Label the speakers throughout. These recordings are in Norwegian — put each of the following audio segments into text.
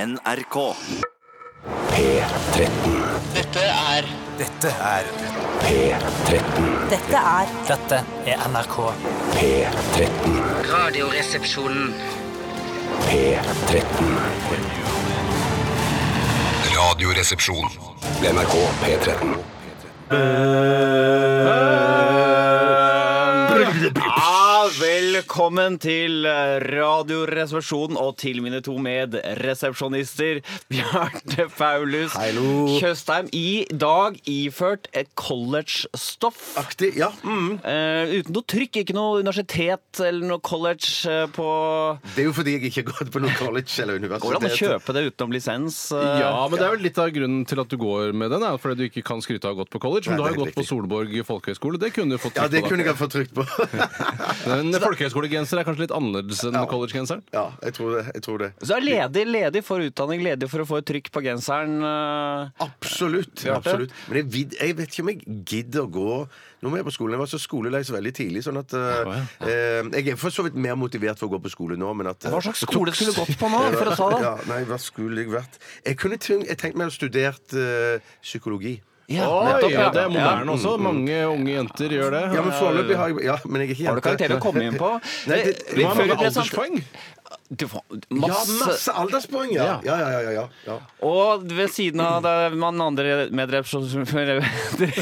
Speaker 1: NRK.
Speaker 2: P13.
Speaker 3: Dette er
Speaker 2: P13.
Speaker 4: Dette er
Speaker 3: Dette er NRK.
Speaker 2: P13.
Speaker 5: Radioresepsjonen.
Speaker 2: P13. Radioresepsjon. NRK P13.
Speaker 6: Ja, velkommen til eh, Radioreservasjonen og til mine to medresepsjonister, Bjarte Paulus Tjøstheim. I dag iført et college-stoff.
Speaker 7: Aktig, ja. Mm.
Speaker 6: Eh, uten noe trykk, ikke noe universitet eller noe college eh, på
Speaker 7: Det er jo fordi jeg ikke har gått på noe college eller universitet.
Speaker 6: Går det an å kjøpe det utenom lisens? eh?
Speaker 8: Ja, men det er vel litt av grunnen til at du går med den, er fordi du ikke kan skryte av å ha gått på college. Men
Speaker 7: Nei,
Speaker 8: du har
Speaker 7: det er
Speaker 8: jo gått på
Speaker 7: riktig.
Speaker 8: Solborg folkehøgskole. Det kunne du fått
Speaker 7: Ja, det
Speaker 8: trykt på,
Speaker 7: kunne
Speaker 8: da.
Speaker 7: jeg fått trykt på.
Speaker 8: Men folkehøyskolegenser er kanskje litt annerledes enn collegegenseren.
Speaker 7: ja, jeg tror det. Jeg tror det.
Speaker 6: Så er ledig, ledig for utdanning, ledig for å få et trykk på genseren. eh.
Speaker 7: Absolutt. absolutt. Men jeg, vid, jeg vet ikke om jeg gidder å gå Nå må jeg på skolen. Jeg var så skolelei så veldig tidlig, sånn at eh, eh, Jeg er for så vidt mer motivert for å gå på skole nå, men at eh,
Speaker 6: Hva slags skole skulle du gått på nå, for å ta det?
Speaker 7: ja, Nei, hva skulle jeg vært? Jeg kunne tenkt, jeg tenkte meg å studert eh, psykologi.
Speaker 6: Ja,
Speaker 8: Oi,
Speaker 6: nettopp,
Speaker 8: ja,
Speaker 6: ja.
Speaker 8: det er moderne
Speaker 7: Ja. Mm.
Speaker 8: også. Mange unge jenter gjør det.
Speaker 7: Ja, men foreløpig har jeg Ja, men jeg er ikke jente.
Speaker 6: Har du karakterer å komme inn på?
Speaker 7: Nei, det,
Speaker 6: Eh,
Speaker 8: Hva
Speaker 6: før
Speaker 8: med
Speaker 6: det ble sant-
Speaker 8: alderspoeng?
Speaker 6: Du får
Speaker 7: Ja, masse alderspoeng, ja. Ja, ja, ja, ja, ja. ja.
Speaker 6: Og ved siden av det man andre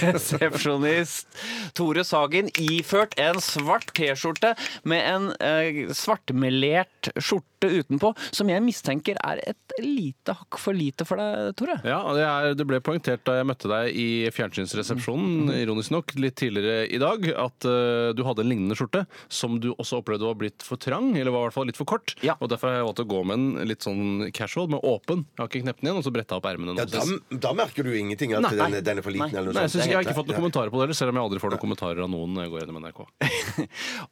Speaker 6: medresepsjonist Tore Sagen iført en svart T-skjorte med en eh, svartmelert skjorte utenpå, som jeg mistenker er et lite hakk for lite for deg, Tore.
Speaker 8: Ja, og det, er, det ble poengtert da jeg møtte deg i
Speaker 7: Mm,
Speaker 8: fjernsynsresepsjonen, ironisk nok, litt tidligere i dag, at eh, du hadde en lignende skjorte som du også opplevde var blitt for trang, eller var i hvert fall litt for kort.
Speaker 6: Ja.
Speaker 8: Og derfor har jeg valgt å gå med en litt sånn casual, med åpen. Jeg har ikke knept den igjen, og så bretta opp ermene.
Speaker 7: Ja,
Speaker 8: nå.
Speaker 7: da, da merker du ingenting at
Speaker 8: Nei.
Speaker 7: den, den er for liten.
Speaker 6: Nei.
Speaker 7: eller noe
Speaker 8: Nei, jeg,
Speaker 7: sånt.
Speaker 8: synes, jeg har ikke fått
Speaker 7: Nei.
Speaker 8: noen kommentarer på det heller, selv om jeg aldri får noen kommentarer av noen når jeg går gjennom NRK.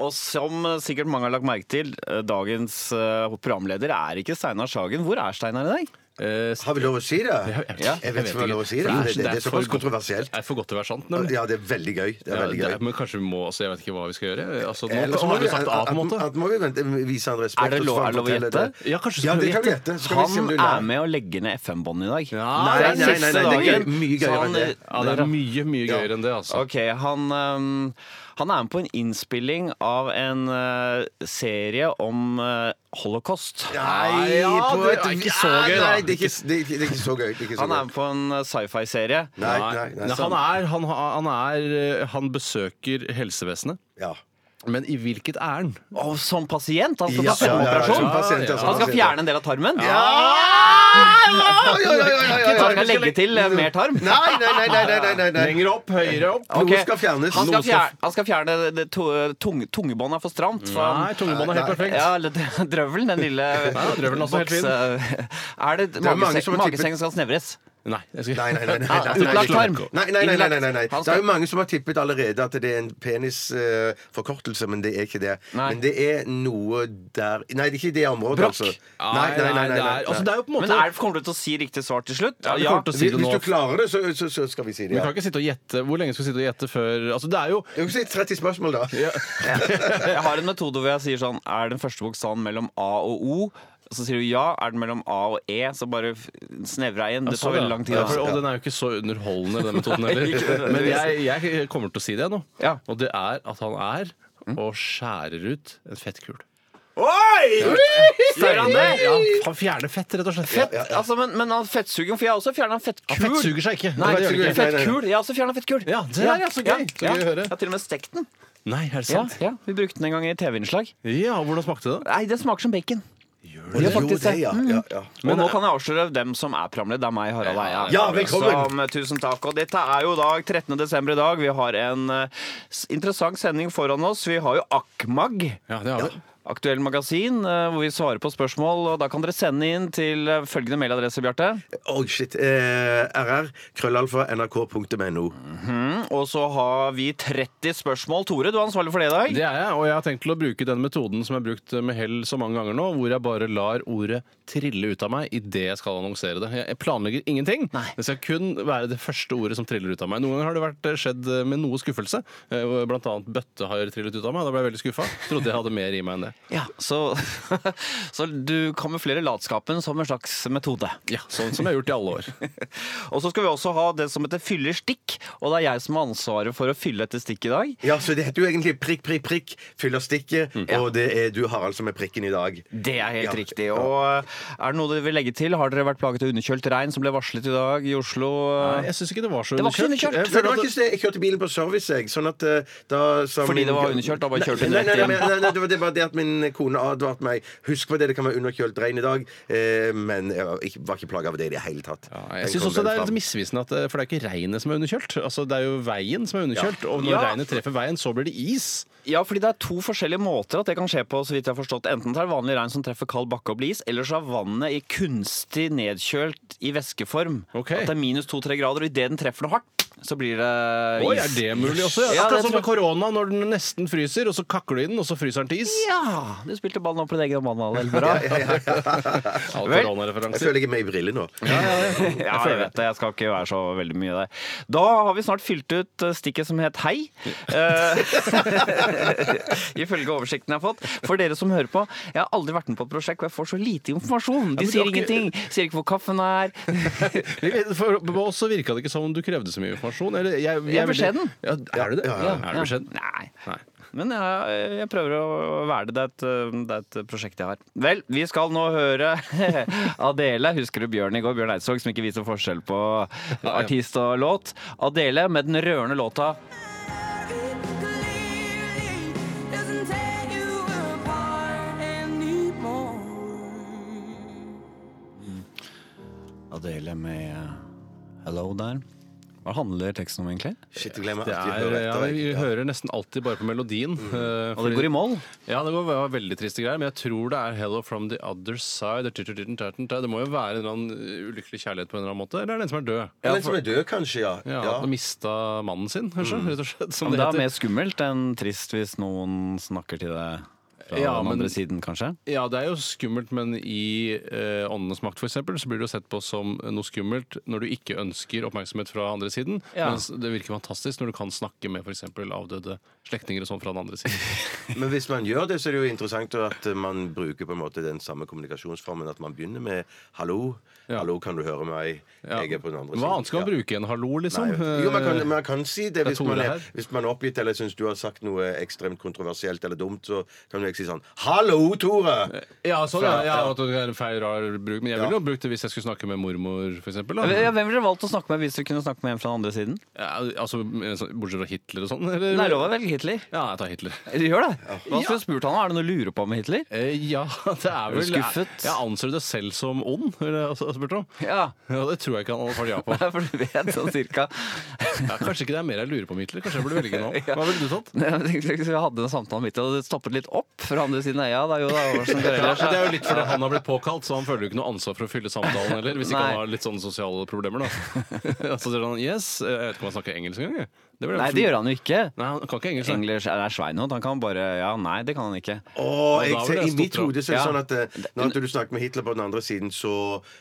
Speaker 6: Og som eh, sikkert mange har lagt merke til, eh, dagens eh, programleder er ikke Steinar Sagen. Hvor er Steinar i dag?
Speaker 8: Eh,
Speaker 7: Har vi lov å si det?
Speaker 6: Ja,
Speaker 7: Jeg vet ikke om jeg har lov å si det.
Speaker 8: For
Speaker 7: for Det, det, det er
Speaker 8: for
Speaker 7: såpass
Speaker 8: godt-
Speaker 7: kontroversielt.
Speaker 8: Det er for godt til å være sant, nemlig.
Speaker 7: Ja, det er veldig gøy. Det er
Speaker 8: Ja,
Speaker 7: veldig
Speaker 8: det er-
Speaker 7: gøy.
Speaker 8: men kanskje vi må altså, Jeg vet ikke hva vi skal gjøre. Altså, nå,
Speaker 7: Eller så
Speaker 8: nå
Speaker 7: må
Speaker 8: har
Speaker 7: vi-
Speaker 8: du sagt A, på en
Speaker 7: at-
Speaker 8: måte.
Speaker 7: at må vi vente, vise han respekt.
Speaker 6: Er det
Speaker 7: og så
Speaker 6: lov-
Speaker 7: får
Speaker 6: er
Speaker 7: han
Speaker 6: det lov å
Speaker 7: fortelle
Speaker 6: gjette?
Speaker 7: det.
Speaker 8: Ja, kanskje
Speaker 7: Ja,
Speaker 8: skal
Speaker 7: det
Speaker 8: vi
Speaker 7: kan vi
Speaker 8: gjette.
Speaker 7: gjette. Skal vi se om
Speaker 6: Han
Speaker 7: du
Speaker 6: er
Speaker 7: lærer.
Speaker 6: med å legge ned FM-båndet i dag.
Speaker 8: Ja,
Speaker 6: Det
Speaker 7: Nei,
Speaker 6: er
Speaker 7: nei, nei,
Speaker 6: siste
Speaker 7: nei, det er
Speaker 6: dagen.
Speaker 7: gøy. Mye
Speaker 6: Så
Speaker 7: gøyere
Speaker 6: han- eh,
Speaker 7: enn det. sånn.
Speaker 8: Ja, det er mye, mye gøyere enn det, altså.
Speaker 6: Ok, han, øhm, han er med på en innspilling av en øh, serie om øh, holocaust.
Speaker 7: Nei,
Speaker 8: Ja,
Speaker 7: på
Speaker 8: det
Speaker 7: et-
Speaker 8: er ikke så gøy, da.
Speaker 7: Nei, det er ikke, det er ikke, det er ikke så gøy. Det er ikke så
Speaker 6: Han er
Speaker 7: gøy.
Speaker 6: med på en øh, sci-fi-serie.
Speaker 7: Nei, nei, nei.
Speaker 8: Nei, han, er, han, ha- han, er, eh, han besøker helsevesenet,
Speaker 7: Ja.
Speaker 8: men i hvilket ærend?
Speaker 6: Og som pasient! Han skal
Speaker 7: Ja,
Speaker 6: få tarmoperasjon!
Speaker 7: ja, ja, pasient, ja,
Speaker 6: Han skal
Speaker 7: pasient,
Speaker 6: fjerne en del av tarmen.
Speaker 7: Ja, ja, ja, ja, ja,
Speaker 6: Ah! Ikke
Speaker 7: ja.
Speaker 6: han skal legge til øh, mer tarm.
Speaker 7: Nei, nei, nei, nei, nei, nei, nei.
Speaker 8: Lenger opp, høyere opp.
Speaker 7: Noe
Speaker 6: Ok,
Speaker 7: skal fjernes.
Speaker 6: Han skal
Speaker 7: Noe skal-
Speaker 6: fjerne, han skal fjerne det, det, to, eh, tung, tungebåndet er for stramt. For han-
Speaker 8: Nei, tungebåndet er helt perfekt.
Speaker 6: Ja, eller d- drøvelen, den lille
Speaker 8: Nei, drøvelen er også helt fin.
Speaker 6: bokse- Er det,
Speaker 7: mange
Speaker 6: magesek-
Speaker 7: som har tippet-
Speaker 6: magesengen skal snevres?
Speaker 8: Nei, jeg skal...
Speaker 7: Nei, nei, nei. nei,
Speaker 6: Ah,
Speaker 7: nei, nei,
Speaker 6: utlagt
Speaker 7: nei,
Speaker 6: tarm.
Speaker 7: Nei, nei, nei, nei, nei, nei, nei.
Speaker 6: Han
Speaker 7: Det
Speaker 6: skal-
Speaker 7: er jo mange som har tippet allerede at det er en penisforkortelse, men det er ikke det.
Speaker 6: Nei.
Speaker 7: Men det er noe der Nei, det er ikke i det området,
Speaker 6: Brokk.
Speaker 7: altså. Nei, nei, nei. nei,
Speaker 8: det er- altså, det
Speaker 7: nei.
Speaker 8: er jo på en måte...
Speaker 6: Men er, kommer du til å si riktig svar til slutt?
Speaker 8: Ja, vi kommer til å
Speaker 7: Hvis
Speaker 8: si det
Speaker 7: hvis
Speaker 8: nå.
Speaker 7: du klarer det, så, så, så skal vi si
Speaker 8: Vi
Speaker 7: det.
Speaker 8: kan
Speaker 7: Ja.
Speaker 8: ikke sitte og gjette. Hvor lenge skal vi sitte og gjette før Altså, det er jo
Speaker 7: Du kan si 30 spørsmål, da.
Speaker 6: Jeg har en metode hvor jeg sier sånn Er den første bokstaven mellom A og O? Så sier du ja. Er den mellom A og E? Så bare f- snevrer jeg inn. Det tar veldig lang tid.
Speaker 8: Ja, for,
Speaker 6: Altså.
Speaker 8: og den er jo ikke så underholdende, den metoden heller. Men jeg, jeg kommer til å si det nå.
Speaker 6: Ja. Mm.
Speaker 8: Og det er at han er og skjærer ut en fettkul.
Speaker 6: Gjør han det?
Speaker 8: Ja, han fjerner fett, rett og slett. Fett?
Speaker 6: Altså, men, men han fettsugen, for jeg har også fjerna fettkul.
Speaker 8: Fett suger seg ikke.
Speaker 6: Nei,
Speaker 8: det gjør det ikke.
Speaker 6: fettkul. Jeg har også fjerna fettkul.
Speaker 8: Ja, det er ja, så gøy. Så gøy å høre.
Speaker 6: Jeg har til og med stekt den.
Speaker 8: Nei, er det
Speaker 6: Ja,
Speaker 8: sant?
Speaker 6: ja. Vi brukte den en gang i TV-innslag.
Speaker 8: Ja, hvordan smakte det?
Speaker 6: Nei, det smaker som bacon.
Speaker 7: Jo,
Speaker 6: faktisk det.
Speaker 7: ja, ja, ja.
Speaker 6: Og
Speaker 8: eh,
Speaker 6: nå kan jeg avsløre hvem som er programleder. Det er meg, Harald Eia.
Speaker 7: Ja, velkommen!
Speaker 6: Som, eh, tusen takk. Og dette er jo dag 13. desember i dag. Vi har en eh, s- interessant sending foran oss. Vi har jo Akmag.
Speaker 8: Ja, det har vi.
Speaker 6: Aktuell magasin, eh, hvor vi svarer på spørsmål. og Da kan dere sende inn til eh, følgende mailadresse, Bjarte.
Speaker 7: Oi, shit. Eh, RR. Krøllalfa. NRK.no.
Speaker 6: Og så har vi 30 spørsmål. Tore, du er ansvarlig for det i dag.
Speaker 8: Det er jeg, og jeg har tenkt til å bruke den metoden som jeg har brukt med hell så mange ganger nå, hvor jeg bare lar ordet trille ut av meg idet jeg skal annonsere det. Jeg planlegger ingenting. Det skal kun være det første ordet som triller ut av meg. Noen ganger har det vært eh, skjedd med noe skuffelse. Eh, Blant annet bøtte har trillet ut av meg. Da ble jeg veldig skuffa. Trodde jeg hadde mer i meg enn det. jeg.
Speaker 6: Ja, så, så du kamuflerer latskapen som en slags metode.
Speaker 8: Ja, Sånn som jeg har gjort i alle år.
Speaker 6: Og så skal vi også ha det som heter fyllestikk, og det er jeg som har ansvaret for å fylle dette stikket i dag.
Speaker 7: Ja, så Det heter jo egentlig prikk, prikk, prikk, fyller stikket,
Speaker 8: Mm.
Speaker 7: og det er du, Harald, som er prikken i dag.
Speaker 6: Det er helt
Speaker 7: Ja.
Speaker 6: riktig. Og eh, er det noe dere vil legge til? Har dere vært plaget av underkjølt regn som ble varslet i dag i Oslo?
Speaker 8: Nei, jeg syns ikke det var så
Speaker 6: Det var ikke så underkjørt.
Speaker 8: Jeg
Speaker 7: Nei, Eh, det
Speaker 8: føler
Speaker 7: var
Speaker 8: at
Speaker 7: ikke det. Jeg kjørte bilen på service, jeg. Sånn at eh, da sa
Speaker 6: Fordi
Speaker 7: min-
Speaker 6: det var underkjølt, da bare kjørte du
Speaker 7: nei, nei,
Speaker 6: rett
Speaker 7: nei, nei, nei, nei, det var det, var det at min kone advarte meg. Husk på det, det kan være underkjølt regn i dag. Eh, men jeg var ikke, var ikke plaga av det i det hele tatt.
Speaker 8: Ja,
Speaker 7: Den
Speaker 8: jeg synes
Speaker 7: kom
Speaker 8: også
Speaker 7: vel
Speaker 8: det er litt
Speaker 7: fram.
Speaker 8: misvisende, at, eh, for det er ikke regnet som er underkjølt. Altså, det er jo veien som er underkjølt, og når
Speaker 6: Ja.
Speaker 8: regnet treffer veien, så blir det is.
Speaker 6: Ja, fordi det er to forskjellige måter at det kan skje på, så vidt jeg har forstått. Enten det er vanlig regn som treffer kald bakke og blir is, eller så er vannet i kunstig nedkjølt i væskeform.
Speaker 8: Ok.
Speaker 6: At det er minus to-tre grader, og idet den treffer noe hardt, så blir det is.
Speaker 8: Oi, er det mulig også?
Speaker 6: Ja,
Speaker 8: Ja,
Speaker 6: det
Speaker 8: Akkurat som med
Speaker 6: tror jeg.
Speaker 8: korona, når den nesten fryser, og så kakler du i den, og så fryser den til is.
Speaker 6: Ja! Du spilte ballen opp på din egen mann, Alel. Bra.
Speaker 8: All
Speaker 6: Vel.
Speaker 7: Jeg
Speaker 8: koronareferanser.
Speaker 7: føler jeg er med i briller nå.
Speaker 6: Ja, jeg vet det. Jeg skal ikke være så veldig mye der. Da har vi snart fylt ut eh, stikket som het Hei. Eh, Ifølge oversikten jeg har fått. For dere som hører på, jeg har aldri vært med på et prosjekt hvor jeg får så lite informasjon. De
Speaker 8: men
Speaker 6: sier
Speaker 8: du har ikke-
Speaker 6: ingenting. Sier ikke hvor kaffen er.
Speaker 8: For for oss så virka det ikke som om du krevde så mye informasjon. Eller, jeg, jeg,
Speaker 6: Jeg er beskjeden.
Speaker 8: Ja, er du det?
Speaker 7: Ja,
Speaker 8: Er du beskjeden?
Speaker 6: Nei.
Speaker 8: Nei.
Speaker 6: Men jeg, jeg prøver å være det. Det er, et, eh, det er et prosjekt jeg har. Vel, vi skal nå høre Adele. Husker du Bjørn i går? Bjørn Eidsvåg som ikke viser forskjell på artist og låt. Adele med den rørende låta
Speaker 9: Doesn't tear you apart anymore.
Speaker 6: Adele med eh, Hello der. Hva handler teksten om, egentlig?
Speaker 7: Shit, jeg glemmer
Speaker 8: Det
Speaker 7: at
Speaker 8: er,
Speaker 7: jeg hører
Speaker 8: ja,
Speaker 7: etter.
Speaker 8: vi
Speaker 7: jeg.
Speaker 8: hører nesten alltid bare på melodien. eh,
Speaker 6: Og det
Speaker 8: fordi-
Speaker 6: går i moll.
Speaker 8: Ja, det går- var veldig triste greier, men jeg tror det er 'Hello from the other side'. Det må jo være en eller annen eh, ulykkelig kjærlighet på en eller annen måte. Eller er det en som er død?
Speaker 7: Ja, den som er død, kanskje, ja.
Speaker 8: Ja, Mm.
Speaker 7: ja.
Speaker 8: og mista mannen sin, kanskje, rett og slett. Som
Speaker 6: Men
Speaker 8: det
Speaker 6: det er
Speaker 8: heter.
Speaker 6: mer skummelt enn trist hvis noen snakker til deg fra
Speaker 8: Ja,
Speaker 6: den
Speaker 8: men-
Speaker 6: andre siden, kanskje.
Speaker 8: Ja, det er jo skummelt, men i eh, 'Åndenes makt' for eksempel, så blir det jo sett på som noe skummelt når du ikke ønsker oppmerksomhet fra andre siden.
Speaker 6: Ja.
Speaker 8: Mens det virker fantastisk når du kan snakke med f.eks. avdøde slektninger og sånn fra den andre siden.
Speaker 7: Men hvis man gjør det, så er det jo interessant at man bruker på en måte den samme kommunikasjonsformen. At man begynner med 'hallo',
Speaker 8: Ja.
Speaker 7: 'hallo, kan du høre meg',
Speaker 8: Ja.
Speaker 7: jeg er på den andre
Speaker 8: Hva annet skal man
Speaker 7: Ja.
Speaker 8: bruke enn 'hallo', liksom?
Speaker 7: Nei, jeg vet ikke. jo, man kan, man kan si det,
Speaker 8: er
Speaker 7: hvis
Speaker 8: to
Speaker 7: man,
Speaker 8: ord
Speaker 7: er,
Speaker 8: her.
Speaker 7: hvis man er oppgitt eller syns du har sagt noe ekstremt kontroversielt eller dumt, så kan du ikke si sånn 'Hallo, Tore!'
Speaker 8: Ja, sånn, ja.
Speaker 7: Fra-
Speaker 8: ja
Speaker 7: ja.
Speaker 8: at det er en feil, rar bruk. Men jeg
Speaker 7: Ja.
Speaker 8: ville jo brukt det hvis jeg skulle snakke med mormor, f.eks.
Speaker 6: Ja, Hvem ville du valgt å snakke med hvis du kunne snakke med en fra den andre siden?
Speaker 8: Ja, altså, så- bortsett fra Hitler og sånn? Eller?
Speaker 6: Nei, lov å velge Hitler.
Speaker 8: Ja, jeg tar Hitler.
Speaker 6: Du gjør det? Hva skulle du spurt han om? Er det noe du lurer på med Hitler?
Speaker 8: Eh, ja, det er
Speaker 6: du
Speaker 8: vel
Speaker 6: skuffet?
Speaker 8: Jeg, jeg anser det selv som ond, vil jeg også spurt om.
Speaker 6: Ja.
Speaker 8: Ja, Det tror jeg ikke han hadde svart ja på.
Speaker 6: Nei, For du vet sånn cirka.
Speaker 8: Ja, kanskje ikke det er mer jeg lurer på med Hitler. Kanskje jeg burde velge nå.
Speaker 6: Ja.
Speaker 8: Hva ville du tatt?
Speaker 6: Nei, men Jeg tenkte, jeg hadde en samtale midt, og det stoppet litt opp fra andre siden. Ja, da, jo, da, hva som går
Speaker 8: Ja,
Speaker 6: ellers,
Speaker 8: men det
Speaker 6: ja.
Speaker 8: er jo litt fordi han har blitt påkalt, så han føler jo ikke noe ansvar for å fylle samtalen heller. Hvis ikke
Speaker 6: Nei.
Speaker 8: han har litt sånne sosiale problemer, da. Så sier han yes. eh, Jeg vet ikke om han snakker engelsk engang. jeg. Det vil jeg-
Speaker 6: Nei, det gjør han jo ikke.
Speaker 8: Nei, han kan ikke engelsk. nei.
Speaker 6: English er Sveinhold. Han kan bare Ja, nei, det kan han ikke.
Speaker 7: Og jeg
Speaker 8: da vil
Speaker 7: ser,
Speaker 8: jeg
Speaker 7: I mitt
Speaker 8: stoppe deg.
Speaker 7: hode så er det
Speaker 6: Ja.
Speaker 7: sånn at eh, når du snakker med Hitler på den andre siden, så,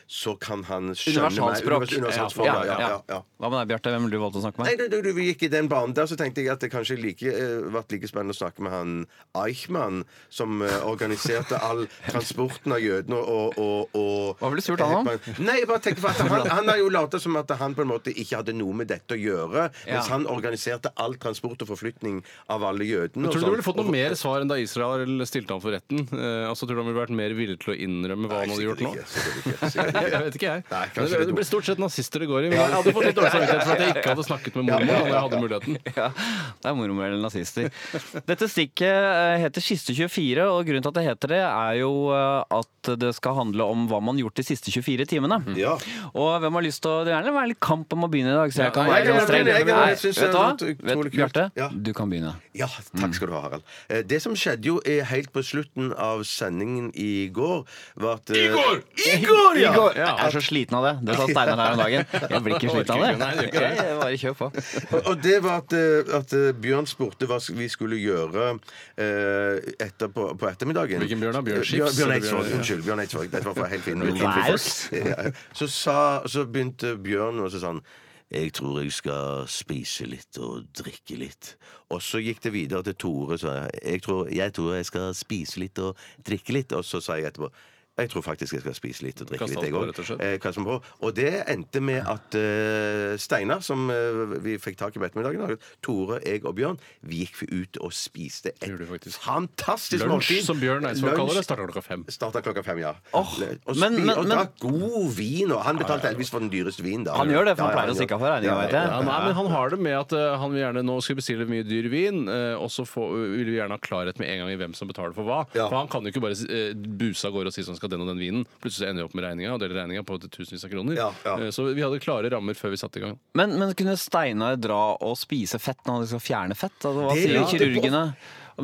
Speaker 7: så kan han skjønne meg.
Speaker 6: Universalspråk.
Speaker 7: Univers- Universalspråk. Ja, ja, ja, ja.
Speaker 6: Hva med deg, Bjarte? Hvem ville du valgt å snakke
Speaker 7: Nei,
Speaker 6: med?
Speaker 7: da, da du gikk i den banen der, så tenkte jeg at det kanskje like, eh, vært like spennende å snakke med han Eichmann, som eh, organiserte all transporten av jødene og, og, og
Speaker 6: Hva ville du spurt han om?
Speaker 7: Nei, jeg bare tenkte for at han, han har jo lata som at han på en måte ikke hadde noe med dette å gjøre,
Speaker 6: Ja.
Speaker 7: mens han organiserte all transport og forflytning av alle jødene. og
Speaker 8: Tror du du
Speaker 7: sånn.
Speaker 8: ville fått noe
Speaker 7: Og-
Speaker 8: mer svar enn da Israel stilte han for retten? Eh, altså, tror du han ville vært mer villig til å innrømme hva
Speaker 7: Nei,
Speaker 8: han hadde
Speaker 7: sikkert
Speaker 8: gjort nå?
Speaker 7: ikke, sikkert ikke, sikkert ikke.
Speaker 8: Jeg vet ikke, jeg.
Speaker 7: Nei,
Speaker 8: Men
Speaker 7: kanskje
Speaker 8: det,
Speaker 7: det er
Speaker 8: det blir
Speaker 7: dumt.
Speaker 8: stort sett nazister det går i. Men jeg hadde fått litt dårlig samvittighet for at jeg ikke hadde snakket med mormor da jeg hadde muligheten.
Speaker 6: Ja, det er moro med nazister. Dette stikket eh, heter Siste 24, og grunnen til at det heter det, er jo eh, at det skal handle om hva man har gjort de siste 24 timene.
Speaker 7: Ja.
Speaker 6: Og hvem har lyst til å Det er gjerne være litt kamp om å begynne i dag, så jeg kan
Speaker 8: Ja,
Speaker 6: være
Speaker 8: jeg
Speaker 6: litt
Speaker 8: kan
Speaker 6: streng.
Speaker 8: begynne, jeg kan-
Speaker 6: Nei,
Speaker 7: jeg synes
Speaker 6: Vet du hva?
Speaker 7: det er utrolig
Speaker 6: Vet-
Speaker 7: kult.
Speaker 6: Bjarte,
Speaker 7: Ja.
Speaker 6: du kan begynne.
Speaker 7: Ja, takk skal du ha, Harald. Eh, Det som skjedde jo eh, helt på slutten av sendingen i går, var at eh, I går! I går, ja!
Speaker 6: Igor! Jeg er så sliten av det. Det sa Steinar her om dagen. Jeg blir ikke sliten av
Speaker 8: Nei,
Speaker 6: det.
Speaker 8: det gjør ikke det.
Speaker 6: Jeg bare kjør på.
Speaker 7: Og og det var at, eh, at eh, Bjørn spurte hva vi skulle gjøre eh, etter, på, på ettermiddagen. Eh,
Speaker 8: Hvilken Bjørn da? Bjørn
Speaker 7: Bjørn,
Speaker 8: Skibs,
Speaker 7: Bjørn
Speaker 8: eller
Speaker 7: Eidsvåg.
Speaker 8: Bjørn-
Speaker 7: Unnskyld. Bjørn Eidsvåg. Dette var fra helt fin
Speaker 6: Maus.
Speaker 7: Så, sa, så begynte Bjørn og så sa han Jeg tror jeg skal spise litt og drikke litt. Og så gikk det videre til Tore, sa jeg. Jeg tror jeg, tror jeg skal spise litt og drikke litt. Og så sa jeg etterpå jeg tror faktisk jeg skal spise litt og drikke
Speaker 8: Kastet
Speaker 7: litt, jeg
Speaker 8: på,
Speaker 7: òg.
Speaker 8: rett og slett.
Speaker 7: Eh, kastet meg på. Og det endte med at eh, Steinar, som eh, vi fikk tak i på ettermiddagen, Tore, jeg og Bjørn, vi gikk ut og spiste et
Speaker 8: Gjorde vi faktisk.
Speaker 7: fantastisk
Speaker 8: Lunsj,
Speaker 7: måltid.
Speaker 8: som Bjørn Eidsvåg
Speaker 7: Lunsj.
Speaker 8: kaller det, starter klokka fem.
Speaker 7: Starta klokka fem, ja.
Speaker 6: Åh,
Speaker 7: Le- og
Speaker 6: men-
Speaker 7: spi-
Speaker 6: men-
Speaker 7: og
Speaker 6: men-
Speaker 7: drakk god vin, og han betalte heldigvis for den dyreste vinen. da.
Speaker 6: Han gjør det, for han
Speaker 7: Ja, ja,
Speaker 6: pleier å
Speaker 7: gjør-
Speaker 6: stikke av for regningen, vet jeg.
Speaker 8: Ja, nei, men Han har det med at eh, han vil gjerne nå skal vi bestille mye dyr vin, eh, og så få- vil vi gjerne ha klarhet med en gang i hvem som betaler for hva.
Speaker 7: Ja.
Speaker 8: For Han kan jo ikke bare eh, buse av gårde og si sånn skal den og den vinen. Plutselig ender vi opp med regninga og deler regninga på tusenvis av kroner.
Speaker 7: Ja, ja.
Speaker 8: Eh, Så vi hadde klare rammer før vi satte i gang.
Speaker 6: Men, men kunne Steinar dra og spise fett når han skal fjerne fett? Altså, hva
Speaker 7: Det
Speaker 6: sier
Speaker 7: lurte jeg på.
Speaker 6: kirurgene?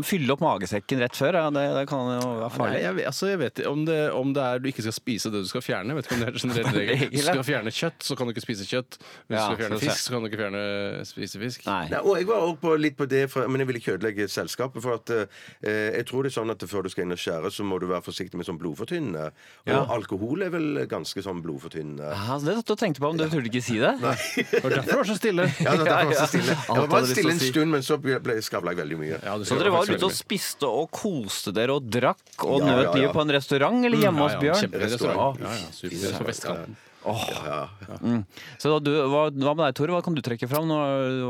Speaker 6: Fylle opp magesekken rett før? Ja, det, det kan jo være
Speaker 8: Nei,
Speaker 6: farlig.
Speaker 8: jeg, vet- altså, jeg vet ikke om det, om det er du ikke skal spise det du skal fjerne. Jeg vet ikke om det er en generell regel. Hvis du skal fjerne kjøtt, så kan du ikke spise kjøtt. Hvis du
Speaker 6: Ja,
Speaker 8: skal fjerne
Speaker 6: så ser-
Speaker 8: fisk, så kan du ikke fjerne spise fisk.
Speaker 6: Nei.
Speaker 7: Nei, og jeg var også på, litt på det, for, men jeg vil ikke ødelegge selskapet. For at eh, jeg tror det er sånn at før du skal inn og skjære, så må du være forsiktig med sånn blodfortynnende. Og alkohol er vel ganske sånn blodfortynnende.
Speaker 6: Ja, så det satt du og tenkte på, men du turte ikke si det?
Speaker 8: Det var derfor det var så stille.
Speaker 7: Ja, det var derfor jeg var så stille.
Speaker 6: Alt
Speaker 7: Jeg var
Speaker 6: hadde
Speaker 7: bare
Speaker 6: lyst til å
Speaker 7: stille en
Speaker 6: si.
Speaker 7: stund, men så ble, ble skravla jeg veldig mye.
Speaker 8: Ja, det
Speaker 6: Så
Speaker 8: skal
Speaker 6: dere var ute og
Speaker 8: jeg faktisk veldig mye.
Speaker 6: spiste og koste dere og drakk og
Speaker 7: Ja,
Speaker 6: nøt
Speaker 7: ja, ja.
Speaker 6: livet på en restaurant eller hjemme
Speaker 8: Mm, Ja,
Speaker 6: hos
Speaker 8: ja,
Speaker 6: Bjørn?
Speaker 8: kjempefin
Speaker 7: Restaurant.
Speaker 8: restaurant. Ja, ja, super. På vestkanten.
Speaker 6: Så da du, hva, hva med deg, Tore? Hva kan du trekke fram? Nå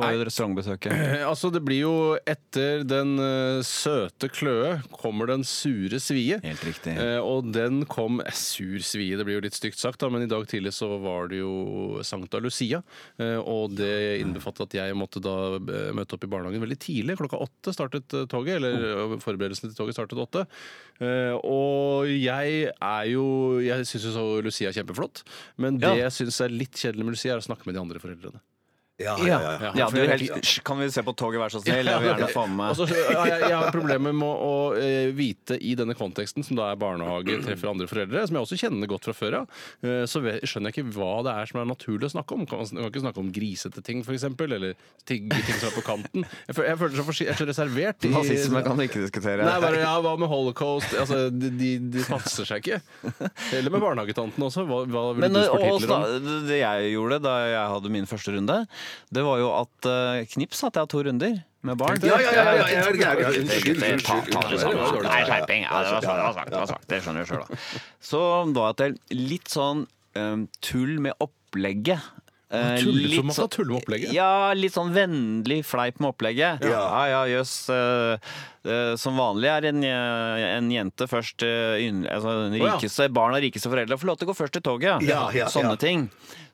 Speaker 6: var jo restaurantbesøket.
Speaker 8: Eh, Altså, det blir jo etter den eh, søte kløe kommer den sure svie.
Speaker 6: Helt riktig.
Speaker 8: Eh, og den kom eh, Sur svie, det blir jo litt stygt sagt, da, men i dag tidlig så var det jo Sankta Lucia. Eh, og det innbefattet at jeg måtte da eh, møte opp i barnehagen veldig tidlig. Klokka åtte startet eh, toget, eller
Speaker 6: Mm.
Speaker 8: eh, forberedelsene til toget startet åtte. Eh, og jeg er jo Jeg syns jo så Lucia er kjempeflott, men det
Speaker 6: Ja.
Speaker 8: jeg syns er litt kjedelig med Lucia, er å snakke med de andre foreldrene.
Speaker 7: Ja,
Speaker 6: Ja,
Speaker 8: ja.
Speaker 6: ja, du, er helt, Hysj, kan vi se på toget, vær så snill? Jeg vil gjerne få med meg
Speaker 8: Altså, ja, jeg, jeg har problemer med å, å eh, vite i denne konteksten, som da er barnehage, treffer andre foreldre, som jeg også kjenner godt fra før av, eh, så ve- skjønner jeg ikke hva det er som er naturlig å snakke om. Kan man sn- kan ikke snakke om grisete ting, f.eks., eller tigge ting som er på kanten. Jeg, føl- jeg føler så forsi- jeg er så reservert. i-
Speaker 6: Nazisme kan du ikke diskutere.
Speaker 8: Nei, bare ja, hva med holocaust? Altså, de, de, de passer seg ikke. Eller med barnehagetantene også. Hva, hva ville
Speaker 6: Men
Speaker 8: du
Speaker 6: eh, og,
Speaker 8: spurt Hitler om?
Speaker 6: sta- det jeg gjorde da jeg hadde min første runde, det var jo at eh, Knips hadde jeg to runder med barn.
Speaker 7: Ja, ja, ja, ja, ja, ja, ja, ja, ja, unnskyld,
Speaker 6: Det- ta- ta det
Speaker 7: unnskyld,
Speaker 6: sammen.
Speaker 7: unnskyld.
Speaker 6: Nei, skjerping. Ja, det var svakt, det var svakt, det var svakt. Det skjønner du sjøl, da. Så var jeg til litt sånn eh, tull med opplegget. Eh,
Speaker 8: Tuller du
Speaker 6: litt
Speaker 8: som man
Speaker 6: sånn-
Speaker 8: kan tulle med opplegget?
Speaker 6: Ja, litt sånn vennlig fleip med opplegget. Ja,
Speaker 7: Ja.
Speaker 6: ja, jøss. eh, eh, som vanlig er en, eh, en jente først eh, ynn- altså, den
Speaker 8: Å, ja.
Speaker 6: rikeste, Barn av rikeste foreldre får lov til å gå først til toget.
Speaker 7: Ja, ja,
Speaker 6: Sånne
Speaker 7: ja.
Speaker 6: ting.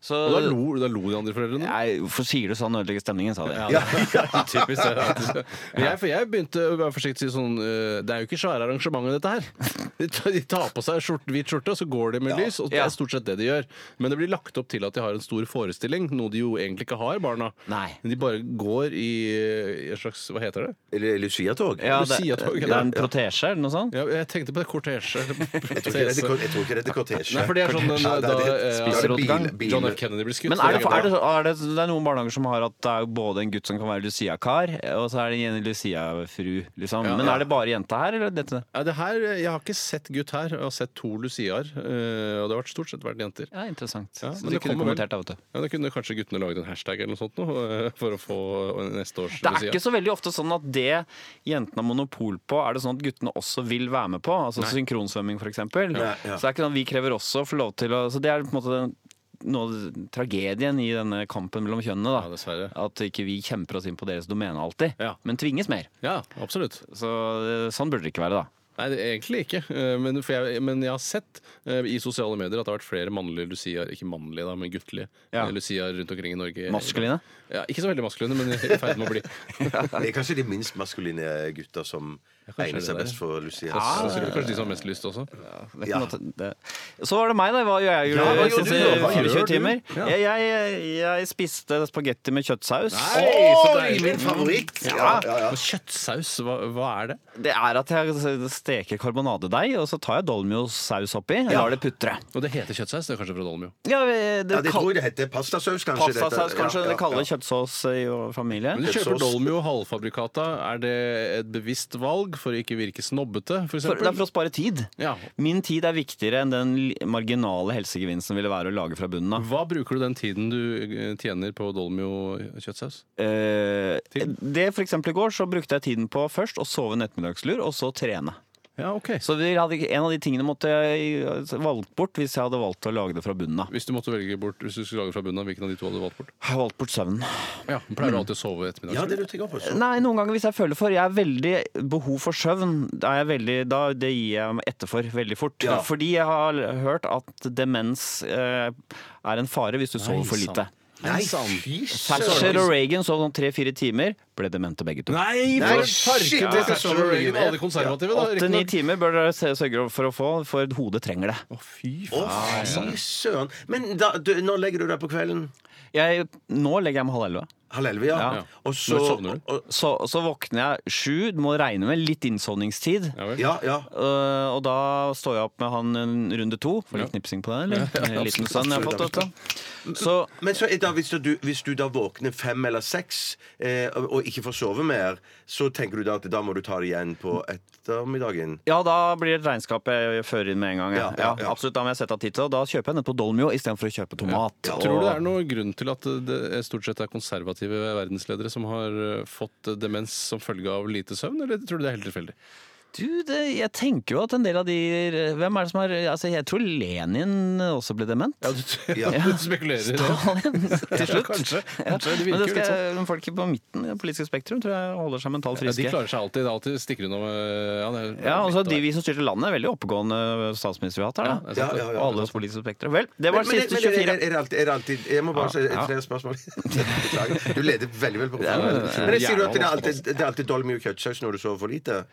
Speaker 6: Så,
Speaker 8: Og da lo, da lo de andre foreldrene?
Speaker 6: Nei, hvorfor sier du sånn? Ødelegger stemningen, sa de.
Speaker 8: Ja, typisk det. alltid. Men jeg, for jeg begynte å være forsiktig og si sånn eh, Det er jo ikke svære arrangementer, dette her. De tar- De tar på seg skjort, hvit skjorte, og så går de med lys. Og det
Speaker 6: Ja.
Speaker 8: er stort sett det de gjør. Men det blir lagt opp til at de har en stor forestilling, noe de jo egentlig ikke har, barna.
Speaker 6: Nei.
Speaker 8: Men de bare går i, eh, i en slags Hva heter det?
Speaker 7: Eller Lucia-tog?
Speaker 6: Ja,
Speaker 8: Du
Speaker 6: det,
Speaker 8: sier at-
Speaker 6: det er en protesje eller noe sånt?
Speaker 8: Ja, jeg tenkte på det kortesje.
Speaker 7: Jeg tror ikke det er- jeg tror ikke det er kortesje.
Speaker 8: Nei, for det er sånn
Speaker 7: Nei,
Speaker 8: eh,
Speaker 7: det
Speaker 8: da
Speaker 7: er det.
Speaker 8: eh,
Speaker 6: Spiser
Speaker 7: bil-
Speaker 6: oppgang.
Speaker 7: bil-
Speaker 8: John F. Kennedy blir skutt.
Speaker 6: Men er det, er, det, er det, det er noen barnehager som har at det er jo både en gutt som kan være Lucia-kar, og så er det en Lucia-fru, liksom. Men er det bare jenta her, eller dette?
Speaker 8: Ja, det her, Jeg har ikke sett gutt her. Jeg har sett to luciaer, eh, og det har vært stort sett vært jenter.
Speaker 6: Ja, interessant.
Speaker 8: Ja,
Speaker 6: så
Speaker 8: men
Speaker 6: du
Speaker 8: det
Speaker 6: kunne
Speaker 8: kommer vel.
Speaker 6: kommentert det, vet du.
Speaker 8: Ja, Da kunne kanskje guttene laget en hashtag eller noe sånt nå, eh, for å få neste års
Speaker 6: Det er ikke så veldig ofte sånn at det jentene har monopol på, er det sånn at guttene også vil være med på. Altså synkronsvømming, f.eks. eksempel
Speaker 7: ja.
Speaker 6: Så det er ikke sånn at vi krever også å få lov til å Så det er på en måte den, noe av tragedien i denne kampen mellom kjønnene, da.
Speaker 8: Ja, dessverre.
Speaker 6: At ikke vi kjemper oss inn på deres domene alltid,
Speaker 8: Ja.
Speaker 6: men tvinges mer.
Speaker 8: Ja, absolutt.
Speaker 6: Så eh, sånn burde det ikke være, da.
Speaker 8: Nei, det, egentlig ikke. Eh, Men, for jeg, men jeg har sett eh, i sosiale medier at det har vært flere mannlige luciaer, ikke mannlige, da, men guttelige
Speaker 6: Ja.
Speaker 8: eh, luciaer rundt omkring i Norge.
Speaker 6: Maskuline?
Speaker 8: Ja, ikke så veldig maskuline, men i ferd med å bli.
Speaker 7: Det er kanskje de minst maskuline gutta som
Speaker 8: kanskje
Speaker 7: egner
Speaker 8: det
Speaker 7: seg
Speaker 8: der.
Speaker 7: best for Lucia.
Speaker 8: Så sikkert kanskje de som har mest lyst også.
Speaker 6: Det er ikke
Speaker 7: Ja.
Speaker 6: noe- det- Så var det meg, da. Hva gjør jeg
Speaker 7: Ja, hva
Speaker 6: de
Speaker 7: gjorde
Speaker 6: siste
Speaker 7: du da? Hva
Speaker 6: 24
Speaker 8: gjør du?
Speaker 6: timer?
Speaker 8: Ja.
Speaker 6: Jeg, jeg, jeg spiste spagetti med kjøttsaus.
Speaker 8: Nei, så deilig.
Speaker 7: Min favoritt!
Speaker 8: Og kjøttsaus, hva, hva er det?
Speaker 6: Det er at jeg steker karbonadedeig, og så tar jeg dolmiosaus oppi og lar det putre.
Speaker 8: Og det heter kjøttsaus, det er kanskje fra Dolmio.
Speaker 6: Ja, det,
Speaker 7: Ja, det tror jeg det heter. Pastasaus, kanskje.
Speaker 6: Pastasaus,
Speaker 7: dette.
Speaker 6: kanskje.
Speaker 7: Ja, ja,
Speaker 6: det kaller
Speaker 7: ja.
Speaker 6: kjøttsås i vår familie.
Speaker 8: Men du kjøper
Speaker 7: Kjøttsaus.
Speaker 8: Dolmio halvfabrikata. Er det et bevisst valg for å ikke virke snobbete, for
Speaker 6: For, det er for
Speaker 8: eksempel?
Speaker 6: å spare tid.
Speaker 8: Ja.
Speaker 6: Min tid er viktigere enn den li- marginale helsegevinsten ville være å lage fra bunnen av.
Speaker 8: Hva bruker du den tiden du eh, tjener på Dolmio kjøttsaus?
Speaker 6: Eh, det for eksempel i går så brukte jeg tiden på først å sove en ettermiddagslur, og så trene.
Speaker 8: Ja, ok.
Speaker 6: Så vi hadde, ikke- en av de tingene måtte jeg valgt bort hvis jeg hadde valgt å lage det fra bunnen av.
Speaker 8: Hvis du måtte velge bort, hvis du skulle lage fra bunnen av, hvilken av de to hadde du valgt bort?
Speaker 6: Jeg har valgt bort søvnen.
Speaker 8: Ja, mm. Pleier du alltid å sove ettermiddags?
Speaker 7: Ja, det du tenker på. så.
Speaker 6: Nei, noen ganger hvis jeg føler for. Jeg er veldig behov for søvn. Da er jeg veldig, da, det gir jeg meg etter for veldig fort.
Speaker 7: Ja.
Speaker 6: Fordi jeg har hørt at demens eh, er en fare hvis du sover for lite.
Speaker 7: Nei, fy
Speaker 6: Thatcher og Reagan sov sånn tre-fire timer, ble demente begge to.
Speaker 8: Nei,
Speaker 7: Nei, shit,
Speaker 8: farken!
Speaker 7: det er så mye mer.
Speaker 8: Alle konservative, da.
Speaker 6: Åtte-ni
Speaker 8: riktignok.
Speaker 6: timer bør dere se- sørge for å få, for hodet trenger det.
Speaker 8: Å, fy
Speaker 7: Å,
Speaker 8: faen.
Speaker 7: fy søren. Men da, du, når legger du deg på kvelden?
Speaker 6: Jeg, nå legger jeg meg halv elleve.
Speaker 7: Halv elleve, ja.
Speaker 8: Ja.
Speaker 7: Og så
Speaker 8: Når sovner du?
Speaker 7: og- og-
Speaker 6: Så, så våkner jeg sju, må regne med litt innsovningstid.
Speaker 8: Ja vel.
Speaker 7: Ja, ja.
Speaker 6: Øh, og da står jeg opp med han en runde to. Får litt
Speaker 8: Ja.
Speaker 6: knipsing på den, eller? En liten sønn jeg har fått.
Speaker 7: absolutt,
Speaker 6: Vet du. Så
Speaker 7: Men så, er da, hvis, du, hvis du da våkner fem eller seks eh, og, og ikke får sove mer, så tenker du da at da må du ta det igjen på ettermiddagen?
Speaker 6: ja, da blir det et regnskap jeg fører inn med en gang. Ja.
Speaker 7: Ja,
Speaker 6: Ja,
Speaker 7: ja, ja.
Speaker 6: absolutt, Da må jeg sette av tid til det. og Da kjøper jeg nettopp Dolmio istedenfor å kjøpe tomat. og-
Speaker 8: Tror du det er noen grunn til at det stort sett er konservative verdensledere som har eh, fått demens som følge av lite søvn, eller tror du det er helt tilfeldig?
Speaker 6: Du, det, jeg tenker jo at en del av de Hvem er det som har altså, Jeg tror Lenin også ble dement.
Speaker 8: Ja, du,
Speaker 7: Ja.
Speaker 8: du spekulerer i det.
Speaker 6: Stalin, til
Speaker 8: Ja,
Speaker 6: slutt.
Speaker 8: kanskje.
Speaker 6: Ja.
Speaker 8: kanskje.
Speaker 6: Men
Speaker 8: Det virker
Speaker 6: det
Speaker 8: jo litt sånn.
Speaker 6: skal, folk på midten i det politiske spektrum tror jeg holder seg mentalt
Speaker 8: Ja, de
Speaker 6: friske.
Speaker 8: klarer seg alltid. Det er alltid stikker unna med ja, det er-
Speaker 6: Ja, altså
Speaker 8: litt å
Speaker 6: de
Speaker 8: være.
Speaker 6: vi som styrte landet, er veldig oppegående statsminister vi har hatt her. Da.
Speaker 8: Ja, det er sant,
Speaker 7: Ja, ja, ja.
Speaker 6: Og alle oss politiske spektre. Vel, det var
Speaker 7: Men, men,
Speaker 6: det siste
Speaker 7: men er,
Speaker 6: 24.
Speaker 7: er, er det alltid, er det alltid Jeg må bare si
Speaker 6: ja.
Speaker 7: flere spørsmål. Beklager. Du leder veldig vel på programmet. Men jeg sier du at det er alltid, det er alltid dolmy og kjøttsaus når du sover for lite?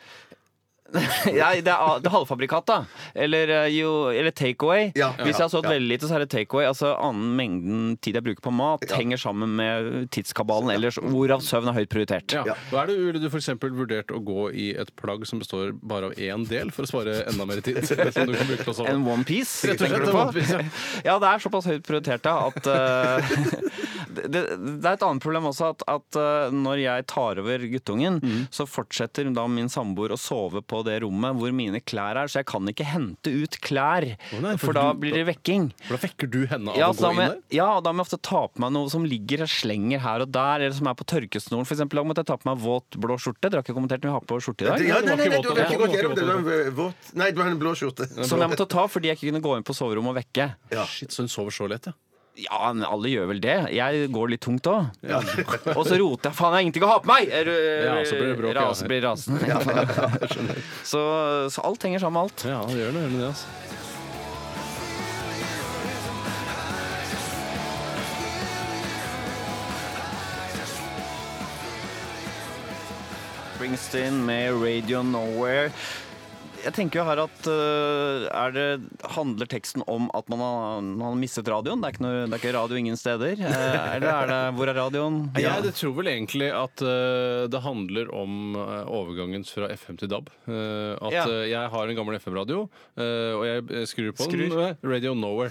Speaker 6: Ja, det er, det er halvfabrikat, da. Eller, eh, jo- eller takeaway.
Speaker 7: Ja,
Speaker 6: Hvis jeg
Speaker 7: ja,
Speaker 6: har sovet
Speaker 7: ja.
Speaker 6: veldig lite, så er det takeaway. Altså annen mengden tid jeg bruker på mat,
Speaker 7: Ja.
Speaker 6: henger sammen med tidskabalen ellers, hvorav søvn er høyt prioritert.
Speaker 8: Ja. Hva er det, ville du f.eks. vurdert å gå i et plagg som består bare av én del, for å spare enda mer tid? Som du kan bruke til å sove?
Speaker 6: En onepiece.
Speaker 8: Rett og slett, en One Piece, ja.
Speaker 6: Ja, det er såpass høyt prioritert da, at eh, det, det det er et annet problem også at, at eh, når jeg tar over guttungen,
Speaker 8: Mm.
Speaker 6: så fortsetter da min samboer å sove på det rommet hvor mine klær er, så jeg kan ikke hente ut klær,
Speaker 8: nei, for
Speaker 6: for da
Speaker 8: du-
Speaker 6: blir det vekking.
Speaker 8: For da vekker du henne av
Speaker 6: Ja,
Speaker 8: å
Speaker 6: så da
Speaker 8: gå
Speaker 6: må
Speaker 8: inn
Speaker 6: jeg,
Speaker 8: der?
Speaker 6: ja, da må jeg ofte ta på meg noe som ligger og slenger her og der, eller som er på tørkesnoren. For eksempel, da måtte jeg ta på meg våt blå skjorte. Dere har ikke kommentert når jeg har på skjorte i dag.
Speaker 7: Ja, nei, nei, nei, du har
Speaker 8: Ja,
Speaker 7: ikke
Speaker 8: det var
Speaker 7: gått
Speaker 8: ikke
Speaker 7: gjennom det.
Speaker 8: våt,
Speaker 7: Det var våt. Nei, det var en blå skjorte.
Speaker 6: Som jeg måtte ta fordi jeg ikke kunne gå inn på soverommet og vekke.
Speaker 7: Ja.
Speaker 8: Shit, så hun sover så lett, ja.
Speaker 6: Ja, men alle gjør vel det. Jeg går litt tungt òg. og så roter jeg. Faen, jeg har ingenting å ha på meg! Er du-
Speaker 8: Ja, så blir det bråk, ja.
Speaker 6: Ras blir rasen. så, så alt henger sammen med alt.
Speaker 8: Ja, det gjør det, gjør det, altså.
Speaker 6: Springsteen med Radio Nowhere. Jeg tenker jo her at øh, er det, handler teksten om at man har, man har mistet radioen? Det er, ikke noe, det er ikke radio ingen steder? Eh, Eller er det Hvor er radioen?
Speaker 8: Ja. Jeg tror vel egentlig at eh, det handler om eh, overgangen fra FM til DAB. Eh, at
Speaker 6: Ja.
Speaker 8: eh, jeg har en gammel FM-radio, eh, og jeg eh, skrur på
Speaker 6: Skrur.
Speaker 8: den. eh, Radio Nowhere.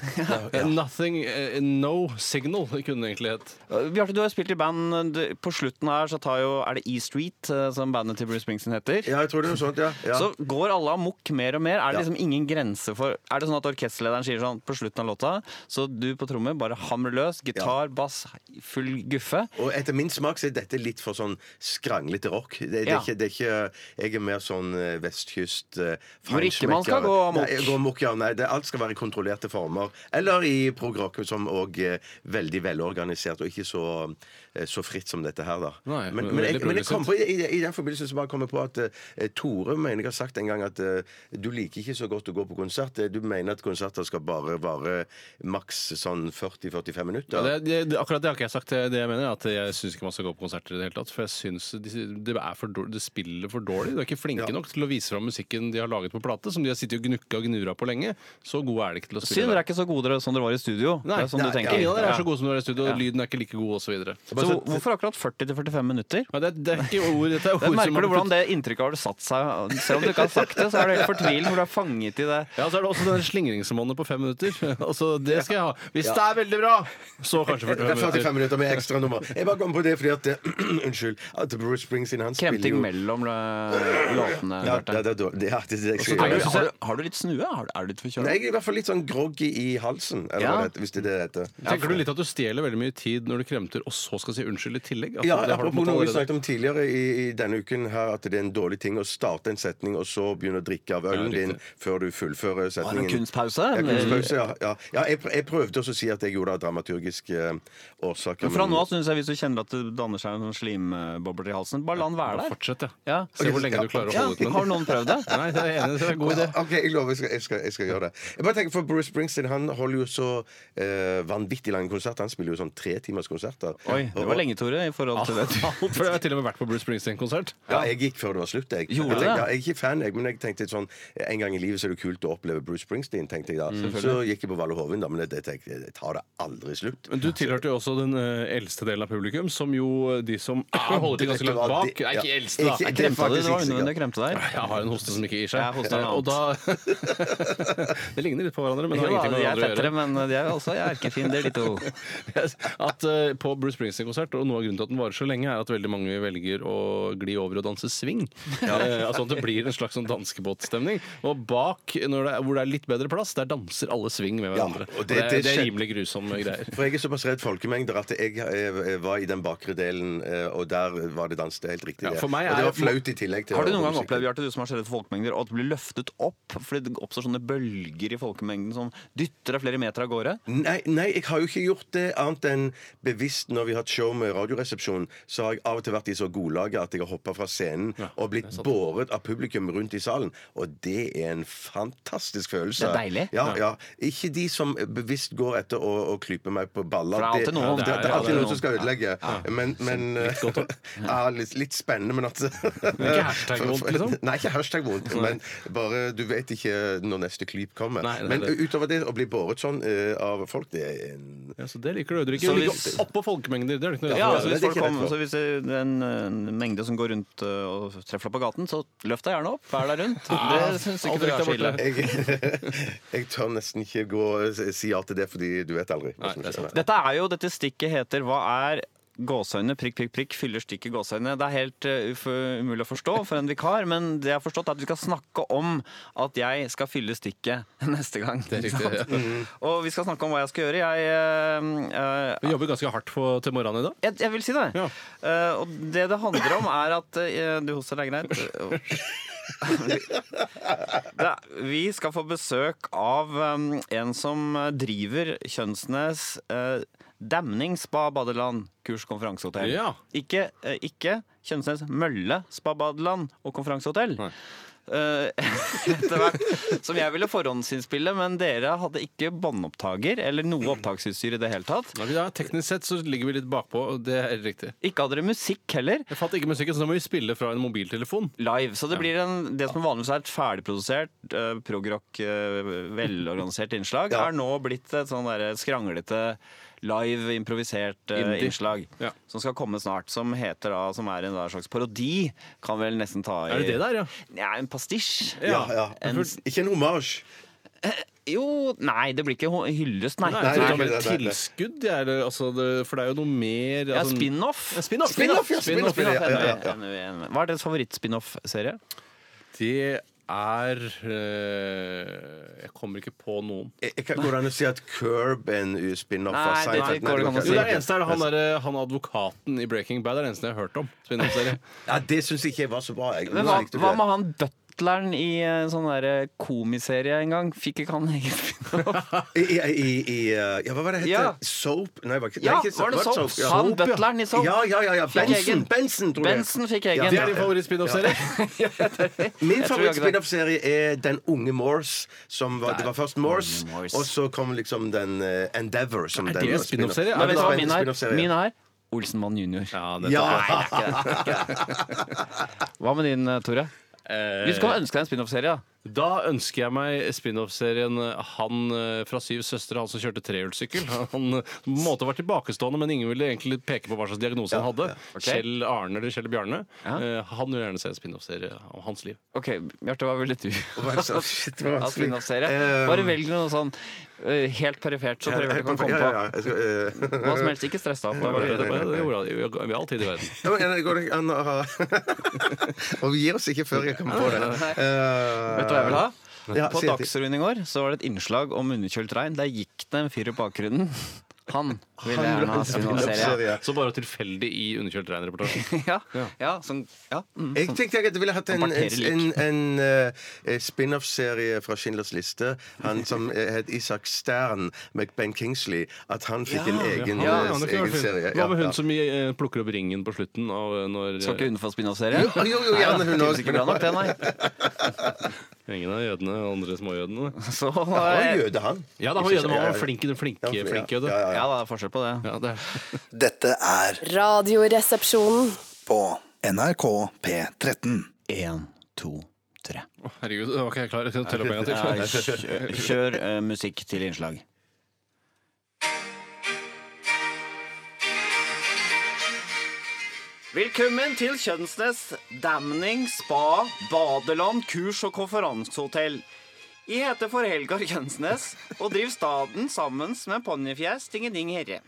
Speaker 8: Eh, Nothing eh, No Signal kunne det egentlig hett.
Speaker 6: Eh, Bjarte, du har jo spilt i band. Du- På slutten her så tar jo Er det E Street, eh, som bandet til Bruce Springsteen heter?
Speaker 7: Ja, jeg tror det er noe sånt, ja. ja.
Speaker 6: Så går alle amok mer og mer. Er det
Speaker 7: Ja.
Speaker 6: liksom ingen grense for Er det sånn at orkesterlederen sier sånn på slutten av låta, så du på trommer bare hamrer løs, gitar, bass, full guffe?
Speaker 7: Og etter min smak så er dette litt for sånn skranglete rock. Det, det, er,
Speaker 6: Ja.
Speaker 7: ikke, det er ikke Jeg er mer sånn eh, vestkyst eh,
Speaker 6: Hvor ikke man skal
Speaker 7: feinschmecker.
Speaker 6: gå amok.
Speaker 7: Nei, gå amok, ja. Nei, det, alt skal være i kontrollerte former. Eller i progrock, som òg er veldig velorganisert, og ikke så, eh, så fritt som dette her, da.
Speaker 8: Nei,
Speaker 7: men,
Speaker 8: men
Speaker 7: men, jeg,
Speaker 8: veldig
Speaker 7: men jeg kom på, i, i, i den forbindelse så bare kom jeg på at eh, Tore mener jeg har sagt en gang at eh, du liker ikke så godt å gå på konsert. Eh, Du mener at konserter skal bare vare maks sånn 40-45 minutter.
Speaker 8: Ja, det, det, akkurat det har ikke jeg sagt. Det jeg mener er at jeg syns ikke man skal gå på konserter i det hele tatt. For jeg synes de, det, er for dårlig, det spiller for dårlig. De er ikke flinke
Speaker 7: Ja.
Speaker 8: nok til å vise fram musikken de har laget på plate, som de har sittet og gnukka og gnura på lenge. Så gode er de ikke til å spille.
Speaker 6: Synd dere
Speaker 8: live.
Speaker 6: er ikke så gode dere som dere var i studio. det er sånn
Speaker 7: nei,
Speaker 6: du tenker.
Speaker 8: Ingen av dere
Speaker 6: Ja.
Speaker 8: er så gode som dere er i studio, og lyden er ikke like god, osv.
Speaker 6: Så hvor- hvorfor akkurat 40-45 minutter?
Speaker 8: Men det, det er ikke ord, dette er
Speaker 6: Der
Speaker 8: ord
Speaker 6: merker du
Speaker 8: man
Speaker 6: hvordan det inntrykket har satt seg. Selv om du ikke har sagt det, så så er du helt fortvilet, for du er fanget i det.
Speaker 8: Ja, så er det også denne slingringsmonnet på fem minutter. Altså, det skal jeg ha. Hvis det er veldig bra, så kanskje
Speaker 7: Det er 45
Speaker 8: 45 minutter.
Speaker 7: minutter med ekstra nummer. Jeg bare kom på det fordi at eh, Unnskyld. At Bruce Springsteen, han spiller
Speaker 6: Kremting
Speaker 7: jo
Speaker 6: mellom eh, låtene.
Speaker 7: Ja,
Speaker 6: Bjarte.
Speaker 7: det, det, det, det, det, det,
Speaker 6: Så tenker
Speaker 7: det,
Speaker 6: jeg, Har, du- har du litt snue? Har du- Er du litt
Speaker 7: Nei,
Speaker 6: forkjøla?
Speaker 7: jeg er i hvert fall litt sånn groggy i halsen, eller
Speaker 6: Ja.
Speaker 7: hva det heter, hvis det er det det heter.
Speaker 8: Tenker du litt at du stjeler veldig mye tid når du kremter, og så skal si unnskyld i tillegg? At
Speaker 7: Ja,
Speaker 8: det har du på en
Speaker 7: apropos
Speaker 8: måte
Speaker 7: noe vi
Speaker 8: allerede-
Speaker 7: snakket om tidligere i, i denne uken her, at det er en dårlig ting å starte en setning og så begynne å drikke av ølen din før du fullfører
Speaker 6: Har du en
Speaker 7: setningen.
Speaker 6: kunstpause?
Speaker 7: Ja,
Speaker 6: Men
Speaker 7: kunstpause, ja. ja. ja jeg, pr- jeg prøvde også å si at jeg gjorde det av dramaturgiske eh, årsaker.
Speaker 6: Fra nå av syns jeg hvis du kjenner at det danner seg en slimbobler i halsen, bare la den være
Speaker 8: Ja,
Speaker 6: der.
Speaker 8: Fortsett, ja.
Speaker 6: Ja.
Speaker 8: Se hvor lenge du klarer å
Speaker 6: Ja,
Speaker 8: holde ut med
Speaker 6: har
Speaker 8: den.
Speaker 6: noen prøvd det?
Speaker 8: Nei, det er jeg enig, i, det er en god idé.
Speaker 7: OK, jeg lover jeg skal, jeg, skal, jeg skal gjøre det. Jeg bare tenker for Bruce Springsteen han holder jo så eh, vanvittig lange konserter. Han spiller jo sånn tretimers-konserter.
Speaker 6: Oi, det var lenge, Tore, i forhold til det.
Speaker 8: For jeg har til og med vært på Bruce Springsteen-konsert.
Speaker 7: Ja, jeg gikk før det var slutt. Jeg,
Speaker 6: Gjorde
Speaker 7: jeg, tenkte,
Speaker 6: det?
Speaker 7: ja, jeg er ikke fan, jeg, men jeg tenkte sånn En gang i livet så er det kult å oppleve Bruce Springsteen, tenkte
Speaker 6: Mm.
Speaker 7: jeg da. så gikk jeg på Valle Hovin, da, men jeg, jeg tenkte jeg tar det aldri slutt.
Speaker 8: Men du tilhørte jo også den eh, eldste delen av publikum, som jo eh, de som holder til ganske langt bak. Nei, ikke eldste, da.
Speaker 7: Ikke-
Speaker 8: Jeg
Speaker 7: det er
Speaker 6: Kremta du? Det
Speaker 7: faktisk
Speaker 6: var
Speaker 7: ikke sikkert.
Speaker 6: unødvendig å kremte deg.
Speaker 8: Jeg har en hoste som ikke gir seg.
Speaker 6: Jeg hoster en
Speaker 8: Eh, og da Det ligner litt på hverandre, men det har
Speaker 6: Jo da,
Speaker 8: ingenting med
Speaker 6: de er
Speaker 8: hverandre å gjøre.
Speaker 6: tettere, men eh, de er også erkefiender, de to.
Speaker 8: at eh, på Bruce Springsteen-konsert, og noe av grunnen til at den varer så lenge, er at veldig mange velger å gli over og danse swing. Eh, altså at det blir en slags sånn danskebåtstemning. Og bak, når det er, hvor det er litt bedre plass, der danser alle swing
Speaker 7: Ja,
Speaker 8: med hverandre.
Speaker 7: og
Speaker 8: og
Speaker 7: det-
Speaker 8: det,
Speaker 7: det
Speaker 8: er, det er
Speaker 7: skjer-
Speaker 8: rimelig grusomme greier.
Speaker 7: For jeg er såpass redd folkemengder at jeg, eh, var i den bakre delen, eh, og der var det dans. Det er helt riktig.
Speaker 8: Ja,
Speaker 7: det.
Speaker 8: for meg
Speaker 7: og det
Speaker 8: er-
Speaker 7: var flaut i tillegg. til
Speaker 6: Har du
Speaker 7: å-
Speaker 6: noen gang opplevd, Bjarte, du som har sett etter folkemengder, at du blir løftet opp fordi det oppstår sånne bølger i folkemengden som dytter deg flere meter av gårde?
Speaker 7: Nei, nei, jeg har jo ikke gjort det annet enn bevisst når vi har hatt show med Radioresepsjonen, så har jeg av og til vært i så godlaget at jeg har hoppa fra scenen og blitt båret av publikum rundt i salen. Og det er en fantastisk følelse.
Speaker 6: Det er deilig.
Speaker 7: Ja, ja. Ikke de som bevisst går etter å, å klype meg på baller.
Speaker 6: For det er alltid noen.
Speaker 7: det, det, er
Speaker 6: Ja, det er
Speaker 7: alltid noen
Speaker 6: noen.
Speaker 7: som skal ødelegge. Men, men ja, litt, litt spennende, men at
Speaker 8: ikke hashtag-vondt, liksom?
Speaker 7: Nei, ikke hashtag-vondt, men bare du vet ikke når neste klyp kommer.
Speaker 8: Nei, nei,
Speaker 7: men
Speaker 8: det-
Speaker 7: utover det å bli båret sånn eh, av folk, det er en
Speaker 8: Ja, så det liker du. Du
Speaker 6: Så
Speaker 8: liker å ligge
Speaker 6: hvis-
Speaker 8: oppå folkemengder. Det er det ikke noe
Speaker 6: Ja, altså
Speaker 8: rart for.
Speaker 6: hvis
Speaker 7: det er
Speaker 6: folk
Speaker 7: ikke
Speaker 6: kommer,
Speaker 7: rett
Speaker 6: så hvis det er en, en mengde som går rundt ø, og treffer deg på gaten, så løft deg gjerne opp. Vær der rundt. Det syns ikke du
Speaker 8: aldri
Speaker 6: er så
Speaker 8: der
Speaker 6: ille.
Speaker 8: borte.
Speaker 7: jeg, jeg tør nesten ikke gå si ja til det, fordi du vet aldri. hva som
Speaker 8: Nei, det er
Speaker 7: skjer.
Speaker 8: sant.
Speaker 6: Dette er jo, dette stikket heter Hva er gåseøyne? Prikk, prikk, prikk. Fyller stikket gåseøyne? Det er helt eh, uf- umulig å forstå for en vikar, men det jeg har forstått, er at vi skal snakke om at jeg skal fylle stikket neste gang.
Speaker 8: Det er riktig, ja.
Speaker 6: Mm. Og vi skal snakke om hva jeg skal gjøre. Jeg, eh, eh,
Speaker 8: Vi jobber ganske hardt på, til morgenen i dag.
Speaker 6: jeg, jeg vil si det.
Speaker 8: Ja.
Speaker 6: Eh, og det det handler om, er at eh, Du hoster, det er greit. det, er- vi skal få besøk av em, en som driver Kjønnsnes uh, Damning spa badeland kurs konferansehotell.
Speaker 8: Ja.
Speaker 6: Ikke, eh, ikke Kjønnsnes Mølle spa badeland og konferansehotell. Eh, etter hvert som jeg ville forhåndsinnspille, men dere hadde ikke båndopptaker eller noe opptaksutstyr i det hele tatt.
Speaker 8: Nei, vi da, teknisk sett så ligger vi litt bakpå, og det er riktig.
Speaker 6: Ikke hadde dere musikk heller.
Speaker 8: Jeg fant ikke musikken, så da må vi spille fra en mobiltelefon.
Speaker 6: live. Så det blir en, det som vanligvis er et ferdigprodusert, uh, progrock, eh, velorganisert innslag,
Speaker 7: Ja.
Speaker 6: er nå blitt et sånn derre skranglete live, improvisert eh,
Speaker 8: Indie.
Speaker 6: innslag.
Speaker 8: Ja.
Speaker 6: Som skal komme snart. Som heter da, som er en da slags parodi, kan vel nesten ta i
Speaker 8: Er det det der, ja?
Speaker 6: Ja, en pastisj.
Speaker 7: Ja, ja.
Speaker 6: En,
Speaker 7: Ikke en hommage.
Speaker 6: jo Nei, det blir ikke ho- hyllest, nei.
Speaker 8: Nei,
Speaker 7: Nei,
Speaker 8: det
Speaker 7: nei,
Speaker 8: er vel
Speaker 7: nei, nei, nei.
Speaker 8: tilskudd, det er, det- altså, det, for det er jo noe mer
Speaker 6: Ja,
Speaker 8: altså,
Speaker 6: spin-off.
Speaker 8: Ja, spin-off,
Speaker 7: Spin-off, ja, spin-off, ja,
Speaker 8: spin-off,
Speaker 7: ja, ja.
Speaker 6: Enig, enig, enig. Hva er deres favoritt-spin-off-serie?
Speaker 8: Det er eh, Jeg kommer ikke på noen.
Speaker 7: Jeg, jeg kan, går det an å si at Curb er en spin-off
Speaker 6: Nei,
Speaker 7: av
Speaker 6: det
Speaker 7: Seinfeld?
Speaker 6: går det ikke an å
Speaker 8: Jo,
Speaker 6: si.
Speaker 8: det
Speaker 7: kan
Speaker 8: er det eneste er han, der, han advokaten i Breaking Bad. Det er det eneste jeg har hørt om. spin-off-serie.
Speaker 7: Ja, det syns ikke jeg var så bra. Jeg.
Speaker 6: Men
Speaker 7: Nå
Speaker 6: hva,
Speaker 7: likte du
Speaker 6: hva
Speaker 7: det.
Speaker 6: med han butleren i eh, sånn der komiserie en gang? Fikk ikke han egen spin-off?
Speaker 7: I, i, i, i, uh, ja, hva var det hette?
Speaker 6: Ja.
Speaker 7: Soap? Nei, var ikke,
Speaker 6: Ja,
Speaker 7: nei, ikke,
Speaker 6: var det Soap?
Speaker 7: Ja.
Speaker 6: Han
Speaker 7: Soap, ja.
Speaker 6: butleren i Soap.
Speaker 7: Ja, ja, ja, ja.
Speaker 6: Fikk
Speaker 7: Benson,
Speaker 6: egen.
Speaker 7: Benson, tror jeg.
Speaker 6: Benson fikk egen.
Speaker 7: Ja,
Speaker 8: Det er din favoritt-spin-off-serie?
Speaker 7: Min
Speaker 6: Jeg tror jeg ikke det.
Speaker 7: favoritt-spin-off-serie er Den unge Morse. Som var, det var først Morse,
Speaker 6: Unge Morse.
Speaker 7: og så kom liksom den eh, Endeavor. Som
Speaker 8: Er
Speaker 7: den
Speaker 8: det en
Speaker 7: var
Speaker 8: spin-off-serie?
Speaker 6: Nei,
Speaker 7: Ja,
Speaker 6: vet du
Speaker 7: det
Speaker 6: hva
Speaker 7: var en
Speaker 6: min er?
Speaker 7: spin-off-serie.
Speaker 6: Min er Olsenmann junior.
Speaker 8: Ja, det,
Speaker 7: Ja!
Speaker 6: eh, Hva med din, eh, Tore? Hvis du kan ønske deg en spin-off-serie, da.
Speaker 8: Da ønsker jeg meg spin-off-serien Han eh, fra Syv søstre, han som kjørte trehjulssykkel. Han eh, på en måte var tilbakestående, men ingen ville egentlig peke på hva slags diagnose han hadde. Kjell Arne eller Kjell Bjarne.
Speaker 6: Ja.
Speaker 8: Eh, Han vil gjerne se en spin-off-serie om hans liv.
Speaker 6: OK, Bjarte, hva ville du
Speaker 7: var det så- shit, det var
Speaker 6: ha
Speaker 7: vanskelig.
Speaker 6: spin-off-serie?
Speaker 7: Eh,
Speaker 6: Bare velg noe sånn eh, helt perifert, så prøver du kan komme
Speaker 7: Ja, ja, ja.
Speaker 6: på.
Speaker 7: Jeg skal, eh,
Speaker 6: Hva som helst. Ikke stress deg opp. da,
Speaker 8: Det,
Speaker 6: Bjarte.
Speaker 8: det, det, det gjorde han. Vi har- vi har all tid i verden.
Speaker 7: Ja, men det går ikke an å ha- Og vi gir oss ikke før jeg kommer på det. Eh,
Speaker 6: Vet du hva jeg vil ha?
Speaker 7: Ja,
Speaker 6: på
Speaker 7: si det.
Speaker 6: Dagsrevyen i går så var det et innslag om underkjølt regn. Der gikk det en fyr i bakgrunnen. Han ville
Speaker 7: Han vil
Speaker 6: gjerne
Speaker 7: ha en
Speaker 6: ha spin-off-serie.
Speaker 7: spin-off-serie.
Speaker 8: Så bare tilfeldig i underkjølt regnreportasje.
Speaker 6: Ja, ja, sånn, ja. Mm.
Speaker 7: Jeg tenkte jeg at jeg ville hatt en,
Speaker 6: Han
Speaker 7: en,
Speaker 6: parterer
Speaker 7: en, en eh, spin-off-serie fra Schindlers liste. Han som eh, het Isak Stern med Ben Kingsley. At han fikk en egen,
Speaker 8: Ja,
Speaker 7: eh,
Speaker 8: det kunne vært
Speaker 7: egen
Speaker 8: fint.
Speaker 7: serie.
Speaker 8: Hva med
Speaker 7: Ja,
Speaker 8: hun
Speaker 7: ja.
Speaker 8: som eh, plukker opp ringen på slutten av eh, når
Speaker 6: Skal
Speaker 8: eh,
Speaker 6: ikke hun få spin-off-serie?
Speaker 7: Jo, jo, jo, gjerne hun
Speaker 6: Nei, tydeligvis
Speaker 7: også.
Speaker 6: ikke bra nok, det, nei.
Speaker 8: Ingen av eh, jødene, andre småjødene.
Speaker 6: Så,
Speaker 7: Han var
Speaker 6: eh,
Speaker 7: jøde, han.
Speaker 8: Ja, da var jødene var flink, den flinke,
Speaker 7: Ja,
Speaker 8: flinke
Speaker 7: ja,
Speaker 8: jøde.
Speaker 7: ja,
Speaker 6: ja, det er forskjell på det.
Speaker 8: Ja, det er
Speaker 10: Dette er
Speaker 11: Radioresepsjonen.
Speaker 10: på NRK P13.
Speaker 6: Én, to, tre.
Speaker 8: Herregud, da var ikke jeg klar. Jeg skal telle opp en
Speaker 6: Ja,
Speaker 8: gang til.
Speaker 6: kjør kjør eh, musikk til innslag. Velkommen til Kjønnsnes damning, spa, badeland, kurs og konferansehotell. Jeg heter for Helgar Kjønnsnes og driver staden sammen med Ponnifjes Tingeding Herre.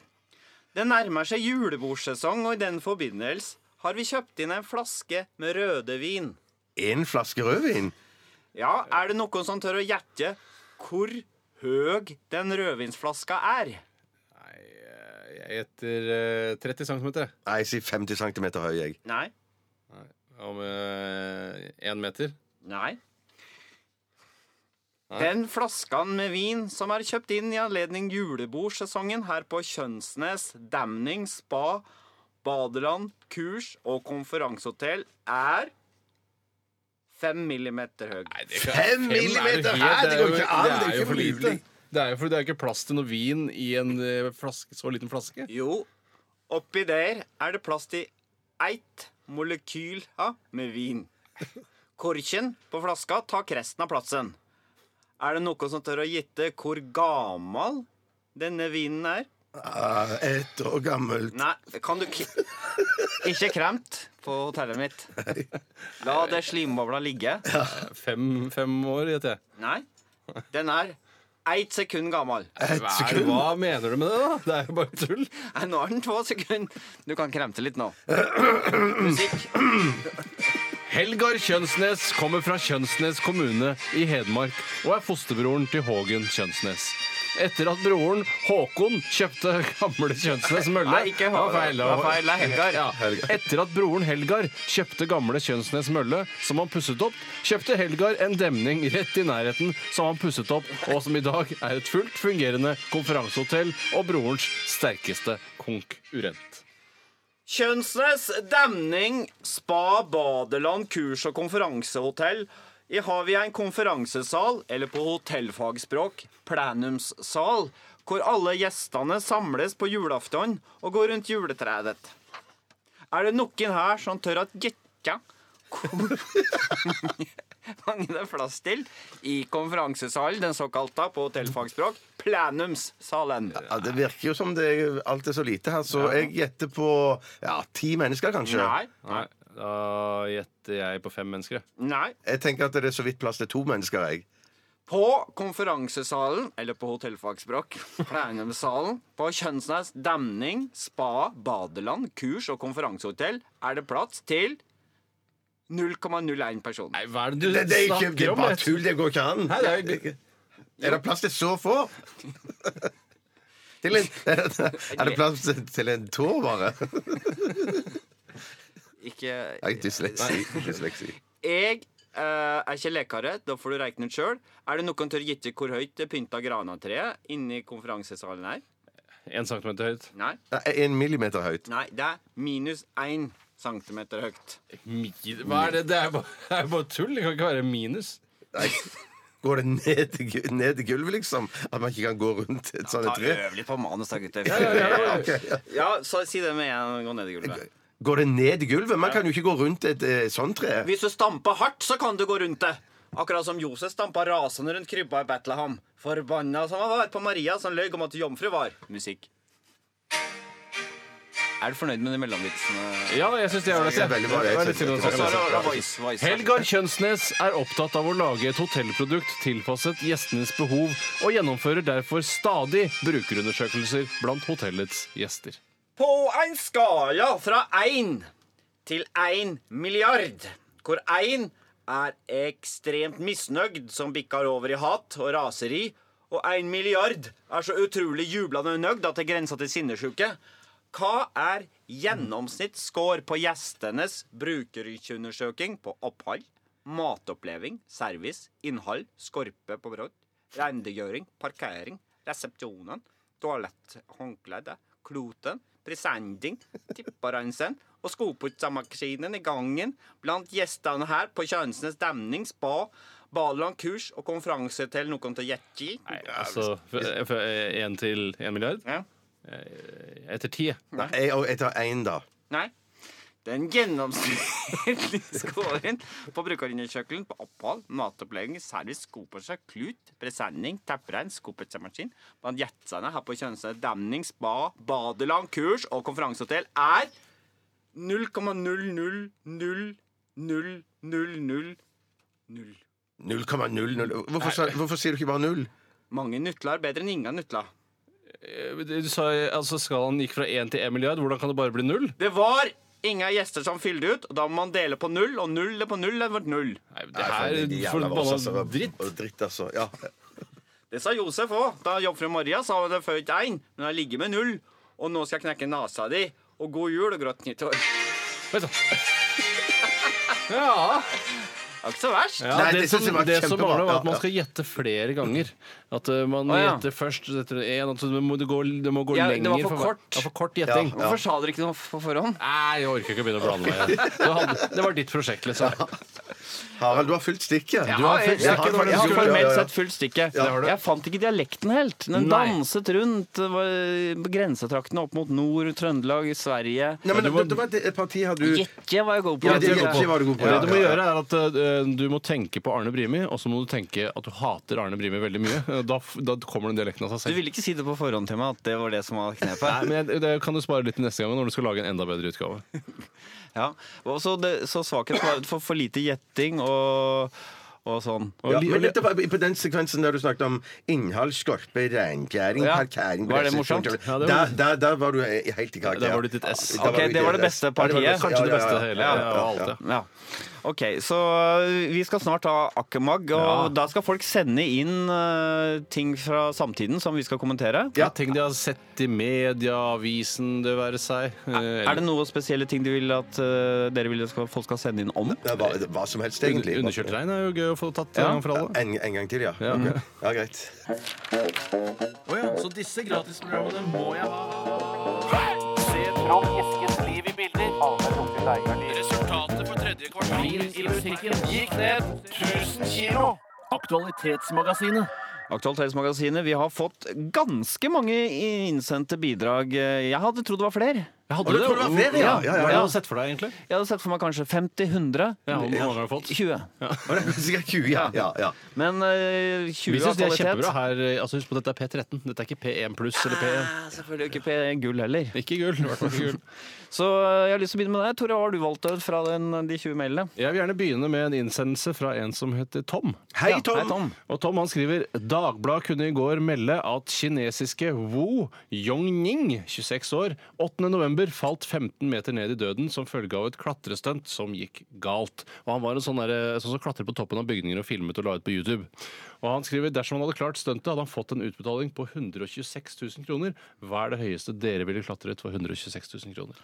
Speaker 6: Det nærmer seg julebordsesong, og i den forbindelse har vi kjøpt inn en flaske med rødevin.
Speaker 7: En flaske rødvin?
Speaker 6: Ja, er det noen som tør å gjette hvor høg den rødvinsflaska er?
Speaker 8: Jeg gjetter eh, 30 cm.
Speaker 7: Nei, jeg sier 50 cm høy, jeg.
Speaker 6: Nei.
Speaker 8: Om én meter.
Speaker 6: Nei. Den flaskan med vin som er kjøpt inn i anledning julebordsesongen her på Kjønnsnes, Damning, spa, badeland, kurs og konferansehotell, er fem millimeter høy.
Speaker 8: Fem
Speaker 7: millimeter? Hæ? Det går ikke an, det er
Speaker 8: Det er
Speaker 7: ikke
Speaker 8: jo for
Speaker 7: mulig.
Speaker 8: lite. Det er jo fordi det er ikke plass til noe vin i en eh, flaske, så liten flaske.
Speaker 6: Jo, oppi der er det plass til eitt molekyl ja, med vin. Korken på flaska tar resten av plassen. Er det noen som tør å gjette hvor gammel denne vinen er?
Speaker 7: Ah, ett år gammelt.
Speaker 6: Nei, kan du k- Ikke kremt på hotellet mitt. La det slimbobla ligge.
Speaker 8: Fem, fem år, gjetter jeg.
Speaker 6: Nei, den er ett sekund gammel.
Speaker 7: Ett
Speaker 8: Hva, er,
Speaker 7: sekund.
Speaker 8: hva mener du med det, da? Det er jo bare tull.
Speaker 6: Nei, nå er den to sekunder. Du kan kremte litt nå. Musikk.
Speaker 8: Helgar Kjønsnes kommer fra Kjønsnes kommune i Hedmark og er fosterbroren til Hågen Kjønsnes. Etter at broren Håkon kjøpte gamle Kjønsnes mølle
Speaker 6: Nei, ikke Håkon.
Speaker 8: Ja, feil,
Speaker 6: Det var feil, det er Helgar.
Speaker 8: Ja. Etter at broren Helgar kjøpte gamle Kjønsnes mølle, som han pusset opp, kjøpte Helgar en demning rett i nærheten som han pusset opp, og som i dag er et fullt fungerende konferansehotell og brorens sterkeste konkurrent.
Speaker 6: Kjønnsnes, demning, spa, badeland, kurs og konferansehotell. I har vi en konferansesal, eller på hotellfagspråk plenumssal, hvor alle gjestene samles på julaften og går rundt juletreet. Er det noen her som tør at gjette hvor mange det er plass til i konferansesalen, den såkalte på hotellfagspråk plenumssalen?
Speaker 7: Ja, det virker jo som det er, alt er så lite her, så jeg gjetter på ja, ti mennesker, kanskje.
Speaker 6: Nei.
Speaker 8: Nei, da gjetter jeg på fem mennesker, jeg.
Speaker 6: Nei.
Speaker 7: Jeg tenker at det er så vidt plass til to mennesker, jeg.
Speaker 6: På konferansesalen, eller på hotellfagspråk, plenumssalen, på Kjønnsnes demning, spa, badeland, kurs og konferansehotell er det plass til 0,01 person.
Speaker 8: Nei, hva er det du
Speaker 7: Det, det er ikke det
Speaker 8: snakker
Speaker 7: er
Speaker 8: om?
Speaker 7: bare
Speaker 8: Jeg-
Speaker 7: tull. Det går ikke an.
Speaker 8: Nei, det er jo-
Speaker 7: Er det plass til så få? Til en, er det plass til- til en tå, bare?
Speaker 6: Ikke
Speaker 7: Nei, dysleksi. dysleksi.
Speaker 6: Jeg eh, er ikke lekare, da får du regne ut sjøl. Er det noen tør gjette hvor høyt det pynta granatreet inni konferansesalen er?
Speaker 8: En centimeter høyt.
Speaker 6: Nei,
Speaker 7: Nei, En millimeter høyt.
Speaker 6: nei, det er minus én centimeter høyt.
Speaker 8: Mil- Hva er det? Det er jo bare, det er jo bare tull. Det kan ikke være minus.
Speaker 7: Nei. Går det ned til gu- ned til gulvet, liksom? At man ikke kan gå rundt et sånt
Speaker 6: Ta
Speaker 7: tre?
Speaker 6: Øv litt på manus, da, gutter.
Speaker 7: Ok, ja.
Speaker 6: Ja, så si det med en gang ned i gulvet.
Speaker 7: Går det ned i gulvet? Man kan jo ikke gå rundt et eh, sånt tre.
Speaker 6: Hvis du stamper hardt, så kan du gå rundt det.
Speaker 1: Akkurat som Josef stampa rasende rundt krybba i Betlehem. Forbanna som han var på Maria som løy om at jomfru var. Musikk.
Speaker 6: Er du fornøyd med de mellomvitsene?
Speaker 8: Ja, jeg syns det er ålreit.
Speaker 6: Det er veldig bra, jeg
Speaker 8: Det var
Speaker 6: synes
Speaker 8: litt
Speaker 6: det. Og
Speaker 8: synd å
Speaker 6: så er det
Speaker 8: snakke om.
Speaker 6: voice, voice.
Speaker 8: Helgar Kjønsnes er opptatt av å lage et hotellprodukt tilpasset gjestenes behov, og gjennomfører derfor stadig brukerundersøkelser blant hotellets gjester.
Speaker 1: På en skala fra én til én milliard, hvor én er ekstremt misnøyd, som bikker over i hat og raseri, og én milliard er så utrolig jublende nøyd at det grenser til sinnessyke, hva er gjennomsnittsscore på gjestenes brukerundersøking på opphold, matoppleving, service, innhold, skorpe på brodd, rendegjøring, parkering, resepsjonen, toaletthåndkledde, kloten, presenting, tipparensen og skoputsamaskinen i gangen blant gjestene her på Kjønsnes demning, spa, Badeland kurs og konferanse til noen til Jetji.
Speaker 8: Altså én eh, til én milliard? Eh, Etter ti.
Speaker 1: Nei.
Speaker 7: Jeg tar én, da.
Speaker 1: Nei. Den gjennomsnittlige scoren på brukerundersøkelsen på opphold, matopplegging, service, skopåse, klut, presenning, tepperegn, skopetsemaskin, blant gjetsene her på Kjønsnes, demning, spa, badeland, kurs og konferansehotell er 0,0000000.
Speaker 7: 0,00 hvorfor, sa- hvorfor sier du ikke bare null?
Speaker 1: Mange nutler er bedre enn ingen nutler.
Speaker 8: Du sa altså skalaen gikk fra én til én milliard. Hvordan kan det bare bli null?
Speaker 1: Det var ingen gjester som fylte ut, og da må man dele på null, og null er på null, det ble null.
Speaker 8: det her er forbanna dritt.
Speaker 7: dritt altså. Ja.
Speaker 1: Det sa Josef òg. Da jobbfru Maria sa hun det før ikke én, men jeg ligger med null. Og nå skal jeg knekke nesa di. Og god jul og grått nyttår.
Speaker 8: Ja.
Speaker 1: Det var ikke så verst.
Speaker 8: Ja, det, som, det som mangler, var at man skal gjette flere ganger. At eh, man
Speaker 1: Å, ja.
Speaker 8: gjetter først etter én, altså det må det gå, det må gå
Speaker 6: Ja,
Speaker 8: lenger.
Speaker 6: det var for
Speaker 8: hver-
Speaker 6: kort.
Speaker 8: Ja, for kort gjetting.
Speaker 6: Ja, ja. Hvorfor sa dere ikke noe på forhånd?
Speaker 8: Nei, jeg orker ikke å begynne å blande meg igjen. Det, hadde, det var ditt prosjekt, liksom.
Speaker 7: Harald, du har fylt stikket.
Speaker 6: Du har fulgt
Speaker 7: Ja,
Speaker 6: stikket.
Speaker 7: jeg-
Speaker 6: Jeg har
Speaker 7: jeg- ja, ja,
Speaker 6: formelt
Speaker 7: ja.
Speaker 6: sett fulgt stikket. Jeg fant ikke dialekten helt. Den
Speaker 7: Nei.
Speaker 6: danset rundt det var på grensetraktene opp mot nord, Trøndelag, Sverige.
Speaker 7: Nei, men det- det var et parti hadde du
Speaker 6: Gjetje var jeg god på.
Speaker 7: Ja, det- Gjetje var du god på,
Speaker 8: Det
Speaker 7: ja,
Speaker 8: du må
Speaker 7: ja, ja.
Speaker 8: gjøre, er at eh, du må tenke på Arne Brimi, og så må du tenke at du hater Arne Brimi veldig mye. Da, f- da kommer den dialekten av
Speaker 6: Du
Speaker 8: seg selv.
Speaker 6: ville ikke si det på forhånd til meg, at det var det som var
Speaker 8: Nei,
Speaker 6: knepet.
Speaker 8: men jeg- Det kan du spare litt til neste gang når du skal lage en enda bedre utgave.
Speaker 6: Ja. Og så, det, så svakheten var for, for lite gjetting og, og sånn.
Speaker 7: Ja, men dette var på den sekvensen der du snakket om innhold, skorpe, renkjæring,
Speaker 6: Ja.
Speaker 7: parkering
Speaker 6: Var det morsomt? Ja, det var-
Speaker 7: Der, der, der var du he- helt i karakter.
Speaker 8: Der var du ditt S.
Speaker 7: Ja, der
Speaker 6: Ok,
Speaker 7: var du
Speaker 6: det var
Speaker 7: ditt
Speaker 6: det beste
Speaker 7: S. Ja,
Speaker 6: partiet.
Speaker 7: Ja, ja, ja. Ja, ja, ja.
Speaker 6: Ja. Ok, så ø, vi skal snart ha Akkemag, og da skal folk sende inn ø, ting fra samtiden som vi skal kommentere.
Speaker 8: Ja, ting de har sett i media, avisen, det være seg. Eh,
Speaker 6: Er det noen spesielle ting du vil at ø, dere vil at skal- folk skal sende inn om?
Speaker 7: Det var, hva som helst, egentlig.
Speaker 8: Underkjørt regn er jo gøy å få tatt
Speaker 6: Ja.
Speaker 8: en gang for alle.
Speaker 7: En, en gang til, ja. Ok. Ja, greit.
Speaker 8: Så disse gratisprogrammene må jeg ha.
Speaker 12: Se fram Eskens liv i bilder. Resultatet for tredje kvartal i butikken gikk ned 1000 kilo. Aktualitetsmagasinet.
Speaker 6: Aktualitetsmagasinet, vi har fått ganske mange innsendte bidrag. Eh, Jeg hadde trodd det var flere.
Speaker 8: hadde Å, du det? trodde det var flere, ja. Ja, ja, ja. Hva hadde du sett for deg, egentlig?
Speaker 6: Jeg hadde sett for meg kanskje 50-100.
Speaker 8: Ja, hvor mange har du fått?
Speaker 6: 20.
Speaker 7: Sikkert 20, ja. ja, ja.
Speaker 6: Men eh, 20
Speaker 8: Vi syns det er
Speaker 6: kvalitet.
Speaker 8: kjempebra her. Altså, husk på dette er P13. Dette er ikke P1 pluss eller P1.
Speaker 6: Ah, Selvfølgelig ikke P- gull heller.
Speaker 8: Ikke gull. i hvert fall ikke gull.
Speaker 6: Så eh, jeg har lyst til å begynne med deg. Tore, hva har du valgt ut fra den, de 20 mailene?
Speaker 8: Jeg vil gjerne begynne med en innsendelse fra en som heter Tom.
Speaker 6: Hei, Ja, Tom! hei, Tom.
Speaker 8: Og Tom han skriver Dagbladet kunne i går melde at kinesiske Wu Yongning, 26 år, 8. november falt 15 meter ned i døden som følge av et klatrestunt som gikk galt. Og han var en sånn, derre- sånn som klatret på toppen av bygninger og filmet og la ut på YouTube. Og han skriver dersom han hadde klart stuntet, hadde han fått en utbetaling på 126 000 kroner. Hva er det høyeste dere ville klatret for 126 000 kroner?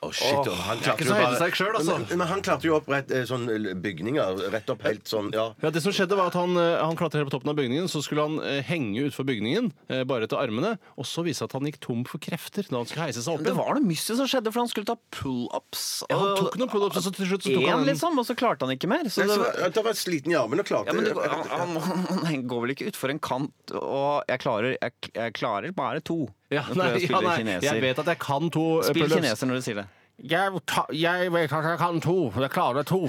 Speaker 7: Å, shit,
Speaker 8: Åh,
Speaker 7: og han
Speaker 8: det er
Speaker 7: klarte
Speaker 8: ikke
Speaker 7: jo
Speaker 8: så
Speaker 7: bare-
Speaker 8: heldig seg selv, altså.
Speaker 7: Men, men han klarte jo opp rett, eh, sånn bygninger. Rett opp helt sånn, ja.
Speaker 8: Ja, det som skjedde var at Han, eh, han klatret helt på toppen av bygningen, så skulle han eh, henge utfor bygningen, eh, bare etter armene, og så vise at han gikk tom for krefter da han skulle heise seg opp
Speaker 6: Det
Speaker 8: igjen.
Speaker 6: var noe mystisk som skjedde, for han skulle ta pullups.
Speaker 8: Ja, han tok noen pull-ups, og så til slutt så tok
Speaker 6: Én,
Speaker 8: han en-
Speaker 6: liksom, og så klarte han ikke mer. Så
Speaker 7: Nei,
Speaker 6: det
Speaker 7: så
Speaker 6: var,
Speaker 7: var- Da var jeg sliten i armen og klarte
Speaker 6: ja, men det, går- han, han, han går vel ikke utfor en kant, og jeg klarer, jeg, jeg klarer bare to.
Speaker 8: Ja,
Speaker 6: Nå prøver jeg å
Speaker 8: nei, ja,
Speaker 6: spille
Speaker 8: nei,
Speaker 6: kineser.
Speaker 8: jeg vet at jeg kan to eh,
Speaker 6: Spill
Speaker 8: pull-ups.
Speaker 6: kineser når du sier det.
Speaker 8: Jeg, ta, jeg vet at jeg kan to, for jeg klarer to.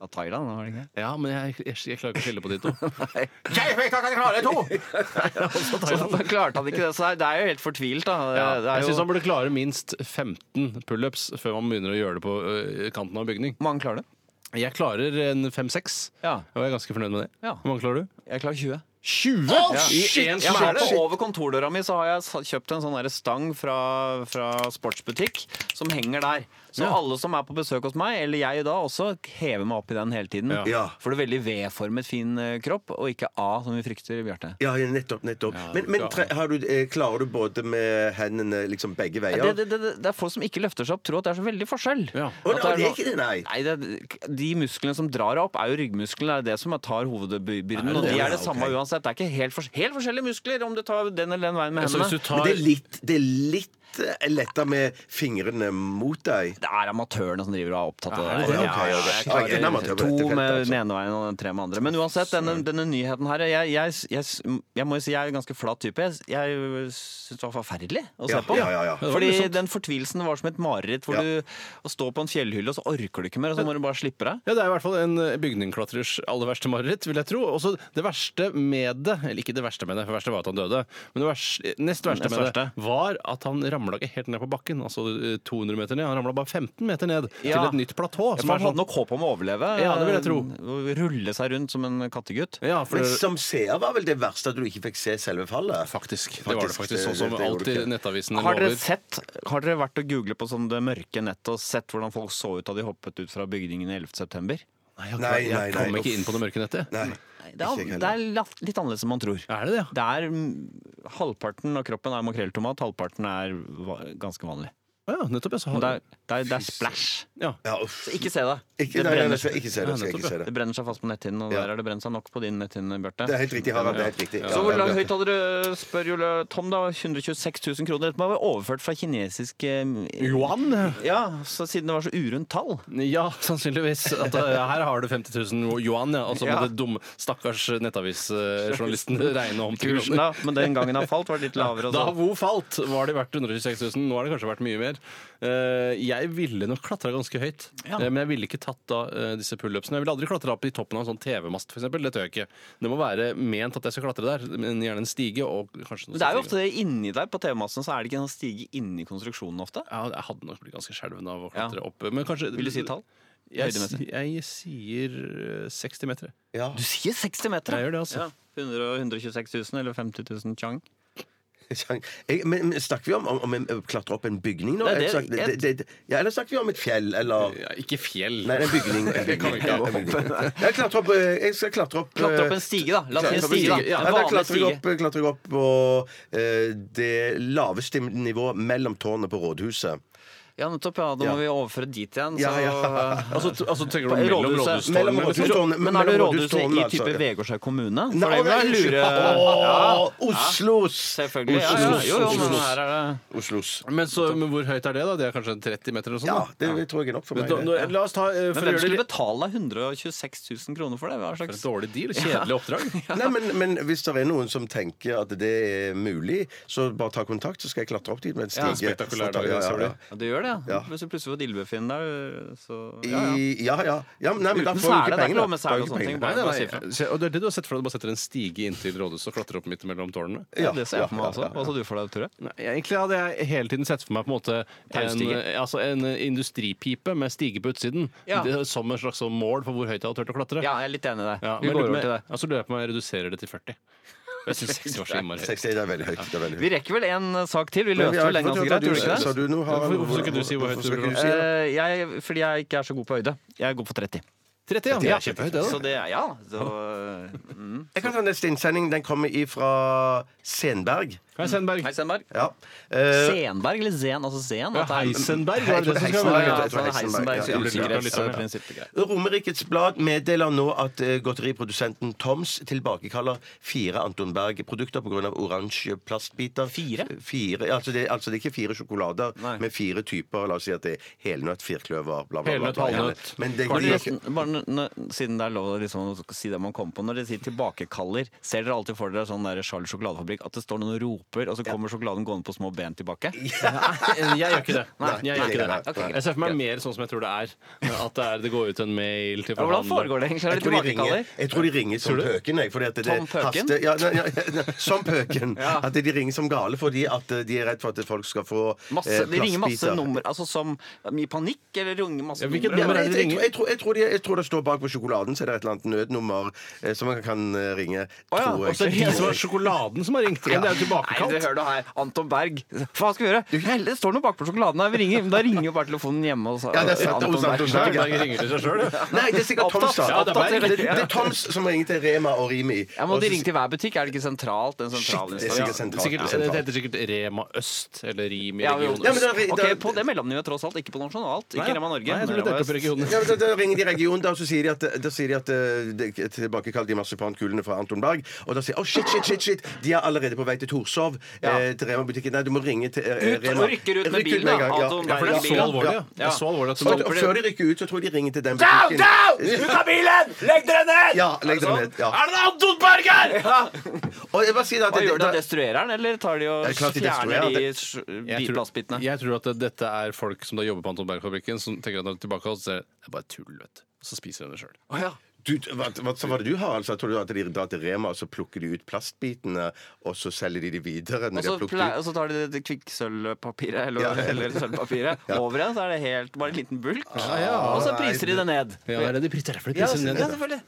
Speaker 6: Av Thailand, var det ikke?
Speaker 8: Ja, men jeg, jeg, jeg klarer ikke å skille på de to.
Speaker 6: Jeg fikk ikke klare to! Så da klarte han ikke det. Så det er- det er jo helt fortvilt, da. Det,
Speaker 8: Ja,
Speaker 6: det er
Speaker 8: jeg syns
Speaker 6: jo...
Speaker 8: han burde klare minst 15 pullups før man begynner å gjøre det på ø, kanten av en bygning.
Speaker 6: mange klarer det?
Speaker 8: Jeg klarer en fem-seks,
Speaker 6: Ja.
Speaker 8: og jeg er ganske fornøyd med det.
Speaker 6: Ja.
Speaker 8: Hvor mange klarer du?
Speaker 6: Jeg klarer 20.
Speaker 8: 20?!
Speaker 6: Ja.
Speaker 8: I en
Speaker 6: jeg har
Speaker 8: smell!
Speaker 6: det Over kontordøra mi så har jeg sa- kjøpt en sånn der stang fra, fra sportsbutikk som henger der. Så
Speaker 8: Ja.
Speaker 6: alle som er på besøk hos meg, eller jeg da også, hever meg opp i den hele tiden.
Speaker 7: Ja. Ja.
Speaker 6: For det er veldig V-formet fin eh, kropp, og ikke A, som vi frykter, Bjarte.
Speaker 7: Ja, ja, nettopp. nettopp. men men tre, har du, eh, klarer du både med hendene liksom begge veier?
Speaker 6: Det, det, det, det er folk som ikke løfter seg opp, tror at det er så veldig forskjell.
Speaker 7: Å,
Speaker 6: At
Speaker 7: nei, det er
Speaker 6: sånn-
Speaker 7: ikke det, nei.
Speaker 6: det, er- de musklene som drar opp, er jo ryggmusklene. Det er det som tar hovedbyrden.
Speaker 8: det
Speaker 6: Og de
Speaker 8: det?
Speaker 6: er
Speaker 8: Ja,
Speaker 6: det samme
Speaker 8: ok.
Speaker 6: uansett. Det er ikke helt, fors- helt forskjellige muskler om du tar den eller den veien med
Speaker 8: Ja, så
Speaker 6: hendene.
Speaker 8: hvis du tar-
Speaker 7: Men det er litt, det er litt eh, lettere med fingrene mot deg.
Speaker 6: Det er amatørene som driver og er opptatt av
Speaker 7: Ja,
Speaker 6: det.
Speaker 7: det er
Speaker 6: der.
Speaker 7: ok,
Speaker 6: Ja, ja,
Speaker 7: ok.
Speaker 6: jeg
Speaker 7: Ja, det er en
Speaker 6: klarer
Speaker 7: amatør på dette
Speaker 6: To
Speaker 7: feltet,
Speaker 6: med
Speaker 7: altså.
Speaker 6: den ene veien og den tre med andre. Men uansett, denne, denne nyheten her jeg, jeg, jeg, jeg må jo si jeg er en ganske flat type. Jeg, jeg syns det var forferdelig å se
Speaker 7: Ja,
Speaker 6: på.
Speaker 7: ja, ja, ja. Det var
Speaker 6: Fordi
Speaker 7: morsomt.
Speaker 6: den fortvilelsen var som et mareritt. Hvor
Speaker 7: Ja.
Speaker 6: du å stå på en fjellhylle, og så orker du ikke mer, og så må du bare slippe deg.
Speaker 8: Ja, Det er i hvert fall en ø, bygningklatrers aller verste mareritt, vil jeg tro. Også det verste med det, eller ikke det verste med det, for det verste var at han døde, men det verste, nest verste
Speaker 6: Nest verste.
Speaker 8: med det var at han ramla ikke helt ned på bakken, altså ø, 200 meter ned. Han ramla bare 15 meter ned til
Speaker 6: Ja.
Speaker 8: et nytt
Speaker 6: Ja,
Speaker 8: platå.
Speaker 6: for
Speaker 8: som
Speaker 6: man
Speaker 8: er sånn-
Speaker 6: hadde nok håp om å overleve.
Speaker 8: Ja, det vil jeg tro.
Speaker 6: Rulle seg rundt som en kattegutt.
Speaker 8: Ja, for
Speaker 7: Men
Speaker 8: det-
Speaker 7: som seer var vel det verste at du ikke fikk se selve fallet?
Speaker 8: Faktisk. Det var det faktisk, sånn som
Speaker 7: det gjorde
Speaker 8: alltid
Speaker 7: du ikke.
Speaker 8: nettavisene
Speaker 6: Har dere,
Speaker 8: lover.
Speaker 6: sett, har dere vært og googlet på sånn det mørke nettet og sett hvordan folk så ut da de hoppet ut fra bygningen 11.9.?
Speaker 8: Nei, jeg,
Speaker 7: Nei, nei,
Speaker 8: jeg
Speaker 7: nei,
Speaker 8: kom ikke
Speaker 7: uff.
Speaker 8: inn på det mørke nettet.
Speaker 7: Nei.
Speaker 6: Det
Speaker 7: Ikke jeg
Speaker 6: er, det er la- litt annerledes enn man tror.
Speaker 8: Er det det?
Speaker 6: Det er mm, Halvparten av kroppen er makrelltomat, halvparten er va- ganske vanlig.
Speaker 8: Å ja, nettopp. Jeg sa
Speaker 6: Men Det er, det er, det er splash.
Speaker 8: ja.
Speaker 7: Ja, uff.
Speaker 6: Så ikke se det.
Speaker 7: Ikke,
Speaker 6: det,
Speaker 7: nei, nei, nei,
Speaker 6: brenner,
Speaker 7: skal jeg ikke se det.
Speaker 8: Nei,
Speaker 7: Skal jeg ikke
Speaker 8: nettopp,
Speaker 7: se
Speaker 6: det
Speaker 7: det.
Speaker 6: brenner seg fast på netthinnen, og
Speaker 7: Ja.
Speaker 6: der har det brent seg nok på din netthinne, Bjarte.
Speaker 7: Det er helt riktig, Harald. Det er helt riktig.
Speaker 6: Så
Speaker 7: Ja,
Speaker 6: hvor
Speaker 7: ja,
Speaker 6: langt
Speaker 7: ja.
Speaker 6: høyt hadde du spør jo lø- Tom, da? 126 000 kroner. Dette må være overført fra kinesisk eh,
Speaker 8: Yuan?
Speaker 6: Ja, så siden det var så urundt tall.
Speaker 8: Ja, sannsynligvis. At, eh, her har du 50 000 yuan, ja. Og så må
Speaker 6: Ja.
Speaker 8: det dumme stakkars nettavisjournalisten regne om til
Speaker 6: Kursen, da. Men den gangen han falt, var det litt lavere. og
Speaker 8: Da
Speaker 6: så-
Speaker 8: Vo falt, var de verdt 126 000. Nå har det kanskje vært mye mer. Eh, Jeg ville nok klatra ganske høyt,
Speaker 6: Ja.
Speaker 8: Eh, men jeg ville ikke tatt av eh, disse pullupsene. Jeg ville aldri klatra opp i toppen av en sånn TV-mast, f.eks. Det tør jeg ikke. Det må være ment at jeg skal klatre der, men gjerne en stige og kanskje
Speaker 6: Men det er jo ofte det inni der på TV-massen, så er det ikke en stige inni konstruksjonen ofte.
Speaker 8: Ja, jeg hadde nok blitt ganske skjelven av å
Speaker 6: Ja.
Speaker 8: klatre opp. Men kanskje
Speaker 6: Vil du si et tall?
Speaker 8: Jeg,
Speaker 6: Høydemessig?
Speaker 8: jeg sier eh, 60 meter.
Speaker 7: Ja.
Speaker 6: Du sier 60 meter!
Speaker 8: Jeg gjør det, altså.
Speaker 6: Ja. 100 og 126 000 eller 50 000 chang.
Speaker 7: Sjang. Jeg, men men snakker vi om om- om å klatre opp en bygning nå?
Speaker 6: Nei, det-
Speaker 7: Eller snakker- det- det- det- ja, eller snakker vi om et fjell, eller
Speaker 8: Ja, ikke fjell.
Speaker 7: Nei, en bygning. En
Speaker 8: Det kan vi
Speaker 7: bygning.
Speaker 8: ikke
Speaker 7: Ja,
Speaker 8: ha.
Speaker 7: en bygning. Jeg, klatrer opp, eh, jeg skal klatre opp
Speaker 6: Klatre opp
Speaker 7: eh,
Speaker 6: en stige, da. La oss si en
Speaker 7: klatre opp
Speaker 6: stige, da.
Speaker 7: Ja,
Speaker 6: En
Speaker 7: da
Speaker 6: vanlig
Speaker 7: klatrer jeg
Speaker 6: stige.
Speaker 7: opp, klatrer jeg opp på eh, det laveste nivået mellom tårnet på rådhuset.
Speaker 6: Ja, nettopp. ja, Da må
Speaker 7: Ja.
Speaker 6: vi overføre dit igjen. Så,
Speaker 7: Ja, ja.
Speaker 8: Altså, t- altså tenker du
Speaker 6: På
Speaker 8: mellom
Speaker 6: rådhuset.
Speaker 8: rådhustårnene?
Speaker 7: Mellom
Speaker 8: eller?
Speaker 7: rådhustårnene.
Speaker 6: Men er det
Speaker 7: Mellom
Speaker 6: rådhuset i
Speaker 7: rådhustårnene, altså.
Speaker 6: type Vegårshei kommune? For
Speaker 7: Nei,
Speaker 6: det vil være
Speaker 7: unnskyld.
Speaker 6: lure
Speaker 7: Åh,
Speaker 6: Ja,
Speaker 7: Oslos!
Speaker 6: Selvfølgelig. Ja, ja. Jo, jo, men her er det
Speaker 7: Oslos.
Speaker 8: Men, så, men hvor høyt er det, da? Det er kanskje 30 meter eller noe
Speaker 7: Ja,
Speaker 8: sånt? da?
Speaker 7: det tror jeg er nok for
Speaker 8: Men
Speaker 7: meg.
Speaker 8: da-
Speaker 7: det.
Speaker 8: nå- La oss ta eh,
Speaker 6: Men
Speaker 8: for å
Speaker 6: hvem
Speaker 8: gjøre det
Speaker 6: skulle
Speaker 8: litt
Speaker 6: betale deg 126 000 kroner for det? Hva
Speaker 8: For
Speaker 6: slags
Speaker 8: et dårlig deal. Kjedelig oppdrag.
Speaker 7: Nei, men, men hvis det er noen som tenker at det er mulig, så bare ta kontakt, så skal jeg klatre opp dit med en stige.
Speaker 8: spektakulær dag,
Speaker 7: ja,
Speaker 8: det
Speaker 7: ja,
Speaker 8: ser du.
Speaker 7: ja.
Speaker 6: ja, Du gjør det, ja.
Speaker 7: Ja.
Speaker 6: Hvis du plutselig får et ildbefinnende der, så ja, ja.
Speaker 7: I, ja, ja. ja men, nei, men da
Speaker 6: Uten
Speaker 7: får du
Speaker 6: sele, det
Speaker 7: ikke
Speaker 6: er ikke
Speaker 7: penger.
Speaker 6: lov med
Speaker 7: da.
Speaker 6: sele
Speaker 7: Da får du
Speaker 6: og
Speaker 7: ikke
Speaker 6: sånne ting.
Speaker 7: penger.
Speaker 8: Nei, nei,
Speaker 6: Bare si
Speaker 8: nei. Se, Og det er det du har sett for deg. Du bare setter en stige inntil rådhuset og klatrer opp midt mellom tårnene.
Speaker 6: Ja,
Speaker 7: Ja,
Speaker 6: det ser jeg for meg
Speaker 7: ja,
Speaker 6: også.
Speaker 7: ja,
Speaker 6: Hva sa du for deg, Tore?
Speaker 8: Nei, egentlig hadde jeg hele tiden sett for meg på en måte en,
Speaker 6: Taustige.
Speaker 8: eh, altså en eh, industripipe med stige på utsiden.
Speaker 6: Ja.
Speaker 8: Det, som en slags sånn mål for hvor høyt jeg hadde turt å klatre.
Speaker 6: Ja, jeg er litt enig i deg.
Speaker 8: Ja,
Speaker 6: vi
Speaker 8: men
Speaker 6: går
Speaker 8: lurer
Speaker 6: over
Speaker 8: på-
Speaker 6: til det.
Speaker 8: Altså lurer jeg på om jeg reduserer det til 40. Jeg synes 60 var så innmari høyt.
Speaker 7: 60, det er veldig høyt. Det er veldig høyt.
Speaker 6: Vi rekker vel en eh, sak til? Vi
Speaker 7: Men vi
Speaker 6: løste
Speaker 7: har
Speaker 6: vel den
Speaker 7: ikke fått
Speaker 6: ganske greit,
Speaker 7: høre
Speaker 6: gjorde vi
Speaker 7: hva
Speaker 6: ikke
Speaker 7: du-
Speaker 6: det?
Speaker 7: sa du nå, Harald?
Speaker 8: Hvorfor skal ikke du si hvor høyt
Speaker 7: Hvorfor skal
Speaker 8: du vil
Speaker 7: ikke
Speaker 8: gå?
Speaker 7: si det?
Speaker 6: Eh, jeg, fordi jeg ikke er så god på høyde. Jeg går for 30.
Speaker 8: 30, ja.
Speaker 7: Ja,
Speaker 8: Det er kjempehøyt, det.
Speaker 6: Så
Speaker 8: da.
Speaker 6: det er ja. Så, eh, mm.
Speaker 7: Jeg kan ta neste innsending. Den kommer ifra Senberg.
Speaker 8: Hei, Sandberg.
Speaker 6: Hei, Stenberg.
Speaker 7: Ja. Eh,
Speaker 6: Senberg eller Zen? Altså Zen? at det er-
Speaker 8: Heisenberg,
Speaker 7: Hei,
Speaker 8: var det det som
Speaker 7: Heisenberg.
Speaker 8: skal
Speaker 6: Ja,
Speaker 8: være?
Speaker 6: ja,
Speaker 7: Jeg tror
Speaker 6: sånn
Speaker 7: Heisenberg,
Speaker 6: Heisenbergs
Speaker 7: ja.
Speaker 6: usikkerhetsprinsipp. Ja.
Speaker 7: Romerikets Blad meddeler nå at eh, godteriprodusenten Toms tilbakekaller fire Anton Berg-produkter pga. oransje plastbiter.
Speaker 6: Fire?
Speaker 7: fire altså, det, altså det er ikke fire sjokolader,
Speaker 6: Nei.
Speaker 7: men fire typer. La oss si at det er helnøtt, firkløver, bla, bla, bla.
Speaker 8: Helnøtt,
Speaker 7: bla, bla.
Speaker 8: halvnøtt.
Speaker 7: Men det,
Speaker 6: Bare,
Speaker 7: de,
Speaker 6: nesten- bare n- n- siden det er lov å liksom, å si det man kommer på Når dere sier tilbakekaller, ser dere alltid for dere sånn der Charles sjokoladefabrikk at det står noen og hopper, og så kommer sjokoladen gående på små ben tilbake?
Speaker 8: Nei, jeg gjør ikke det.
Speaker 6: Nei,
Speaker 8: jeg, gjør
Speaker 6: nei,
Speaker 8: ikke
Speaker 6: nei,
Speaker 8: det.
Speaker 6: ok, greit.
Speaker 8: jeg ser for meg mer sånn som jeg tror det er. At det, er, det går ut en mail til
Speaker 7: Ja, hvordan foregår det egentlig? Er det Jeg tror de tilbakekaller? ringer- jeg tror de ringer som
Speaker 8: Tror du?
Speaker 7: pøken, jeg, fordi at det-
Speaker 8: Tom Pøken?
Speaker 7: haster- ja, nei, ja, ja, som pøken. At de ringer som gale fordi at eh, de er redd for at folk skal få eh,
Speaker 6: Masse, de ringer masse
Speaker 7: plastbiter.
Speaker 6: nummer, altså som i panikk, eller ringer masse nummer?
Speaker 7: Ja, men jeg, jeg, tror- jeg, tror- jeg, tror de- jeg tror det står bak på sjokoladen, så er det et eller annet nødnummer eh, som man kan eh, ringe.
Speaker 6: Å ja, og så er det de som har
Speaker 8: sjokoladen som har ringt
Speaker 6: Ja. Nei, det hører du her. Anton Berg. Hva skal vi gjøre? Nei, det står noe bakpå sjokoladen her. Vi ringer. Men da ringer jo bare telefonen hjemme. Og så,
Speaker 7: Ja, det er sant. Hos Anton Berg. Nei, det er sikkert Toms. da.
Speaker 6: Ja,
Speaker 7: det, er det, er Toms som ringer til Rema og Rimi.
Speaker 6: Ja, men
Speaker 7: Og
Speaker 6: De
Speaker 7: så-
Speaker 6: ringer til hver butikk. Er det ikke sentralt? En sentral
Speaker 7: det er
Speaker 6: instans?
Speaker 7: sikkert sentralt.
Speaker 8: Sikkert,
Speaker 7: Ja.
Speaker 8: det heter sikkert Rema Øst eller Rim i
Speaker 6: Ja,
Speaker 8: regionen.
Speaker 6: ja, men
Speaker 8: Øst.
Speaker 6: da,
Speaker 8: Ok,
Speaker 6: ok, På det mellomnivået, tross alt. Ikke på nasjonalt. Ikke
Speaker 8: Nei,
Speaker 6: Rema Norge.
Speaker 8: nei,
Speaker 6: men
Speaker 8: jeg tror det
Speaker 6: Rema
Speaker 8: dekker opp i
Speaker 6: Øst.
Speaker 8: regionen.
Speaker 7: Ja, men da, da ringer de regionen, da, og så sier de at, da sier de at eh, de- tilbakekall de marsipankulene fra Anton Berg. Og da sier de oh, shit, shit, shit, shit, de er allerede på vei til Torshov, eh, til Rema-butikken. Nei, du må ringe til eh,
Speaker 6: Ut
Speaker 7: Rema.
Speaker 6: og rykker ut med
Speaker 7: Rykk
Speaker 6: bilen,
Speaker 7: en
Speaker 6: da,
Speaker 7: gang, ja.
Speaker 6: Anton
Speaker 7: Ja, for
Speaker 6: Berg i bilen. Ja.
Speaker 7: Det er så alvorlig at du- Og, og før de rykker ut, så tror jeg de ringer til den
Speaker 12: Down,
Speaker 7: butikken. Eh,
Speaker 12: down! Ut av bilen! Legg dere ned!
Speaker 7: Ja, legg dere ned. Ja.
Speaker 12: Er det Anton Berg her?!
Speaker 7: Og jeg bare sier at
Speaker 6: Hva gjør de?
Speaker 7: da-
Speaker 6: Destruerer den, eller tar de og
Speaker 8: Det er klart de
Speaker 6: fjerner
Speaker 8: destruerer,
Speaker 6: de
Speaker 8: det-
Speaker 6: s-
Speaker 8: Jeg
Speaker 6: bit-
Speaker 8: tror,
Speaker 6: plastbitene?
Speaker 8: jeg tror at det- dette er folk som da jobber på Anton Berg-fabrikken, som tenker at når de er tilbake, så er det det er bare tull, vet du. Og så spiser de det sjøl.
Speaker 7: Du, hva, hva, så var det du har, altså? Tror du at de drar til Rema og så plukker de ut plastbitene, og så selger de de videre?
Speaker 6: Og
Speaker 7: Når de
Speaker 6: så,
Speaker 7: har plukket
Speaker 6: plei-
Speaker 7: ut?
Speaker 6: og så tar de det kvikksølvpapiret eller,
Speaker 7: Ja.
Speaker 6: eller sølvpapiret
Speaker 7: Ja.
Speaker 6: over igjen, så er det helt bare en liten bulk.
Speaker 7: ja.
Speaker 6: og så priser de det ned.
Speaker 8: Ja, er det de priser derfor de
Speaker 6: Ja,
Speaker 8: priser det ned?
Speaker 6: ja, selvfølgelig.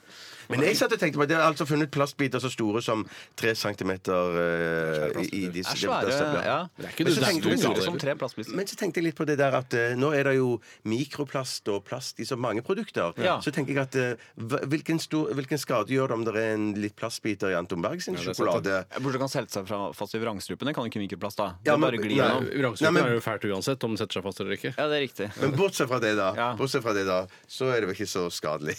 Speaker 7: Men jeg satt og tenkte på at det er altså funnet plastbiter så store som tre centimeter eh, i, i disse
Speaker 6: Er svære,
Speaker 7: plastene.
Speaker 6: ja. Det er ikke det
Speaker 7: så tenkte
Speaker 6: store
Speaker 7: jeg-
Speaker 6: tallet, som tre plastbiter.
Speaker 7: Men så tenkte jeg litt på det der at eh, nå er det jo mikroplast og plast i så mange produkter.
Speaker 6: Ja.
Speaker 7: Så tenker jeg at eh, hva- hvilken, stor, hvilken skade gjør det om det er en litt plastbiter i Anton Berg sin sjokolade?
Speaker 6: Burde kan selte seg fra, fast i vrangstrupen. Det kan jo ikke mikroplast, da. Det
Speaker 7: Ja, men-
Speaker 6: bare glir
Speaker 7: nei,
Speaker 6: gjennom.
Speaker 7: Nei,
Speaker 8: Vrangstrupen
Speaker 7: men-
Speaker 8: er jo fælt uansett om den setter seg fast eller ikke.
Speaker 6: Ja, det er riktig.
Speaker 7: Men bortsett fra det, da, bortsett fra det da så er det vel ikke så skadelig.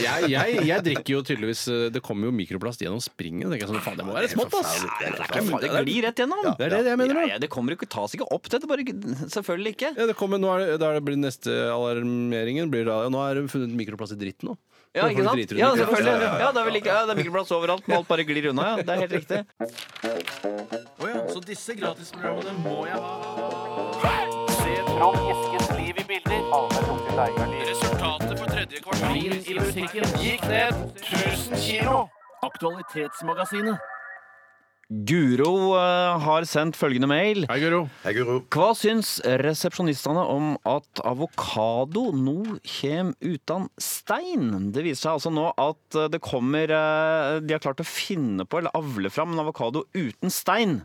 Speaker 8: Jeg, jeg, jeg drikker jo tydeligvis eh, Det kommer jo mikroplast gjennom springen. tenker Jeg sånn, faen, det må være smått, ass!
Speaker 6: Ja, det, er
Speaker 8: ikke
Speaker 6: ikke
Speaker 8: mulig.
Speaker 6: mulig. det glir rett gjennom.
Speaker 8: Det er det jeg mener, da.
Speaker 6: Ja, ja, det kommer ikke, tas ikke opp, dette. Bare, ikke- selvfølgelig ikke.
Speaker 8: Ja, det kommer, nå er det, da er det blir neste alarmeringen blir da, ja, Nå er det funnet mikroplast i dritt nå.
Speaker 6: Ja,
Speaker 8: Folk
Speaker 6: ikke sant?
Speaker 8: driter i
Speaker 6: Ja,
Speaker 8: mikroplast.
Speaker 6: selvfølgelig. Ja, det er, vel ikke, ja, det er mikroplast overalt, men alt bare glir unna. Ja. Det er helt riktig.
Speaker 12: Å ja, så disse gratisprogrammene må jeg ha. Se Trond Eskens liv i bilder. Resultatet for tredje kvartal i musikken gikk ned 1000 kilo. Aktualitetsmagasinet.
Speaker 6: Guro eh, har sendt følgende mail.
Speaker 8: Hei, Guro.
Speaker 6: Hva syns resepsjonistene om at avokado nå kjem utan stein? Det viser seg altså nå at eh, det kommer eh, De har klart å finne på eller avle fram en avokado uten stein.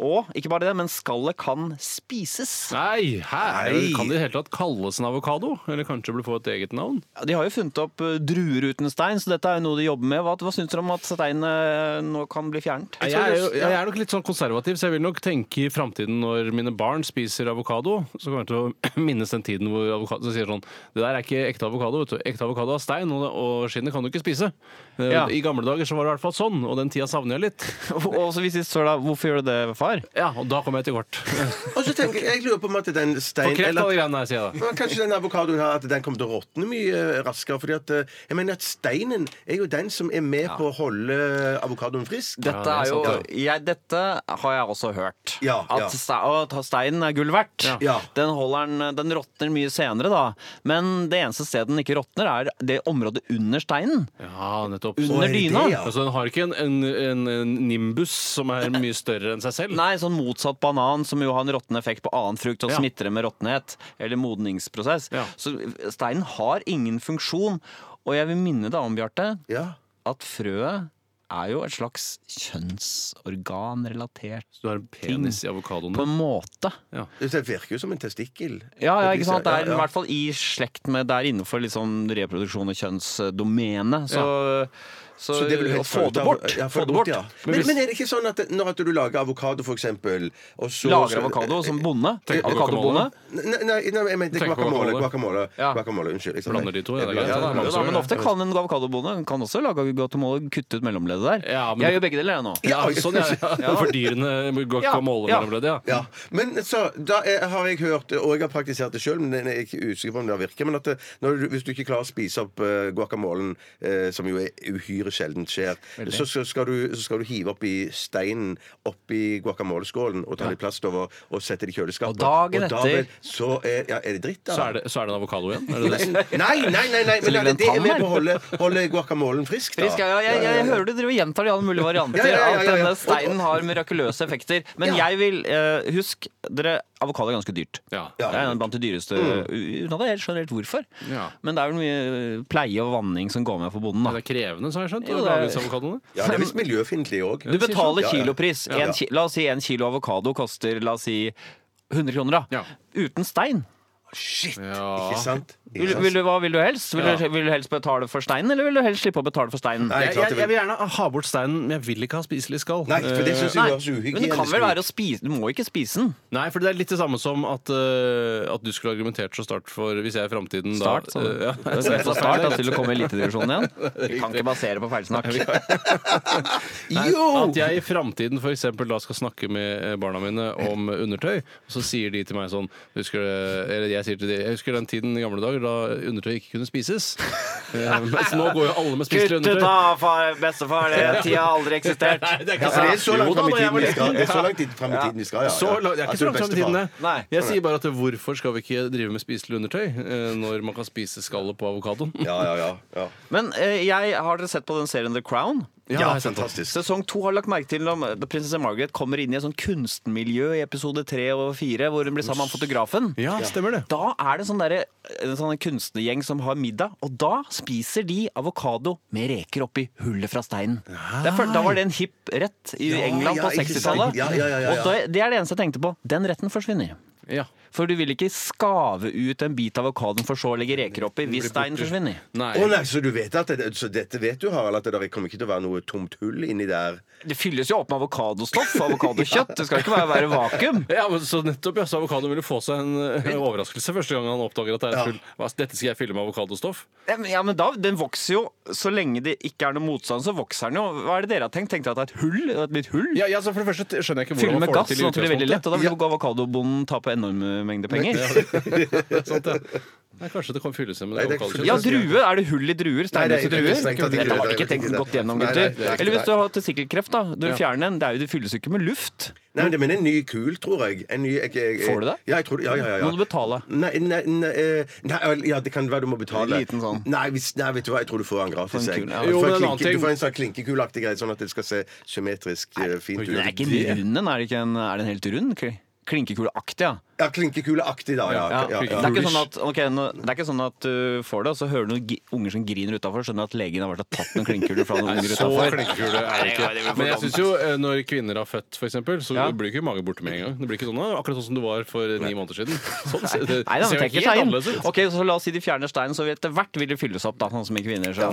Speaker 6: Og ikke bare det, men skallet kan spises.
Speaker 8: Nei, her Kan det i det hele tatt kalles en avokado? Eller kanskje burde få et eget navn?
Speaker 6: Ja, De har jo funnet opp eh, druer uten stein, så dette er jo noe de jobber med. Hva, hva syns dere om at steinen eh, nå kan bli fjernet?
Speaker 8: Jeg er, jo, jeg er nok litt sånn konservativ, så jeg vil nok tenke i framtiden når mine barn spiser avokado, så kommer jeg til å minnes den tiden hvor avokado så sier sånn Det der er ikke ekte avokado, vet du. Ekte avokado har stein, og, og skinnet kan du ikke spise. Eh,
Speaker 6: Ja.
Speaker 8: I gamle dager så var det i hvert fall sånn, og den tida savner jeg litt.
Speaker 6: og så vi sist så da, hvorfor gjør du det, far?
Speaker 8: Ja, og da kommer jeg til kort.
Speaker 7: Og så tenker jeg, jeg lurer på om at den
Speaker 8: For
Speaker 7: stein...
Speaker 8: kreft
Speaker 7: eller-
Speaker 8: alle greiene her, sier jeg da.
Speaker 7: Men Kanskje den avokadoen her At den kommer til å råtne mye eh, raskere. Fordi at eh, jeg mener at steinen er jo den som er med på å holde avokadoen frisk.
Speaker 6: Dette, er jo, jeg, dette har jeg også hørt.
Speaker 7: Ja, ja.
Speaker 6: At ste- å, ta- steinen er gull verdt.
Speaker 7: Ja.
Speaker 6: Den, holder den, den råtner mye senere, da. Men det eneste stedet den ikke råtner, er det området under steinen.
Speaker 8: Ja, nettopp.
Speaker 6: Under
Speaker 8: Så-
Speaker 6: dyna.
Speaker 8: Ja. Altså, den har ikke en, en, en, en nimbus som er mye større enn seg selv.
Speaker 6: Nei, sånn motsatt banan, som jo har en råtten effekt på annen frukt og
Speaker 8: Ja.
Speaker 6: smitter det med råttenhet. Eller modningsprosess. Så steinen har ingen funksjon. Og jeg vil minne deg om, Bjarte, at frøet er jo et slags kjønnsorganrelatert
Speaker 8: Så du har en penis i avokadoen?
Speaker 6: På en måte.
Speaker 7: Det virker jo som en testikkel.
Speaker 6: Ja, ja, ikke sant? Det er
Speaker 7: Ja,
Speaker 6: i
Speaker 7: ja.
Speaker 6: hvert fall i slekt med Det er innenfor liksom reproduksjon og kjønnsdomene. Så, så,
Speaker 7: Så det vil du
Speaker 6: å
Speaker 7: helst
Speaker 6: få
Speaker 7: ut
Speaker 6: det
Speaker 7: av-
Speaker 6: bort.
Speaker 7: Ja,
Speaker 6: få det bort.
Speaker 7: Ja. Men, men er det ikke sånn at det- når at du lager avokado, for eksempel og så,
Speaker 6: Lager avokado som bonde?
Speaker 7: Eh,
Speaker 6: Avokadobonde?
Speaker 7: Nei, nei, nei, jeg mente
Speaker 6: Tenker på
Speaker 7: guacamole.
Speaker 6: guacamole.
Speaker 7: guacamole. guacamole. Unnskyld. jeg sa feil.
Speaker 8: Blander de to, ja, det er
Speaker 7: Jeg
Speaker 8: greit.
Speaker 7: blander-
Speaker 8: Ja,
Speaker 6: Ja, men ofte kan en avokadobonde den kan også lage guacamole og kutte ut mellomleddet der.
Speaker 8: men-
Speaker 6: jeg gjør begge deler, jeg nå.
Speaker 8: Ja, sånn ja, ja.
Speaker 6: Ja.
Speaker 8: Fordyrende guacamole
Speaker 6: Ja, ja.
Speaker 8: mellomleddet, ja.
Speaker 7: Ja, men så, da er, har jeg hørt, og jeg har praktisert det sjøl, men jeg er ikke usikker på om det har virket, men at det, når du, hvis du ikke klarer å spise opp eh, guacamolen, eh, som jo er uhyre uhyre sjelden skjer.
Speaker 13: Veldig.
Speaker 7: Så, så, skal du, så skal du hive oppi steinen oppi guacamoleskålen og ta litt plast over og sette det i kjøleskapet. Og
Speaker 8: dagen
Speaker 7: da
Speaker 8: etter-
Speaker 7: vel, så er, ja, er det dritt, da.
Speaker 8: Så er det, så er det en avokado igjen? Er det
Speaker 7: Nei,
Speaker 8: det?
Speaker 7: nei, nei, nei, nei,
Speaker 8: Så
Speaker 7: men
Speaker 8: ligger
Speaker 7: det,
Speaker 8: det
Speaker 7: det
Speaker 8: en
Speaker 7: er med
Speaker 8: tann
Speaker 7: på å
Speaker 8: her?
Speaker 7: holde, holde guacamolen frisk, da.
Speaker 6: Frisk, ja, ja, jeg, jeg, jeg hører du driver og gjentar de alle mulige varianter.
Speaker 7: Ja, ja, ja, ja, ja.
Speaker 6: At denne steinen har mirakuløse effekter. Men jeg vil eh, Husk, dere, avokado er ganske dyrt. Det er blant de dyreste
Speaker 8: Mm.
Speaker 6: u- Uten at jeg helt skjønner helt hvorfor.
Speaker 8: Ja.
Speaker 6: Men det er vel mye eh, pleie og vanning som går med for bonden. Da.
Speaker 8: Det er krevende, så har jeg skjønt.
Speaker 6: Jo,
Speaker 8: å
Speaker 6: det er-
Speaker 8: lage disse avokadoene.
Speaker 7: Ja, det er visst miljøfiendtlig òg.
Speaker 6: Du betaler
Speaker 7: Ja, ja.
Speaker 6: kilopris.
Speaker 7: Ja, ja.
Speaker 6: En ki la oss si en kilo avokado koster la oss si 100 kroner. da Uten stein.
Speaker 7: Shit! Ikke sant? Ikke
Speaker 6: Vil,
Speaker 7: sant?
Speaker 6: vil du, hva vil du helst? Vil,
Speaker 8: Ja.
Speaker 6: du, vil du helst betale for steinen, eller vil du helst slippe å betale for steinen?
Speaker 8: Jeg, jeg, jeg vil gjerne ha bort steinen, men jeg vil ikke ha spiselig skall.
Speaker 6: Nei, for det synes jeg
Speaker 8: Eh,
Speaker 6: høres uhygienisk Men det kan vel være å spise- Du må ikke spise den.
Speaker 8: Nei, for det er litt det samme som at, eh, at du skulle argumentert så start for hvis jeg i framtiden
Speaker 6: Start,
Speaker 8: da eh,
Speaker 6: sa du. Det er så start, da, til du kommer i elitedivisjonen igjen. Vi kan ikke basere på feilsnakk.
Speaker 8: Jo! At jeg i framtiden f.eks. da skal snakke med eh, barna mine om undertøy, og så sier de til meg sånn Husker du Eller jeg sier til de Jeg husker den tiden i gamle dager da undertøy ikke kunne spises. Eh, Mens nå går jo alle med spiselig
Speaker 6: Kutt ut
Speaker 8: undertøy.
Speaker 6: da, far, bestefar! Det tida har aldri eksistert.
Speaker 8: Nei, det er
Speaker 7: Ja,
Speaker 8: ikke
Speaker 7: for det er så langt
Speaker 8: Jo da,
Speaker 7: fram i
Speaker 8: da
Speaker 7: tiden
Speaker 8: jeg var
Speaker 7: vi skal.
Speaker 8: liten.
Speaker 7: Det er så langt i- frem i
Speaker 8: Ja.
Speaker 7: tiden vi skal, ja, ja.
Speaker 8: Så langt- det er ikke
Speaker 7: Altså,
Speaker 8: så langt frem i
Speaker 7: bestefar.
Speaker 8: tiden, det.
Speaker 7: Nei.
Speaker 8: Jeg sier bare at hvorfor skal vi ikke drive med spiselig undertøy eh, når man kan spise skallet på avokadoen?
Speaker 6: Men eh, jeg har dere sett på den serien The Crown?
Speaker 8: Ja, det har jeg sett på.
Speaker 6: Sesong to har lagt merke til når prinsesse Margaret kommer inn i et sånt kunstmiljø i episode tre og fire, hvor hun blir sammen med han fotografen.
Speaker 8: Ja, stemmer det.
Speaker 6: Da er det sånn derre- en sånn kunstnergjeng som har middag, og da spiser de avokado med reker oppi hullet fra steinen. Det er for- Da var det en hipp rett i
Speaker 7: Ja,
Speaker 6: England
Speaker 7: ja,
Speaker 6: på
Speaker 7: ikke sant.
Speaker 6: 60-tallet.
Speaker 7: Ja, ja, ja, ja, ja.
Speaker 6: Og da- det er det eneste jeg tenkte på. Den retten forsvinner. For du vil ikke skave ut en bit av avokadoen for så å legge reker oppi hvis steinen forsvinner.
Speaker 7: Å nei, så du vet at det, så dette vet du, Harald, at det der kommer ikke til å være noe tomt hull inni der?
Speaker 6: Det fylles jo opp med avokadostoff og avokadokjøtt. Det skal ikke være, være vakuum.
Speaker 8: Ja, men så nettopp, ja, så Avokado ville få seg en eh, overraskelse første gang han oppdager at det
Speaker 6: Ja.
Speaker 8: er full. Hva, Dette skal jeg fylle med avokadostoff.
Speaker 6: Ja, men- Ja, men da, Den vokser jo Så lenge det ikke er noe motstand, så vokser den jo. Hva er det dere har tenkt? Tenkte dere at det er et hull? Et litt hull?
Speaker 8: Ja, så for det første skjønner jeg ikke
Speaker 6: Fylle
Speaker 8: hvordan man
Speaker 6: med
Speaker 8: får det
Speaker 6: gass,
Speaker 8: til i
Speaker 6: sånn at det blir veldig lett. Og da vil
Speaker 8: utgangspunktet.
Speaker 6: jo avokadobonden tape enorme mengder penger.
Speaker 8: Ja, sant, ja. Nei, kanskje det kan fylle seg med
Speaker 6: Nei,
Speaker 8: det.
Speaker 6: det er ikke- Ja, druer. Er det hull i druer? Steinløse
Speaker 8: Nei, det er
Speaker 6: druer?
Speaker 8: ikke strengt tatt ikke
Speaker 6: Dette har
Speaker 8: det,
Speaker 6: dere
Speaker 8: det er
Speaker 6: ikke tenkt
Speaker 8: ikke
Speaker 6: godt
Speaker 8: det.
Speaker 6: gjennom,
Speaker 8: Nei, nei,
Speaker 6: gutter.
Speaker 8: det er ikke
Speaker 6: Eller hvis
Speaker 8: det.
Speaker 6: du har testikkelkreft, da. Du
Speaker 7: Ja.
Speaker 6: fjerner den. Det, er jo, det fylles jo ikke med luft.
Speaker 7: Nei, men det- men en ny kul, tror jeg. En ny, jeg, jeg, jeg
Speaker 6: Får du det?
Speaker 7: Ja, jeg tror, ja, ja, ja, ja.
Speaker 6: Må du betale?
Speaker 7: Nei, nei, nei, eh, nei vel, Ja, det kan være du må betale.
Speaker 6: Liten sånn.
Speaker 7: Nei, hvis, nei, vet du hva, jeg tror du får en gratis.
Speaker 6: For en
Speaker 7: jeg.
Speaker 6: kul, ja.
Speaker 7: Du
Speaker 6: Jo,
Speaker 7: får
Speaker 6: men en
Speaker 7: en
Speaker 6: annen
Speaker 7: klinke-
Speaker 6: ting-
Speaker 7: du får en sånn klinkekuleaktig greie, sånn at det skal se symmetrisk eh, fint ut.
Speaker 6: Det er ikke rund den. Er, det ikke en, er den helt rund? Kli- Klinkekuleaktig, ja.
Speaker 7: Ja, klinkekuleaktig, da. Ja, ja, ja,
Speaker 6: Det er ikke sånn at, ok, nå, det er ikke sånn at du får det, og så hører du noen gi- unger som griner utafor, skjønner at legen har vært og tatt noen klinkekuler fra noen
Speaker 8: Nei,
Speaker 6: unger
Speaker 8: så
Speaker 6: utafor.
Speaker 8: klinkekule er det ikke. Men jeg syns jo eh, når kvinner har født, for eksempel, så
Speaker 6: Ja.
Speaker 8: blir ikke mage borte med en gang. Det blir ikke sånn «Å, akkurat sånn som du var for ni måneder siden. Sånn, ser det,
Speaker 6: Nei, da,
Speaker 8: ser
Speaker 6: men
Speaker 8: jo
Speaker 6: tenk
Speaker 8: helt
Speaker 6: stein.
Speaker 8: annerledes ut.
Speaker 6: Ok, så La oss si de fjerner steinen, så vi etter hvert vil det fylles opp. da, sånn som i kvinner. Så.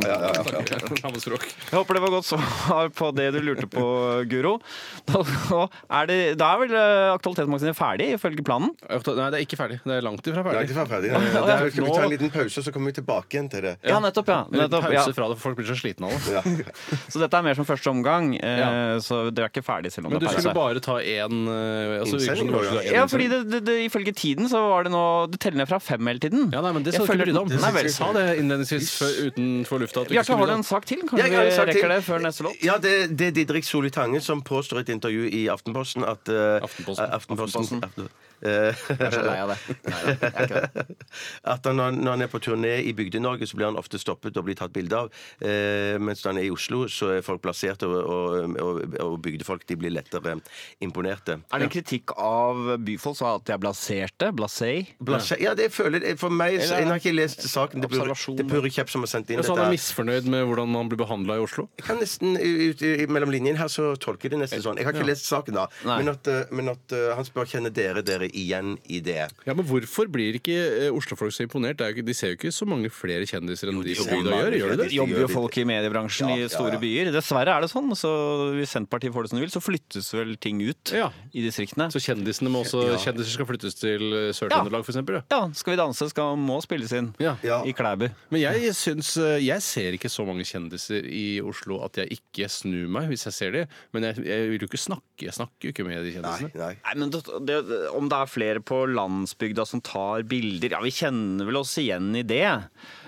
Speaker 8: Samme språk.
Speaker 6: Jeg håper det var godt svar på det du lurte på, Guro. Da, er, det, da er vel eh, Aktualitetsmagasinet ferdig, ifølge planen?
Speaker 8: Nei, det er ikke ferdig. Det er langt ifra
Speaker 7: Nei,
Speaker 8: ferdig.
Speaker 7: det var ferdig. Ja, ja, ja. Skal vi ta en liten pause, så kommer vi tilbake igjen til det?
Speaker 6: Ja, nettopp, ja.
Speaker 8: En liten
Speaker 6: Nettopp,
Speaker 8: pause
Speaker 6: ja.
Speaker 8: fra det, for folk blir så slitne av det.
Speaker 6: Så dette er mer som første omgang, eh, så dere er ikke ferdig selv om
Speaker 8: Men
Speaker 6: det er
Speaker 8: du
Speaker 6: pause.
Speaker 8: skulle bare ta én eh, altså, virker som
Speaker 6: Innsending,
Speaker 8: du bare skulle ha én
Speaker 6: Ja,
Speaker 8: innsending.
Speaker 6: fordi det, det, det, ifølge tiden så var det nå Det teller ned fra fem hele tiden. Ja, nei, men
Speaker 8: Det skal du ikke bry deg om.
Speaker 6: Nei vel.
Speaker 8: Jeg sa det innledningsvis før, utenfor lufta. at du
Speaker 6: Bjarte,
Speaker 8: ikke skulle
Speaker 6: har du
Speaker 8: bry deg om.
Speaker 6: en sak til?
Speaker 7: Ja,
Speaker 6: Kanskje
Speaker 7: jeg har en
Speaker 6: vi
Speaker 7: sak
Speaker 6: rekker
Speaker 7: til.
Speaker 6: det før neste låt?
Speaker 7: Ja, det, det er Didrik Soli Tange som påstår i et intervju i Aftenposten at eh,
Speaker 8: Aftenposten.
Speaker 7: eh, Aftenposten.
Speaker 8: Aftenposten.
Speaker 7: Aften- eh,
Speaker 8: Jeg er så lei av det. Nei, jeg er ikke
Speaker 7: At han, når når han er på turné i Bygde-Norge, så blir han ofte stoppet og blir tatt bilde av. Eh, mens når han er i Oslo, så er folk plassert, og, og, og, og bygdefolk de blir lettere imponerte.
Speaker 6: Er det en kritikk av Byfolk som at jeg blaserte? Blasei?
Speaker 7: Blasé- Ja, det føler jeg For meg så,
Speaker 6: Eller-
Speaker 7: Jeg har ikke lest saken. Det burde-
Speaker 6: Observasjon.
Speaker 7: det er Puri Kjepp som har sendt inn
Speaker 8: Og så
Speaker 7: dette.
Speaker 8: Altså, han er
Speaker 7: her.
Speaker 8: misfornøyd med hvordan man blir behandla i Oslo?
Speaker 7: Jeg kan nesten eh, ut, i, Mellom linjene her så tolker jeg det nesten sånn. Jeg har ikke
Speaker 8: Ja.
Speaker 7: lest saken, da.
Speaker 8: Nei.
Speaker 7: Men at, eh, men at eh, han spør kjenner dere dere igjen i det.
Speaker 8: Ja, men Hvorfor blir ikke eh, oslofolk så imponert? Det er jo ikke, de ser jo ikke så mange flere kjendiser enn de på
Speaker 7: ser
Speaker 8: bygda
Speaker 7: mange
Speaker 8: gjør. gjør de det?
Speaker 7: kjendiser. De
Speaker 6: Jobber jo folk i mediebransjen
Speaker 8: Ja, ja,
Speaker 6: i store
Speaker 8: ja.
Speaker 6: byer. Dessverre er det sånn. Så hvis Senterpartiet får det som de vil, så flyttes vel ting ut i distriktene.
Speaker 8: Så kjendisene må
Speaker 6: Ja.
Speaker 8: også, kjendiser skal flyttes til eh, Sør-Trøndelag, for eksempel.
Speaker 6: Ja, Skal vi danse skal må spilles inn i Klæbu.
Speaker 8: Men jeg, syns, eh, jeg ser ikke så mange kjendiser i Oslo at jeg ikke snur meg hvis jeg ser de. Men jeg, jeg vil jo ikke snakke. Jeg snakker jo ikke med de kjendisene.
Speaker 6: Nei, men det, det, om det er flere
Speaker 1: flere på landsbygda som tar bilder. Ja, vi kjenner vel oss igjen i det.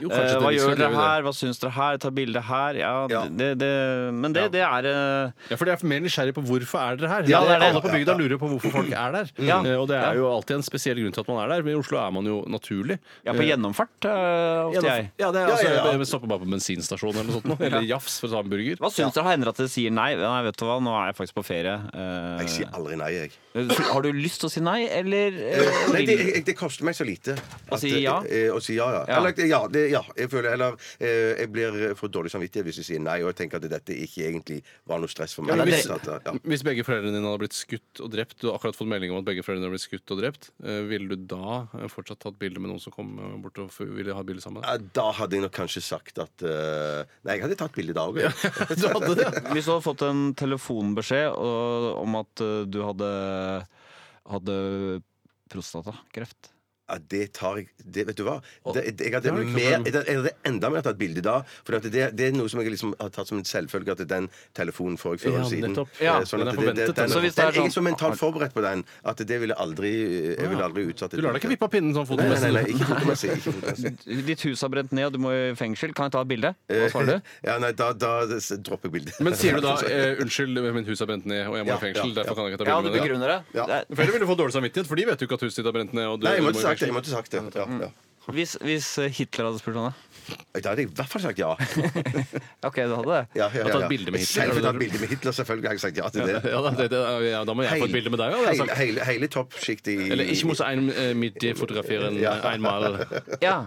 Speaker 6: Jo, kanskje
Speaker 1: Eh,
Speaker 6: det
Speaker 1: hva
Speaker 6: vi skal
Speaker 1: gjør dere
Speaker 6: gjøre det.
Speaker 1: her, hva syns dere her, ta bilde her. Ja, Det, det, men det, det er
Speaker 6: eh,
Speaker 8: Ja, for jeg er mer nysgjerrig på hvorfor er dere her.
Speaker 1: Ja, det er det.
Speaker 8: Alle på bygda lurer på hvorfor folk er der.
Speaker 1: Ja.
Speaker 8: Eh, Og det
Speaker 1: Ja.
Speaker 8: er jo alltid en spesiell grunn til at man er der, men i Oslo er man jo naturlig.
Speaker 6: Ja, på
Speaker 8: Eh,
Speaker 6: gjennomfart, eh, ofte jeg.
Speaker 8: Ja, det er altså,
Speaker 6: Ja, ja, ja.
Speaker 8: Jeg stopper bare på bensinstasjonen eller noe sånt. nå, Eller Jafs for å ta en burger.
Speaker 6: Hva syns dere hender at dere sier nei? Nei, vet du hva, nå er jeg faktisk på ferie. eh. jeg sier
Speaker 7: aldri nei, jeg.
Speaker 6: Har du lyst til å si nei, eller
Speaker 7: Eh, Nei, det, jeg- det koster meg så lite.
Speaker 6: Å
Speaker 7: at,
Speaker 6: si ja?
Speaker 7: eh, Å si ja, ja.
Speaker 6: Ja.
Speaker 7: Eller, ja, det, ja jeg føler, eller eh, jeg blir for dårlig samvittighet hvis jeg sier nei, og jeg tenker at dette ikke egentlig var noe stress for meg.
Speaker 8: Ja, men
Speaker 7: hvis,
Speaker 8: hvis,
Speaker 7: at, ja.
Speaker 8: hvis begge foreldrene dine hadde blitt skutt og drept, du har akkurat fått melding om at begge foreldrene har blitt skutt og drept, eh, ville du da eh, fortsatt tatt bilde med noen som kom eh, bort og f- ville ha bilde sammen?
Speaker 7: Ja, Da hadde jeg nok kanskje sagt at eh, Nei, jeg hadde tatt bilde da òg.
Speaker 6: Hvis du hadde fått en telefonbeskjed og, om at eh, du hadde, hadde prostatakreft
Speaker 7: Ja, det tar jeg det, Vet du hva? Det, det, jeg, hadde
Speaker 6: det har du ikke
Speaker 7: mer,
Speaker 6: problem
Speaker 7: jeg, hadde, jeg hadde enda mer tatt bilde da. For at det, det er noe som jeg liksom har tatt som en selvfølge at den telefonen får jeg før
Speaker 8: Ja,
Speaker 7: eller siden.
Speaker 8: nettopp. Ja,
Speaker 7: Eh, sånn
Speaker 8: den er
Speaker 7: at det- det-
Speaker 8: forventet,
Speaker 7: den-
Speaker 8: altså. Så hvis det er
Speaker 7: den- Jeg
Speaker 8: sånn- Ah,
Speaker 7: er så mentalt forberedt på den at det ville aldri eh, Jeg ville aldri utsatt det.
Speaker 8: Du lar deg ikke vippe av pinnen sånn fotomessig?
Speaker 7: Nei, nei, nei, ikke fotomessig. Ikke fotomessig.
Speaker 6: Ditt hus har brent ned, og du må i fengsel. Kan jeg ta et bilde? Hva
Speaker 7: Eh,
Speaker 6: svarer du?
Speaker 7: Ja, nei, da, da dropper jeg bildet.
Speaker 8: Men sier du da eh, 'unnskyld, mitt hus er brent ned, og jeg må
Speaker 7: Ja,
Speaker 8: i
Speaker 7: ja,
Speaker 8: fengsel', derfor kan jeg ikke ta
Speaker 7: ja.
Speaker 8: bilde
Speaker 7: Ja,
Speaker 8: med
Speaker 7: du begrunner det. Ja. Det er-
Speaker 8: For ellers vil du få dårlig samvittighet, for de vet jo ikke at huset ditt er brent ned. Og du,
Speaker 7: Nei, jeg
Speaker 8: du
Speaker 7: måtte
Speaker 8: må
Speaker 7: sagt
Speaker 8: Mm. i
Speaker 7: det.
Speaker 8: fengsel.
Speaker 7: Jeg måtte sagt det. Ja, ja.
Speaker 6: Hvis, hvis Hitler hadde spurt om det?
Speaker 7: Da hadde jeg i hvert fall sagt ja.
Speaker 6: OK, du hadde det?
Speaker 7: Ja, ja, ja, ja. Selv tatt
Speaker 6: Selfie-tatt
Speaker 7: bilde med Hitler, selvfølgelig har jeg sagt ja til det.
Speaker 8: Ja, da, det, det, ja, da må jeg få et bilde med deg. Ja, det er
Speaker 7: Hele,
Speaker 8: sagt.
Speaker 7: hele, hele toppsjiktet i
Speaker 8: Eller ikke mot en eh, midt i fotograferen ja. einmal.
Speaker 6: Ja.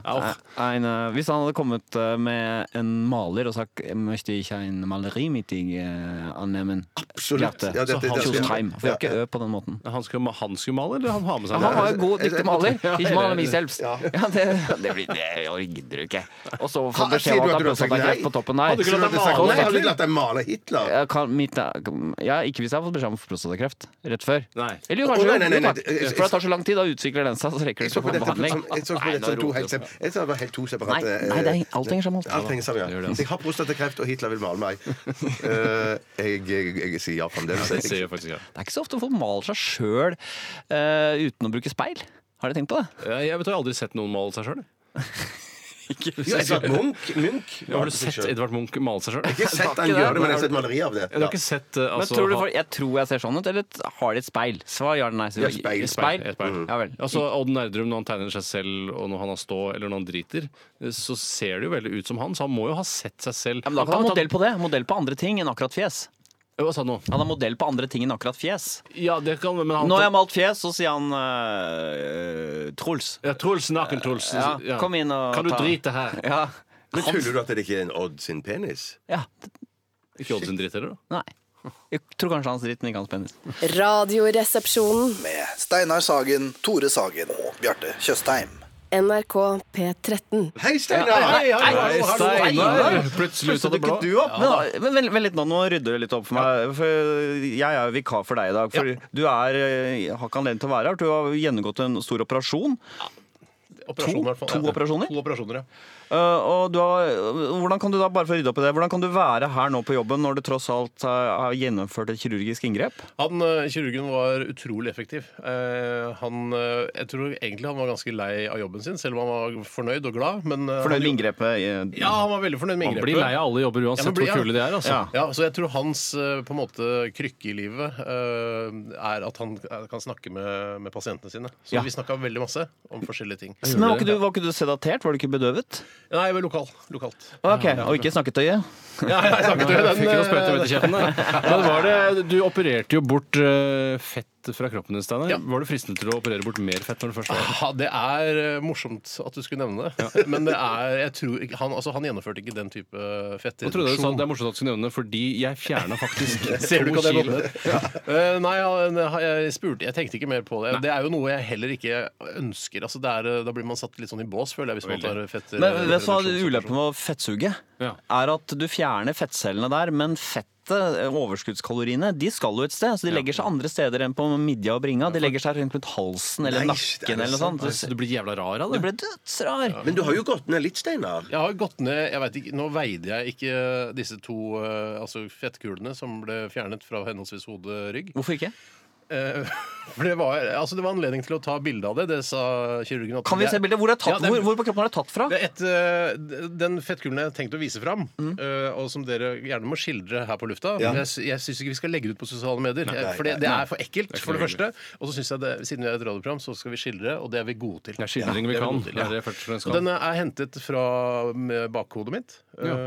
Speaker 6: Ein, eh, hvis han hadde kommet eh, med en maler og sagt Jeg møtte ikke en maleri mitt i eh, annemen.
Speaker 7: Absolutt.
Speaker 6: Hjerte.
Speaker 7: Ja, det- det-
Speaker 6: så
Speaker 7: det-
Speaker 6: Hans
Speaker 7: det-
Speaker 6: Jostheim. For vi har
Speaker 7: Ja,
Speaker 6: ikke ø på den måten.
Speaker 8: Han skulle, han skulle male, eller han har med seg
Speaker 6: Han var jo god, dyktig maler. Ikke maler meg selv.
Speaker 8: Ja.
Speaker 6: Ja, det, det, blir, det gidder du ikke. Og så
Speaker 7: Ha,
Speaker 6: få beskjed om
Speaker 7: sier
Speaker 6: at
Speaker 7: du at
Speaker 6: han
Speaker 7: du har sagt
Speaker 6: plutselig har kreft
Speaker 7: nei?
Speaker 6: på toppen der.
Speaker 7: Hadde ikke latt deg male Hitler? Hadde ikke latt deg male Hitler?
Speaker 6: Jeg kan, mitt, ja, ikke hvis jeg har fått beskjed om prostatakreft rett før.
Speaker 8: Nei.
Speaker 6: Eller jo,
Speaker 7: Å,
Speaker 6: kanskje.
Speaker 7: nei, nei, nei,
Speaker 6: jo, takk.
Speaker 7: nei, det- jeg-
Speaker 6: For det tar så lang tid, da utvikler den seg, så rekker
Speaker 7: Jeg
Speaker 6: du
Speaker 7: så
Speaker 6: ikke å få
Speaker 7: på dette som-
Speaker 6: behandling.
Speaker 7: jeg så på
Speaker 6: Nei,
Speaker 7: dette som
Speaker 6: nå
Speaker 7: to
Speaker 6: roter
Speaker 7: helt
Speaker 6: du.
Speaker 7: sem- jeg så det var helt to separate
Speaker 6: Nei, nei, det er- alt henger sammen.
Speaker 7: Alt henger sammen,
Speaker 6: Det gjør
Speaker 7: ja.
Speaker 6: det, altså.
Speaker 7: Jeg har prostatakreft, og Hitler vil male meg. Eh, jeg, jeg, jeg sier ja fremdeles.
Speaker 8: Ja, det sier jeg faktisk, ja.
Speaker 6: Det er ikke så ofte folk maler seg sjøl uten å bruke speil. Har dere tenkt på det?
Speaker 8: Jeg vet, jeg har aldri sett noen male seg sjøl.
Speaker 7: Jo, Edvard Munch- Munch
Speaker 8: Ja, har
Speaker 7: malte
Speaker 8: du
Speaker 7: seg
Speaker 8: sett
Speaker 7: selv.
Speaker 8: Edvard Munch male seg sjøl?
Speaker 7: Jeg har ikke sett han gjøre det, men jeg har sett maleri av det.
Speaker 8: Du har ikke sett eh,
Speaker 6: Men
Speaker 8: altså,
Speaker 6: tror du,
Speaker 8: han-
Speaker 6: for, jeg tror jeg ser sånn ut, eller har de et speil? Svar ja eller nei. Så-
Speaker 8: Ja, speil.
Speaker 6: speil.
Speaker 8: Ja,
Speaker 7: Mm.
Speaker 8: speil.
Speaker 6: Ja vel.
Speaker 8: Altså, Odd Nerdrum, når han tegner seg selv, og når han har stå, eller når han driter, så ser det jo veldig ut som han, så han må jo ha sett seg selv.
Speaker 6: Men da kan han modell på det. Modell på andre ting enn akkurat fjes.
Speaker 8: Hva sa du nå?
Speaker 6: Han har modell på andre ting enn akkurat fjes.
Speaker 8: Ja, det kan men han...
Speaker 6: Nå har jeg malt fjes, så sier han øh, Truls.
Speaker 8: Ja, Truls, naken-Truls.
Speaker 6: Ja,
Speaker 8: Ja.
Speaker 6: Kom inn og
Speaker 8: Kan du
Speaker 6: ta-
Speaker 8: drite her?
Speaker 6: Ja.
Speaker 7: Men tuller du at det ikke er en Odd sin penis?
Speaker 6: Ja.
Speaker 8: Ikke Odd sin dritt heller, da?
Speaker 6: Nei. Jeg tror kanskje hans dritt, men ikke hans penis.
Speaker 11: Radioresepsjonen.
Speaker 10: Med Steinar Sagen, Tore Sagen og Bjarte Tjøstheim.
Speaker 11: NRK P13.
Speaker 7: Hei,
Speaker 6: Hei, hei, hei, Steinar!
Speaker 8: Plutselig ut av det blå.
Speaker 6: dukket du opp. Men, da- men vent, vent litt nå, nå rydder du litt opp for meg. For jeg er jo vikar for deg i dag. For du er, eh, har ikke anledning til å være her. Du har gjennomgått en stor operasjon.
Speaker 13: Operasjoner, i hvert fall.
Speaker 6: to operasjoner?
Speaker 13: To operasjoner, ja.
Speaker 6: Eh, og du har, hvordan kan du da bare for å rydde opp i det Hvordan kan du være her nå på jobben når du tross alt eh, har gjennomført et kirurgisk inngrep?
Speaker 13: Han, eh, Kirurgen var utrolig effektiv. Eh, han, eh, jeg tror egentlig han var ganske lei av jobben sin, selv om han var fornøyd og glad. Men, eh,
Speaker 6: Fornøyd med
Speaker 13: han,
Speaker 6: inngrepet? eh,
Speaker 13: ja, han var veldig fornøyd med
Speaker 8: Man
Speaker 13: inngrepet.
Speaker 8: blir lei av alle jobber uansett
Speaker 13: men blir-
Speaker 8: hvor kule de er, altså.
Speaker 13: Ja. Ja, så jeg tror hans eh, på en måte krykke i livet eh, er at han eh, kan snakke med, med pasientene sine. Så
Speaker 6: Ja.
Speaker 13: vi snakka veldig masse om forskjellige ting.
Speaker 6: Men var ikke, du, var ikke du sedatert? Var du ikke bedøvet?
Speaker 13: Nei, jeg var lokal, lokalt.
Speaker 6: Ok, Og ikke snakketøyet?
Speaker 13: Ja, ja, jeg snakket jo den,
Speaker 8: Fikk noe sprøyte
Speaker 13: eh,
Speaker 8: midt i kjeften der. Men var det, du opererte jo bort eh, fett fra kroppen din, Steinar. Var du fristende til å operere bort mer fett når du først var her?
Speaker 13: Ja, det er eh, morsomt at du skulle nevne det. Men det er, jeg tror, ikke- han, altså, han gjennomførte ikke den
Speaker 8: Jeg
Speaker 13: type
Speaker 8: trodde du sa
Speaker 13: fettreduksjon.
Speaker 8: at det er morsomt at du skulle nevne det, fordi jeg fjerna faktisk
Speaker 13: Ser
Speaker 8: to
Speaker 13: du ikke at jeg
Speaker 8: kilo.
Speaker 13: lodder? Eh, Nei, han- jeg spurte Jeg tenkte ikke mer på det. Det er jo noe jeg heller ikke ønsker. Altså, det er, da blir man satt litt sånn i bås, føler jeg, hvis man tar fett eh,
Speaker 6: Men vet du hva ulempen med å fettsuge? Er at du fjerner fettcellene der, men fettet, overskuddskaloriene, de skal jo et sted. Så de legger seg andre steder enn på midja og bringa. De legger seg rundt rundt halsen eller
Speaker 7: Nei, det er
Speaker 6: nakken eller noe
Speaker 7: sant.
Speaker 6: sånt.
Speaker 7: Altså, du
Speaker 8: blir jævla rar av
Speaker 6: det? Du blir dødsrar.
Speaker 7: Men du har jo gått ned litt, Steinar.
Speaker 13: Jeg har gått ned, jeg vet ikke, Nå veide jeg ikke eh, disse to eh, altså fettkulene som ble fjernet fra henholdsvis hode og rygg.
Speaker 6: Hvorfor ikke?
Speaker 13: eh, For det var, altså det var anledning til å ta bilde av det. Det sa kirurgen. at
Speaker 6: Kan vi
Speaker 13: det er-
Speaker 6: se bildet? Hvor, er tatt,
Speaker 13: Ja, det er-
Speaker 6: hvor, hvor på kroppen er det tatt fra?
Speaker 13: Det er et, eh, d- den fettkulen jeg har tenkt å vise fram, eh, og som dere gjerne må skildre her på lufta
Speaker 8: Ja.
Speaker 13: men Jeg, sy- jeg syns ikke vi skal legge det ut på sosiale medier,
Speaker 8: Nei,
Speaker 13: eh,
Speaker 8: nei,
Speaker 13: for det,
Speaker 8: nei.
Speaker 13: det
Speaker 8: Nei.
Speaker 13: er for ekkelt,
Speaker 8: Det er ikke
Speaker 13: for det
Speaker 8: noe
Speaker 13: første. Og så syns jeg det, siden vi er et radioprogram, så skal vi skildre, og det er vi gode til. Det er
Speaker 8: skildring vi
Speaker 13: det er
Speaker 8: kan.
Speaker 13: gode til, ja.
Speaker 8: Det er det først og fremst
Speaker 13: Og
Speaker 8: kan.
Speaker 13: den er hentet fra mm, bakhodet mitt. Eh,
Speaker 8: Ja.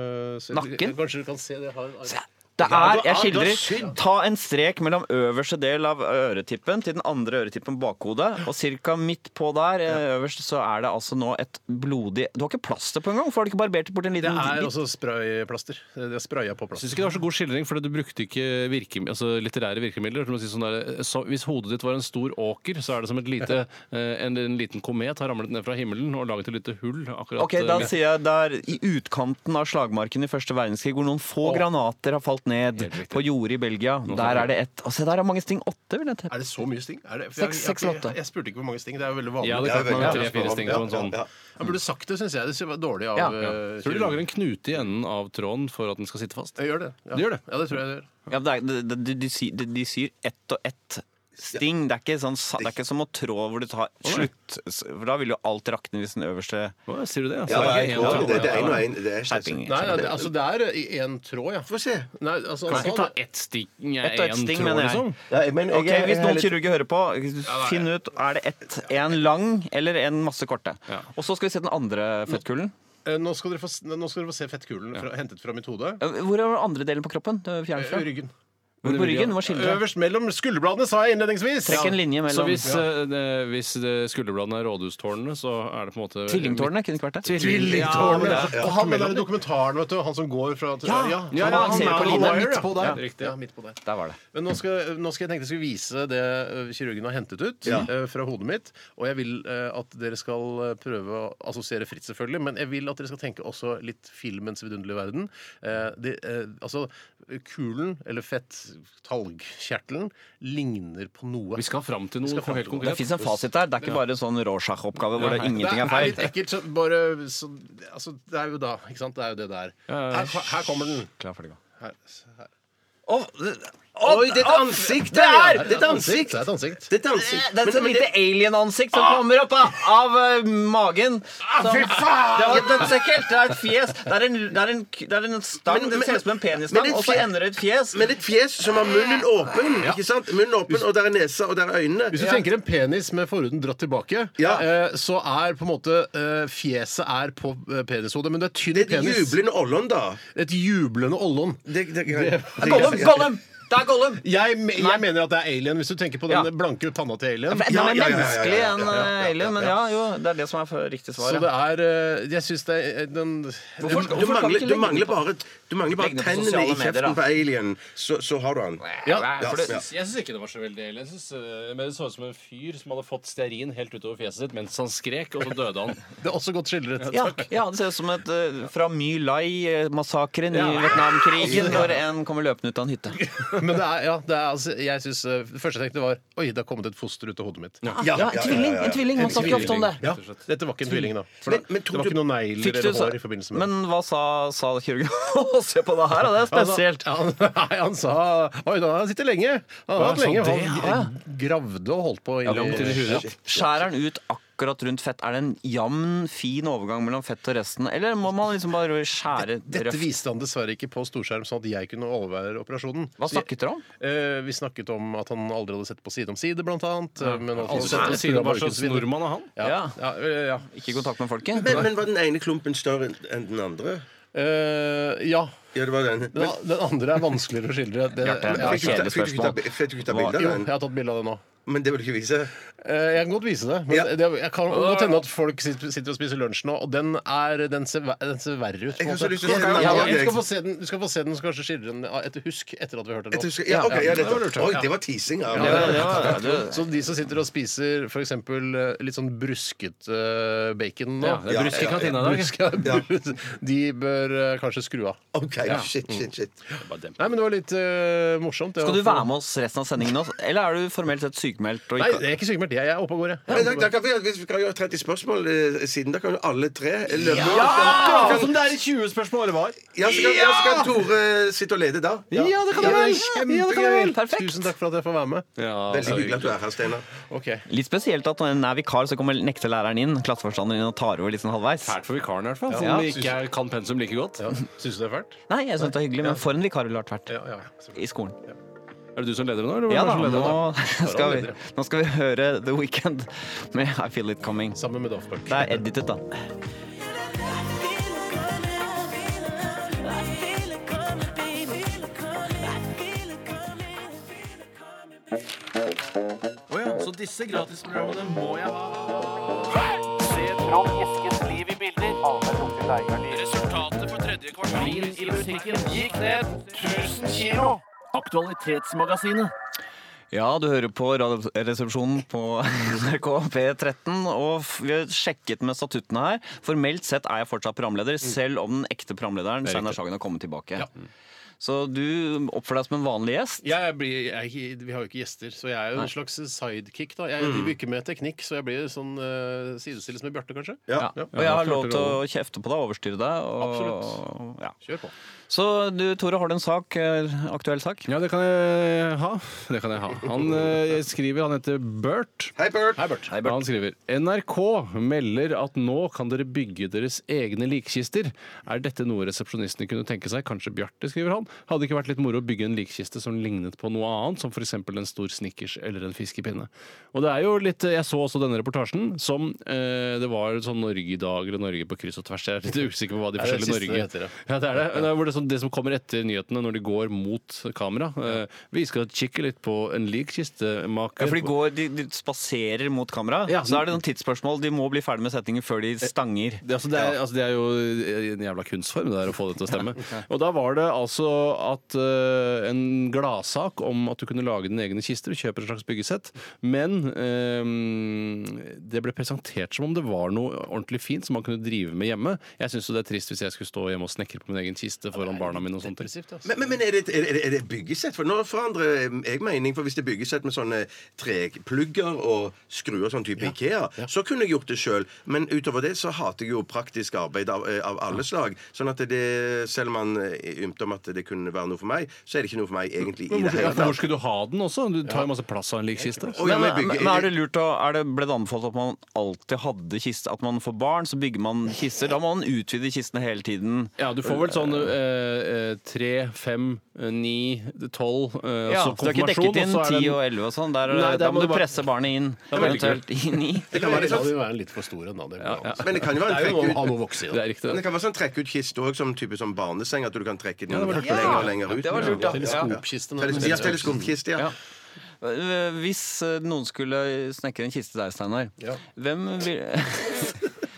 Speaker 13: så
Speaker 6: Nakken?
Speaker 13: Kanskje du kan se det har en arm.
Speaker 6: Det
Speaker 13: Ja,
Speaker 6: er, jeg
Speaker 13: du er- du er
Speaker 6: skildrer,
Speaker 13: sydd.
Speaker 6: ta en strek mellom øverste del av øretippen til den andre øretippen på bakhodet, og cirka midt på der eh, øverst så er det altså nå et blodig Du har ikke plaster på engang, for har du ikke barbert bort en
Speaker 13: Det
Speaker 6: liten
Speaker 13: er
Speaker 6: bit?
Speaker 13: altså også sprayplaster. Det er spraya på plaster.
Speaker 8: Syns ikke det var så god skildring, for du brukte ikke virke, altså litterære virkemidler. Som å si sånn der, så, hvis hodet ditt var en stor åker, så er det som et lite, eh, en, en liten komet har ramlet ned fra himmelen og laget et lite hull akkurat
Speaker 6: Ok, da
Speaker 8: eh, midt-
Speaker 6: sier jeg der i utkanten av slagmarken i første verdenskrig, hvor noen få granater har falt ned på jordet i Belgia. Der er det ett. Og se, der er mange sting. Åtte, vil jeg tro.
Speaker 13: Er det så mye sting? Er det, for
Speaker 6: Seks-
Speaker 13: jeg,
Speaker 6: seks
Speaker 13: jeg,
Speaker 6: eller
Speaker 13: jeg,
Speaker 6: åtte?
Speaker 13: jeg, spurte ikke hvor mange sting. Det er jo veldig vanlig.
Speaker 8: Ja, det er klart man har tre-fire sting på en sånn.
Speaker 13: Han burde sagt det, syns jeg. Det var dårlig av
Speaker 8: Ja.
Speaker 13: eh,
Speaker 8: Tror du
Speaker 13: kirurgen.
Speaker 8: du lager en knute i enden av tråden for at den skal sitte fast?
Speaker 13: Jeg gjør det. Ja.
Speaker 8: Du gjør det?
Speaker 13: Ja, det tror jeg jeg gjør.
Speaker 6: Ja, det er, de, de, de, syr, de, de syr ett og ett sting. Det er ikke, sånn, sa- det er ikke som å trå hvor du tar slutt. For da vil jo alt rakne hvis den øverste
Speaker 8: Sier du det?
Speaker 7: Ja, det er en- det- det er en og en. Det er
Speaker 6: Skjerping.
Speaker 13: Nei, nei, det, altså det er én tråd, ja. Få se. Nei, altså,
Speaker 8: Kan ikke
Speaker 13: altså,
Speaker 8: ta ett sting,
Speaker 6: Ett og ett
Speaker 8: én
Speaker 6: sting,
Speaker 8: tråd,
Speaker 6: mener jeg.
Speaker 8: liksom?
Speaker 6: Ok, Hvis noen kirurger hører på, finn ut er det ett, en lang eller en masse korte. Og så skal vi se den andre fettkulen.
Speaker 13: eh, nå, skal dere få, s- nå skal dere få se fettkulen fra, hentet fra mitt hode.
Speaker 6: Eh, Hvor er den andre delen på kroppen? Du er fjernet
Speaker 13: Eh,
Speaker 6: fra?
Speaker 13: Ryggen.
Speaker 6: Hvor på ryggen? Hva skildrer
Speaker 13: Øverst mellom skulderbladene, sa jeg innledningsvis.
Speaker 6: Trekk en linje
Speaker 8: Så
Speaker 6: mellom
Speaker 8: hvis, eh, det- hvis det skulderbladene er rådhustårnene, så er det på en måte
Speaker 6: Tvillingtårnet kunne ikke vært det.
Speaker 13: Tvillingtårnet!
Speaker 8: Ja, det er-
Speaker 13: Og han med den dokumentaren, vet du. Han som går fra til
Speaker 8: Ja, ja, ja, han
Speaker 13: er
Speaker 8: ser på linjen.
Speaker 13: Maguire,
Speaker 8: Midt på der.
Speaker 13: Ja,
Speaker 8: Riktig.
Speaker 13: ja, midt på der.
Speaker 6: Der var det.
Speaker 13: Men nå skal, nå skal jeg tenke jeg skal vise det ø, kirurgen har hentet ut
Speaker 8: Ja.
Speaker 13: ø, fra hodet mitt. Og jeg vil ø, at dere skal ø, prøve å assosiere fritt, selvfølgelig, men jeg vil at dere skal tenke også litt filmens vidunderlige verden. Eh, det, eh, altså, kulen, eller fett, talgkjertelen, ligner på noe.
Speaker 8: Vi skal fram til noe
Speaker 13: Vi skal fram
Speaker 8: helt
Speaker 13: til noe.
Speaker 8: konkret.
Speaker 6: Det fins en fasit der. Det er ikke bare sånn Rorschach-oppgave hvor det
Speaker 13: Nei.
Speaker 6: ingenting er
Speaker 13: Det er
Speaker 6: feil.
Speaker 13: litt ekkelt, så bare så, Altså, det er jo da, ikke sant? Det er jo det der. Her, her kommer den.
Speaker 6: Klar, ferdig, gå.
Speaker 13: Her, her.
Speaker 7: Oi, det er et ansikt der! ja. Det er et ansikt.
Speaker 13: Det er et ansikt.
Speaker 7: Det er et ansikt.
Speaker 6: Eh, Det er et
Speaker 7: Men-
Speaker 6: sånt
Speaker 7: men
Speaker 6: lite alien-ansikt som kommer opp av, av eh, magen. Som,
Speaker 7: fy faen!
Speaker 6: Det var dødsekkelt. Det er et fjes. Det er en, det er en, det er en stang.
Speaker 7: Men-
Speaker 6: Det
Speaker 7: men-
Speaker 6: ser ut som en
Speaker 7: men
Speaker 6: penisstang,
Speaker 7: et
Speaker 6: og så
Speaker 7: fje-
Speaker 6: ender det i et fjes.
Speaker 7: Men et fjes som har munnen åpen, ikke sant? Munnen åpen, og der er nesa, og der er øynene.
Speaker 13: Hvis du tenker en penis med forhuden dratt tilbake, eh, så er på en måte eh, fjeset er på eh, penishodet, men det er tynn
Speaker 7: Det er
Speaker 13: penis.
Speaker 7: et jublende ollon, da.
Speaker 13: Et jublende ollon.
Speaker 7: Det, det,
Speaker 13: Det-
Speaker 6: Gollum! Gollum! Det er Gollum!
Speaker 13: Jeg, me- jeg mener at det er alien, hvis du tenker på den
Speaker 6: Ja.
Speaker 13: blanke panna til alien.
Speaker 6: Det er enda mer menneskelig enn eh, alien, men ja, jo, det er det som er for- riktig
Speaker 13: Så
Speaker 6: svar.
Speaker 13: det
Speaker 6: ja.
Speaker 13: er eh, Jeg syns det er den
Speaker 7: Du,
Speaker 6: Hvorfor- hvorfor
Speaker 7: du,
Speaker 6: kan vi
Speaker 7: mangler,
Speaker 6: ikke
Speaker 7: du
Speaker 6: legge
Speaker 7: mangler
Speaker 6: det på-
Speaker 7: bare, du mangler bare
Speaker 6: Legg det på
Speaker 7: tennene
Speaker 6: sosiale
Speaker 7: i
Speaker 6: medier,
Speaker 7: kjeften
Speaker 6: da.
Speaker 7: på alien, så, så har du den.
Speaker 8: Nei, for det,
Speaker 7: Ja.
Speaker 8: Jeg syns ikke det var så veldig ille. Jeg synes, eh, men Det så ut som en fyr som hadde fått stearin helt utover fjeset sitt mens han skrek, og så døde han.
Speaker 13: Det er også godt skildret.
Speaker 6: Ja, ja, det ser ut som et eh, fra My Lai-massakren i
Speaker 13: Ja.
Speaker 6: Vietnamkrigen, når en kommer løpende ut av en hytte.
Speaker 13: Men det er, ja, det er altså jeg synes, eh, Det første jeg tenkte, var Oi, det har kommet et foster ut av hodet mitt.
Speaker 6: Ja, ja, en tvilling, en tvilling, man snakker ofte om det.
Speaker 13: Ja, Dette var ikke en tvilling, da. For
Speaker 6: Men-
Speaker 13: det-
Speaker 6: men
Speaker 13: det
Speaker 6: tror
Speaker 13: var
Speaker 6: du-
Speaker 13: ikke noen negler
Speaker 6: Fikk du
Speaker 13: eller
Speaker 6: sa-
Speaker 13: hår i forbindelse med det.
Speaker 6: Men hva sa, sa kirurgen? Se på det her, da, det er
Speaker 13: Altså,
Speaker 6: spesielt.
Speaker 13: Han, sa- han, nei, han sa Oi, da har han sittet lenge. Han har
Speaker 6: Ja,
Speaker 13: hatt
Speaker 6: sånn
Speaker 13: lenge.
Speaker 6: det, ja.
Speaker 13: Han g- gravde og holdt på. ille-
Speaker 6: Langt inn i huet. Skjærer den ut akkurat rundt fett? Er det en jevn, fin overgang mellom fett og resten? Eller må man liksom bare skjære
Speaker 13: Dette
Speaker 6: røft?
Speaker 13: viste han dessverre ikke på storskjerm, sånn at jeg kunne overvære operasjonen.
Speaker 6: Hva snakket dere om?
Speaker 13: Eh, vi snakket om at han aldri hadde sett på Side om side, blant annet. eh, Men han hadde
Speaker 8: Altså,
Speaker 13: sett
Speaker 8: sier
Speaker 13: på Stua
Speaker 8: du hva
Speaker 13: Borgens
Speaker 8: slags
Speaker 13: vindu.
Speaker 8: nordmann er han?
Speaker 13: Ja. Ja, eh, ja.
Speaker 6: Ikke i kontakt med folket?
Speaker 7: Men, men var den ene klumpen større enn den andre?
Speaker 13: Eh, ja.
Speaker 7: Ja, det var den.
Speaker 13: Den, den andre er vanskeligere å skildre. Det,
Speaker 7: Bjarte, det er
Speaker 13: Ja.
Speaker 7: et kjedelig Fikk du ikke ta- spørsmål. fikk du ikke ta bilde av den?
Speaker 13: Jo, jeg har tatt bilde av det nå.
Speaker 7: Men det vil du ikke vise?
Speaker 13: Eh, Jeg kan godt vise det. Men det, jeg kan godt hende at folk sit- sitter og spiser lunsj nå, og den, er, den, ser, ver- den ser verre ut. på en
Speaker 7: Jeg har så
Speaker 13: måte.
Speaker 7: lyst til å se den
Speaker 13: Ja,
Speaker 7: andre,
Speaker 13: du, skal
Speaker 7: Erik.
Speaker 13: få se den, du skal få se den, så kanskje skildre den etter husk etter at vi har hørt den.
Speaker 7: Jeg
Speaker 13: nå.
Speaker 7: tror, ja, ok, ja,
Speaker 13: det var lurt,
Speaker 7: det,
Speaker 13: ja.
Speaker 7: oi, det var teasing. Ja.
Speaker 13: Ja, det var-
Speaker 7: det var-
Speaker 13: Så de som sitter og spiser f.eks. litt sånn brusket eh, bacon nå
Speaker 8: Ja, det er brusk i
Speaker 13: Ja, ja,
Speaker 8: kantina i dag.
Speaker 13: brusk- De bør eh, kanskje skru av.
Speaker 7: Ok,
Speaker 13: Ja.
Speaker 7: shit, shit, shit.
Speaker 13: Nei, men det var litt eh, morsomt.
Speaker 6: Skal du være med oss resten av sendingen også? Eller er du formelt sett sykemeldt og
Speaker 13: Nei, jeg er ikke sykemeldt. Jeg er oppe og går, jeg.
Speaker 7: Men da- da kan vi, hvis vi kan gjøre 30 spørsmål eh, siden, da kan jo alle tre løpe.
Speaker 13: Ja!
Speaker 6: Ah!
Speaker 8: Akkurat som det er i 20 spørsmål var.
Speaker 7: Ja, så kan, ja! så kan Tore eh, sitte og lede da.
Speaker 8: Ja, det kan du vel. Ja, det kan du vel.
Speaker 13: Tusen takk for at jeg får være med.
Speaker 7: Veldig
Speaker 8: altså,
Speaker 7: hyggelig at du er her, Steinar.
Speaker 6: Litt spesielt at når en er vikar, så kommer nektelæreren inn, klasseforstanderen inn og tar over litt sånn halvveis.
Speaker 8: Fælt for vikaren i hvert fall, som
Speaker 6: Ja.
Speaker 8: ikke er- kan pensum like godt. Syns du det er fælt?
Speaker 6: Nei, jeg syns det er hyggelig, men for en vikar ville det vært fælt. I skolen.
Speaker 8: Er det du som leder nå? Eller
Speaker 6: Ja da,
Speaker 8: hvem er det som leder
Speaker 6: nå skal, vi,
Speaker 8: leder, ja.
Speaker 6: nå skal vi høre The Weekend med I Feel It Coming. Sammen med Daft Punk. Det er editet, da.
Speaker 12: Å ja, så disse gratisprogrammene må jeg ha. Se Trond Eskens liv i bilder. Resultatet for tredje kvartal i musikken gikk ned 1000 kilo. Aktualitetsmagasinet.
Speaker 6: Ja, du hører på Radioresepsjonen på NRK P13. Og f- vi har sjekket med statuttene her. Formelt sett er jeg fortsatt programleder, selv om den ekte programlederen
Speaker 8: Det er riktig.
Speaker 6: Steinar Sagen har kommet tilbake. Så du oppfører deg som en vanlig gjest.
Speaker 13: Jeg blir, jeg, er ikke- vi har jo ikke gjester, så jeg er jo
Speaker 6: Nei.
Speaker 13: en slags sidekick. da Jeg
Speaker 6: Mm.
Speaker 13: driver ikke med teknikk, så jeg blir sånn uh, sidestilt som Bjarte, kanskje.
Speaker 6: Ja. Og jeg har lov til å kjefte på deg, overstyre deg. Og,
Speaker 13: Absolutt.
Speaker 6: Ja.
Speaker 13: Kjør på.
Speaker 6: Så du, Tore, har du en sak? eh, Aktuell sak?
Speaker 8: Ja, det kan jeg ha. Det kan jeg ha. Han eh, skriver, han heter Bert.
Speaker 7: Hei, Bert.
Speaker 8: Han skriver NRK melder at nå kan dere bygge deres egne likkister. Er dette noe resepsjonistene kunne tenke seg? Kanskje Bjarte, skriver han. Hadde ikke vært litt moro å bygge en likkiste som lignet på noe annet, som f.eks. en stor snickers eller en fiskepinne. Og det er jo litt Jeg så også denne reportasjen som eh, Det var sånn Norge i dag eller Norge på kryss og tvers. Jeg er litt usikker på hva de
Speaker 13: Ja, det er det
Speaker 8: forskjellige
Speaker 13: siste
Speaker 8: Norge
Speaker 13: det heter, ja.
Speaker 8: ja, det er det. Det, er hvor det, som, det som kommer etter nyhetene når de går mot kamera. Eh, vi skal kikke litt på en lik kistemaker.
Speaker 6: Ja, for de, går, de, de spaserer mot kamera. Så er det noen tidsspørsmål. De må bli ferdig med setningen før de stanger.
Speaker 8: Det, altså, det, er, altså, det er jo en jævla kunstform det der, å få det til å stemme. Og da var det altså at eh, en gladsak om at du kunne lage dine egne kister og kjøpe et slags byggesett, men eh, det ble presentert som om det var noe ordentlig fint som man kunne drive med hjemme. Jeg syns jo det er trist hvis jeg skulle stå hjemme og snekre på min egen kiste foran barna mine og sånt.
Speaker 7: Men, men, men er, det, er, det, er det byggesett? For Nå forandrer jeg mening. For Hvis det er byggesett med sånne treplugger og skruer, sånn type Ikea, så kunne jeg gjort det sjøl. Men utover det så hater jeg jo praktisk arbeid av, eh, av alle slag. Sånn at det, selv om man eh, ymter om at det kunne være noe for meg, så er det ikke noe for meg egentlig i
Speaker 8: Men
Speaker 7: det
Speaker 8: hvor,
Speaker 7: hele
Speaker 8: hvor
Speaker 7: tatt.
Speaker 8: skulle du ha den også? Du tar jo masse plass av en lik kiste.
Speaker 6: Men, men, men er det lurt å, er det, Ble det anbefalt at man alltid hadde kiste? At man får barn, så bygger man kister? Da må man utvide kistene hele tiden.
Speaker 8: Ja, du får vel sånn eh, eh, tre, fem, eh, ni, tolv eh,
Speaker 6: Ja,
Speaker 8: så
Speaker 6: så du har ikke
Speaker 8: konfirmasjon,
Speaker 6: dekket inn
Speaker 8: og så er det
Speaker 6: ti
Speaker 8: en-
Speaker 6: og elleve og sånn. Der,
Speaker 8: Nei, der
Speaker 6: da
Speaker 8: må
Speaker 6: må
Speaker 8: det
Speaker 6: du
Speaker 8: bare-
Speaker 6: presse barnet inn.
Speaker 8: Det er veldig
Speaker 6: Eventuelt inn i.
Speaker 7: Det kan være litt
Speaker 13: Da vil
Speaker 7: sånn
Speaker 13: vi være litt for store ennå. Det,
Speaker 8: Ja, ja.
Speaker 7: Men det kan jo være en
Speaker 13: Det er jo
Speaker 7: trekk
Speaker 13: noe å ha
Speaker 7: ut-
Speaker 13: noe å vokse i. da.
Speaker 8: Det er riktig,
Speaker 7: Men
Speaker 8: det.
Speaker 7: det kan være sånn trekk ut kiste òg, som type sånn barneseng. At du kan trekke den
Speaker 8: Ja, det var lurt.
Speaker 7: lenger og lenger
Speaker 6: Ja,
Speaker 7: ut.
Speaker 6: det var lurt, ja.
Speaker 13: Teleskopkiste,
Speaker 7: Ja,
Speaker 13: nei.
Speaker 7: Teles- ja, teleskopkiste. Ja.
Speaker 6: Eh, Hvis eh, noen skulle snekre en kiste der, Steinar,
Speaker 13: Ja.
Speaker 6: hvem vil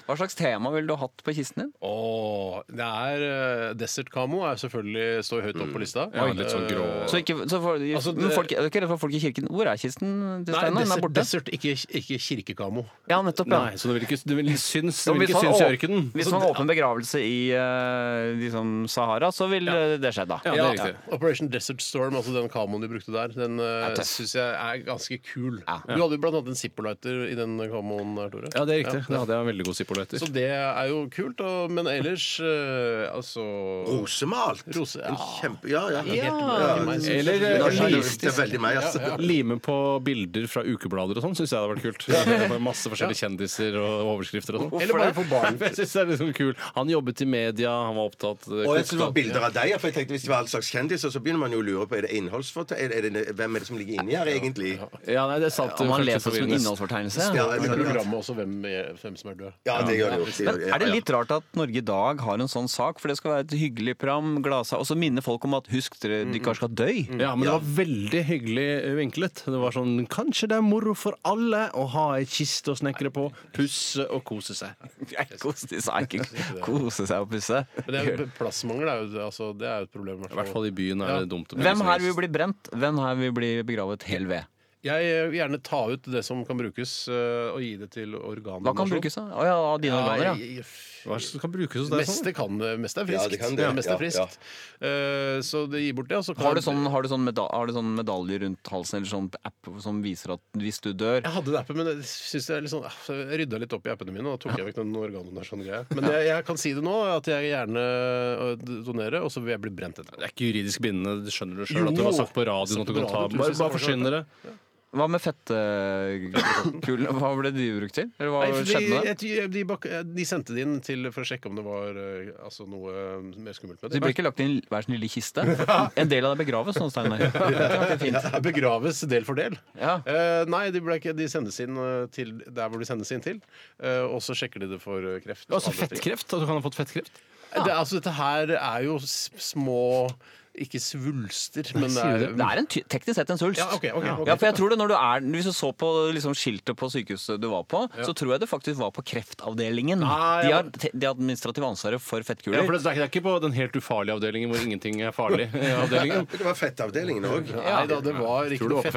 Speaker 6: Hva slags tema ville du ha hatt på kisten din?
Speaker 13: Åh, det er eh, Desert Camo er selvfølgelig står høyt opp på lista.
Speaker 8: Ja, litt sånn grå
Speaker 6: Så ikke, så for,
Speaker 13: Altså,
Speaker 6: men
Speaker 13: det-
Speaker 6: folk, er du ikke redd for folk i kirken? Hvor er kisten til
Speaker 13: Nei,
Speaker 6: Steinar? Den er
Speaker 13: desert,
Speaker 6: borte.
Speaker 13: desert ikke, ikke kirkekamo.
Speaker 6: Ja, nettopp. Ja.
Speaker 8: Nei, så det vil ikke, det vil ikke synes,
Speaker 6: Så
Speaker 8: det vil
Speaker 6: hvis man
Speaker 8: ikke synes i
Speaker 6: åp-
Speaker 8: ørkenen.
Speaker 6: Hvis
Speaker 8: Så
Speaker 6: man
Speaker 8: det-
Speaker 6: har åpen begravelse i eh, liksom Sahara, så vil eh, det skje, da.
Speaker 8: Ja, det er riktig.
Speaker 13: Operation Desert Storm, altså den kamoen du brukte der, den
Speaker 6: Er
Speaker 13: uh,
Speaker 6: tøff.
Speaker 13: syns jeg er ganske kul. Du hadde jo blant annet en Zippo-lighter i den kamoen, Tore.
Speaker 8: Ja, det er riktig. Det hadde jeg en veldig god zippo-lighter.
Speaker 13: Så det er jo kult, og, men ellers eh, altså
Speaker 7: Rosemalt!
Speaker 13: Rose, ja.
Speaker 7: En kjempe... Ja, ja.
Speaker 13: Ja,
Speaker 8: Eller
Speaker 7: Det er veldig-
Speaker 8: realistisk.
Speaker 7: Det er veldig meg, altså.
Speaker 13: Ja, ja.
Speaker 8: Lime på bilder fra ukeblader og sånn syns jeg hadde vært kult. Med Masse forskjellige kjendiser og overskrifter og sånn.
Speaker 13: Eller bare for barn.
Speaker 8: Jeg synes det er liksom kul. Han jobbet i media, han var opptatt eh,
Speaker 7: Og jeg synes det var
Speaker 8: kokte-
Speaker 7: bilder av deg, ja, for jeg tenkte Hvis det var all slags kjendiser, så begynner man jo å lure på Er det innholdsfortell. Er det, er det, hvem er det som ligger inni her, egentlig?
Speaker 8: Ja, nei, det eh, er sant.
Speaker 6: Om man
Speaker 8: Kanskje
Speaker 6: leser som en
Speaker 8: forvirrende.
Speaker 6: innholdsfortegnelse.
Speaker 7: Ja, det
Speaker 13: I
Speaker 7: er sant.
Speaker 13: programmet også hvem, er- hvem som er død.
Speaker 7: Ja, det gjør det jo.
Speaker 6: Men er det litt rart at Norge i dag har en sånn sak? For det skal være et hyggelig program, glasa, og så minner folk om at husk dere, de kanskje skal dø.
Speaker 8: Ja, men det var veldig hyggelig vinklet. Det var sånn Kanskje det er moro for alle å ha ei kiste å snekre på, pusse og kose seg.
Speaker 6: Kose seg, ikke kose seg og pusse.
Speaker 13: Men det er, plassmangel er jo, altså, det er jo et problem.
Speaker 8: I hvert fall i byen er det dumt. å bli
Speaker 6: Hvem
Speaker 8: så
Speaker 6: her vil
Speaker 8: helst.
Speaker 6: bli brent? Hvem her vil bli begravet hel ved?
Speaker 13: Jeg eh, vil gjerne ta ut det som kan brukes, eh, og gi det til organdonasjon.
Speaker 6: Hva kan brukes, da? Å ja, av dine organer, ja.
Speaker 13: Hva kan brukes
Speaker 6: hos deg,
Speaker 13: Meste,
Speaker 6: sånn?
Speaker 13: kan, eh, meste er
Speaker 6: Ja,
Speaker 13: friskt.
Speaker 6: det kan det.
Speaker 13: Ja, meste
Speaker 6: Ja,
Speaker 13: er friskt. Eh, så det gir bort det. Og så kan
Speaker 6: Har du sånn, har du sånn, meda har du sånn medalje rundt halsen eller sånn app som viser at hvis du dør
Speaker 13: Jeg hadde det appen, men jeg synes jeg, liksom, jeg rydda litt opp i appene mine. Og da tok jeg vekk den organdonasjon-greia. Men jeg, jeg kan si det nå, at jeg gjerne øh, donerer, og så vil jeg bli brent etterpå.
Speaker 8: Det er ikke juridisk bindende, det skjønner du sjøl. At det var sagt på radioen at du kan ta Bare, bare forsyn dere.
Speaker 6: Hva med fettkulene? Hva ble de brukt til? Eller hva
Speaker 13: Nei, for de,
Speaker 6: skjedde med det?
Speaker 13: jeg tror- de, bak, eh, de sendte det inn til, for å sjekke om det var øh, altså, noe øh, mer skummelt med
Speaker 6: Så de ble ikke lagt i en- hver sin lille kiste? En del av det begraves nå, Steinar. Det har vært fint.
Speaker 13: Ja, Begraves del for del.
Speaker 6: Ja.
Speaker 13: Eh, nei, de, ble ikke, de sendes inn eh, til der hvor de sendes inn til. eh, og så sjekker de det for eh, kreft.
Speaker 8: Altså
Speaker 13: og andre ting.
Speaker 8: fettkreft? At du kan ha fått fettkreft?
Speaker 13: Det, altså, dette her er jo s- små Ikke svulster, men det
Speaker 6: Sier
Speaker 13: er,
Speaker 6: du det? Det er en ty teknisk sett en svulst.
Speaker 13: Ja, ok, ok, ok.
Speaker 6: Ja, for jeg tror det når du er, Hvis du så på liksom, skiltet på sykehuset du var på,
Speaker 13: Ja.
Speaker 6: så tror jeg det faktisk var på kreftavdelingen.
Speaker 8: Ah,
Speaker 6: de,
Speaker 8: ja.
Speaker 6: har, te- de har administrative ansvaret for fettkuler.
Speaker 8: Ja, for det, det er ikke på den helt ufarlige avdelingen hvor ingenting er farlig. eh, Avdelingen.
Speaker 7: Det var fettavdelingen òg.
Speaker 13: Nei da, det var ikke
Speaker 8: Tror det
Speaker 13: noe
Speaker 8: var på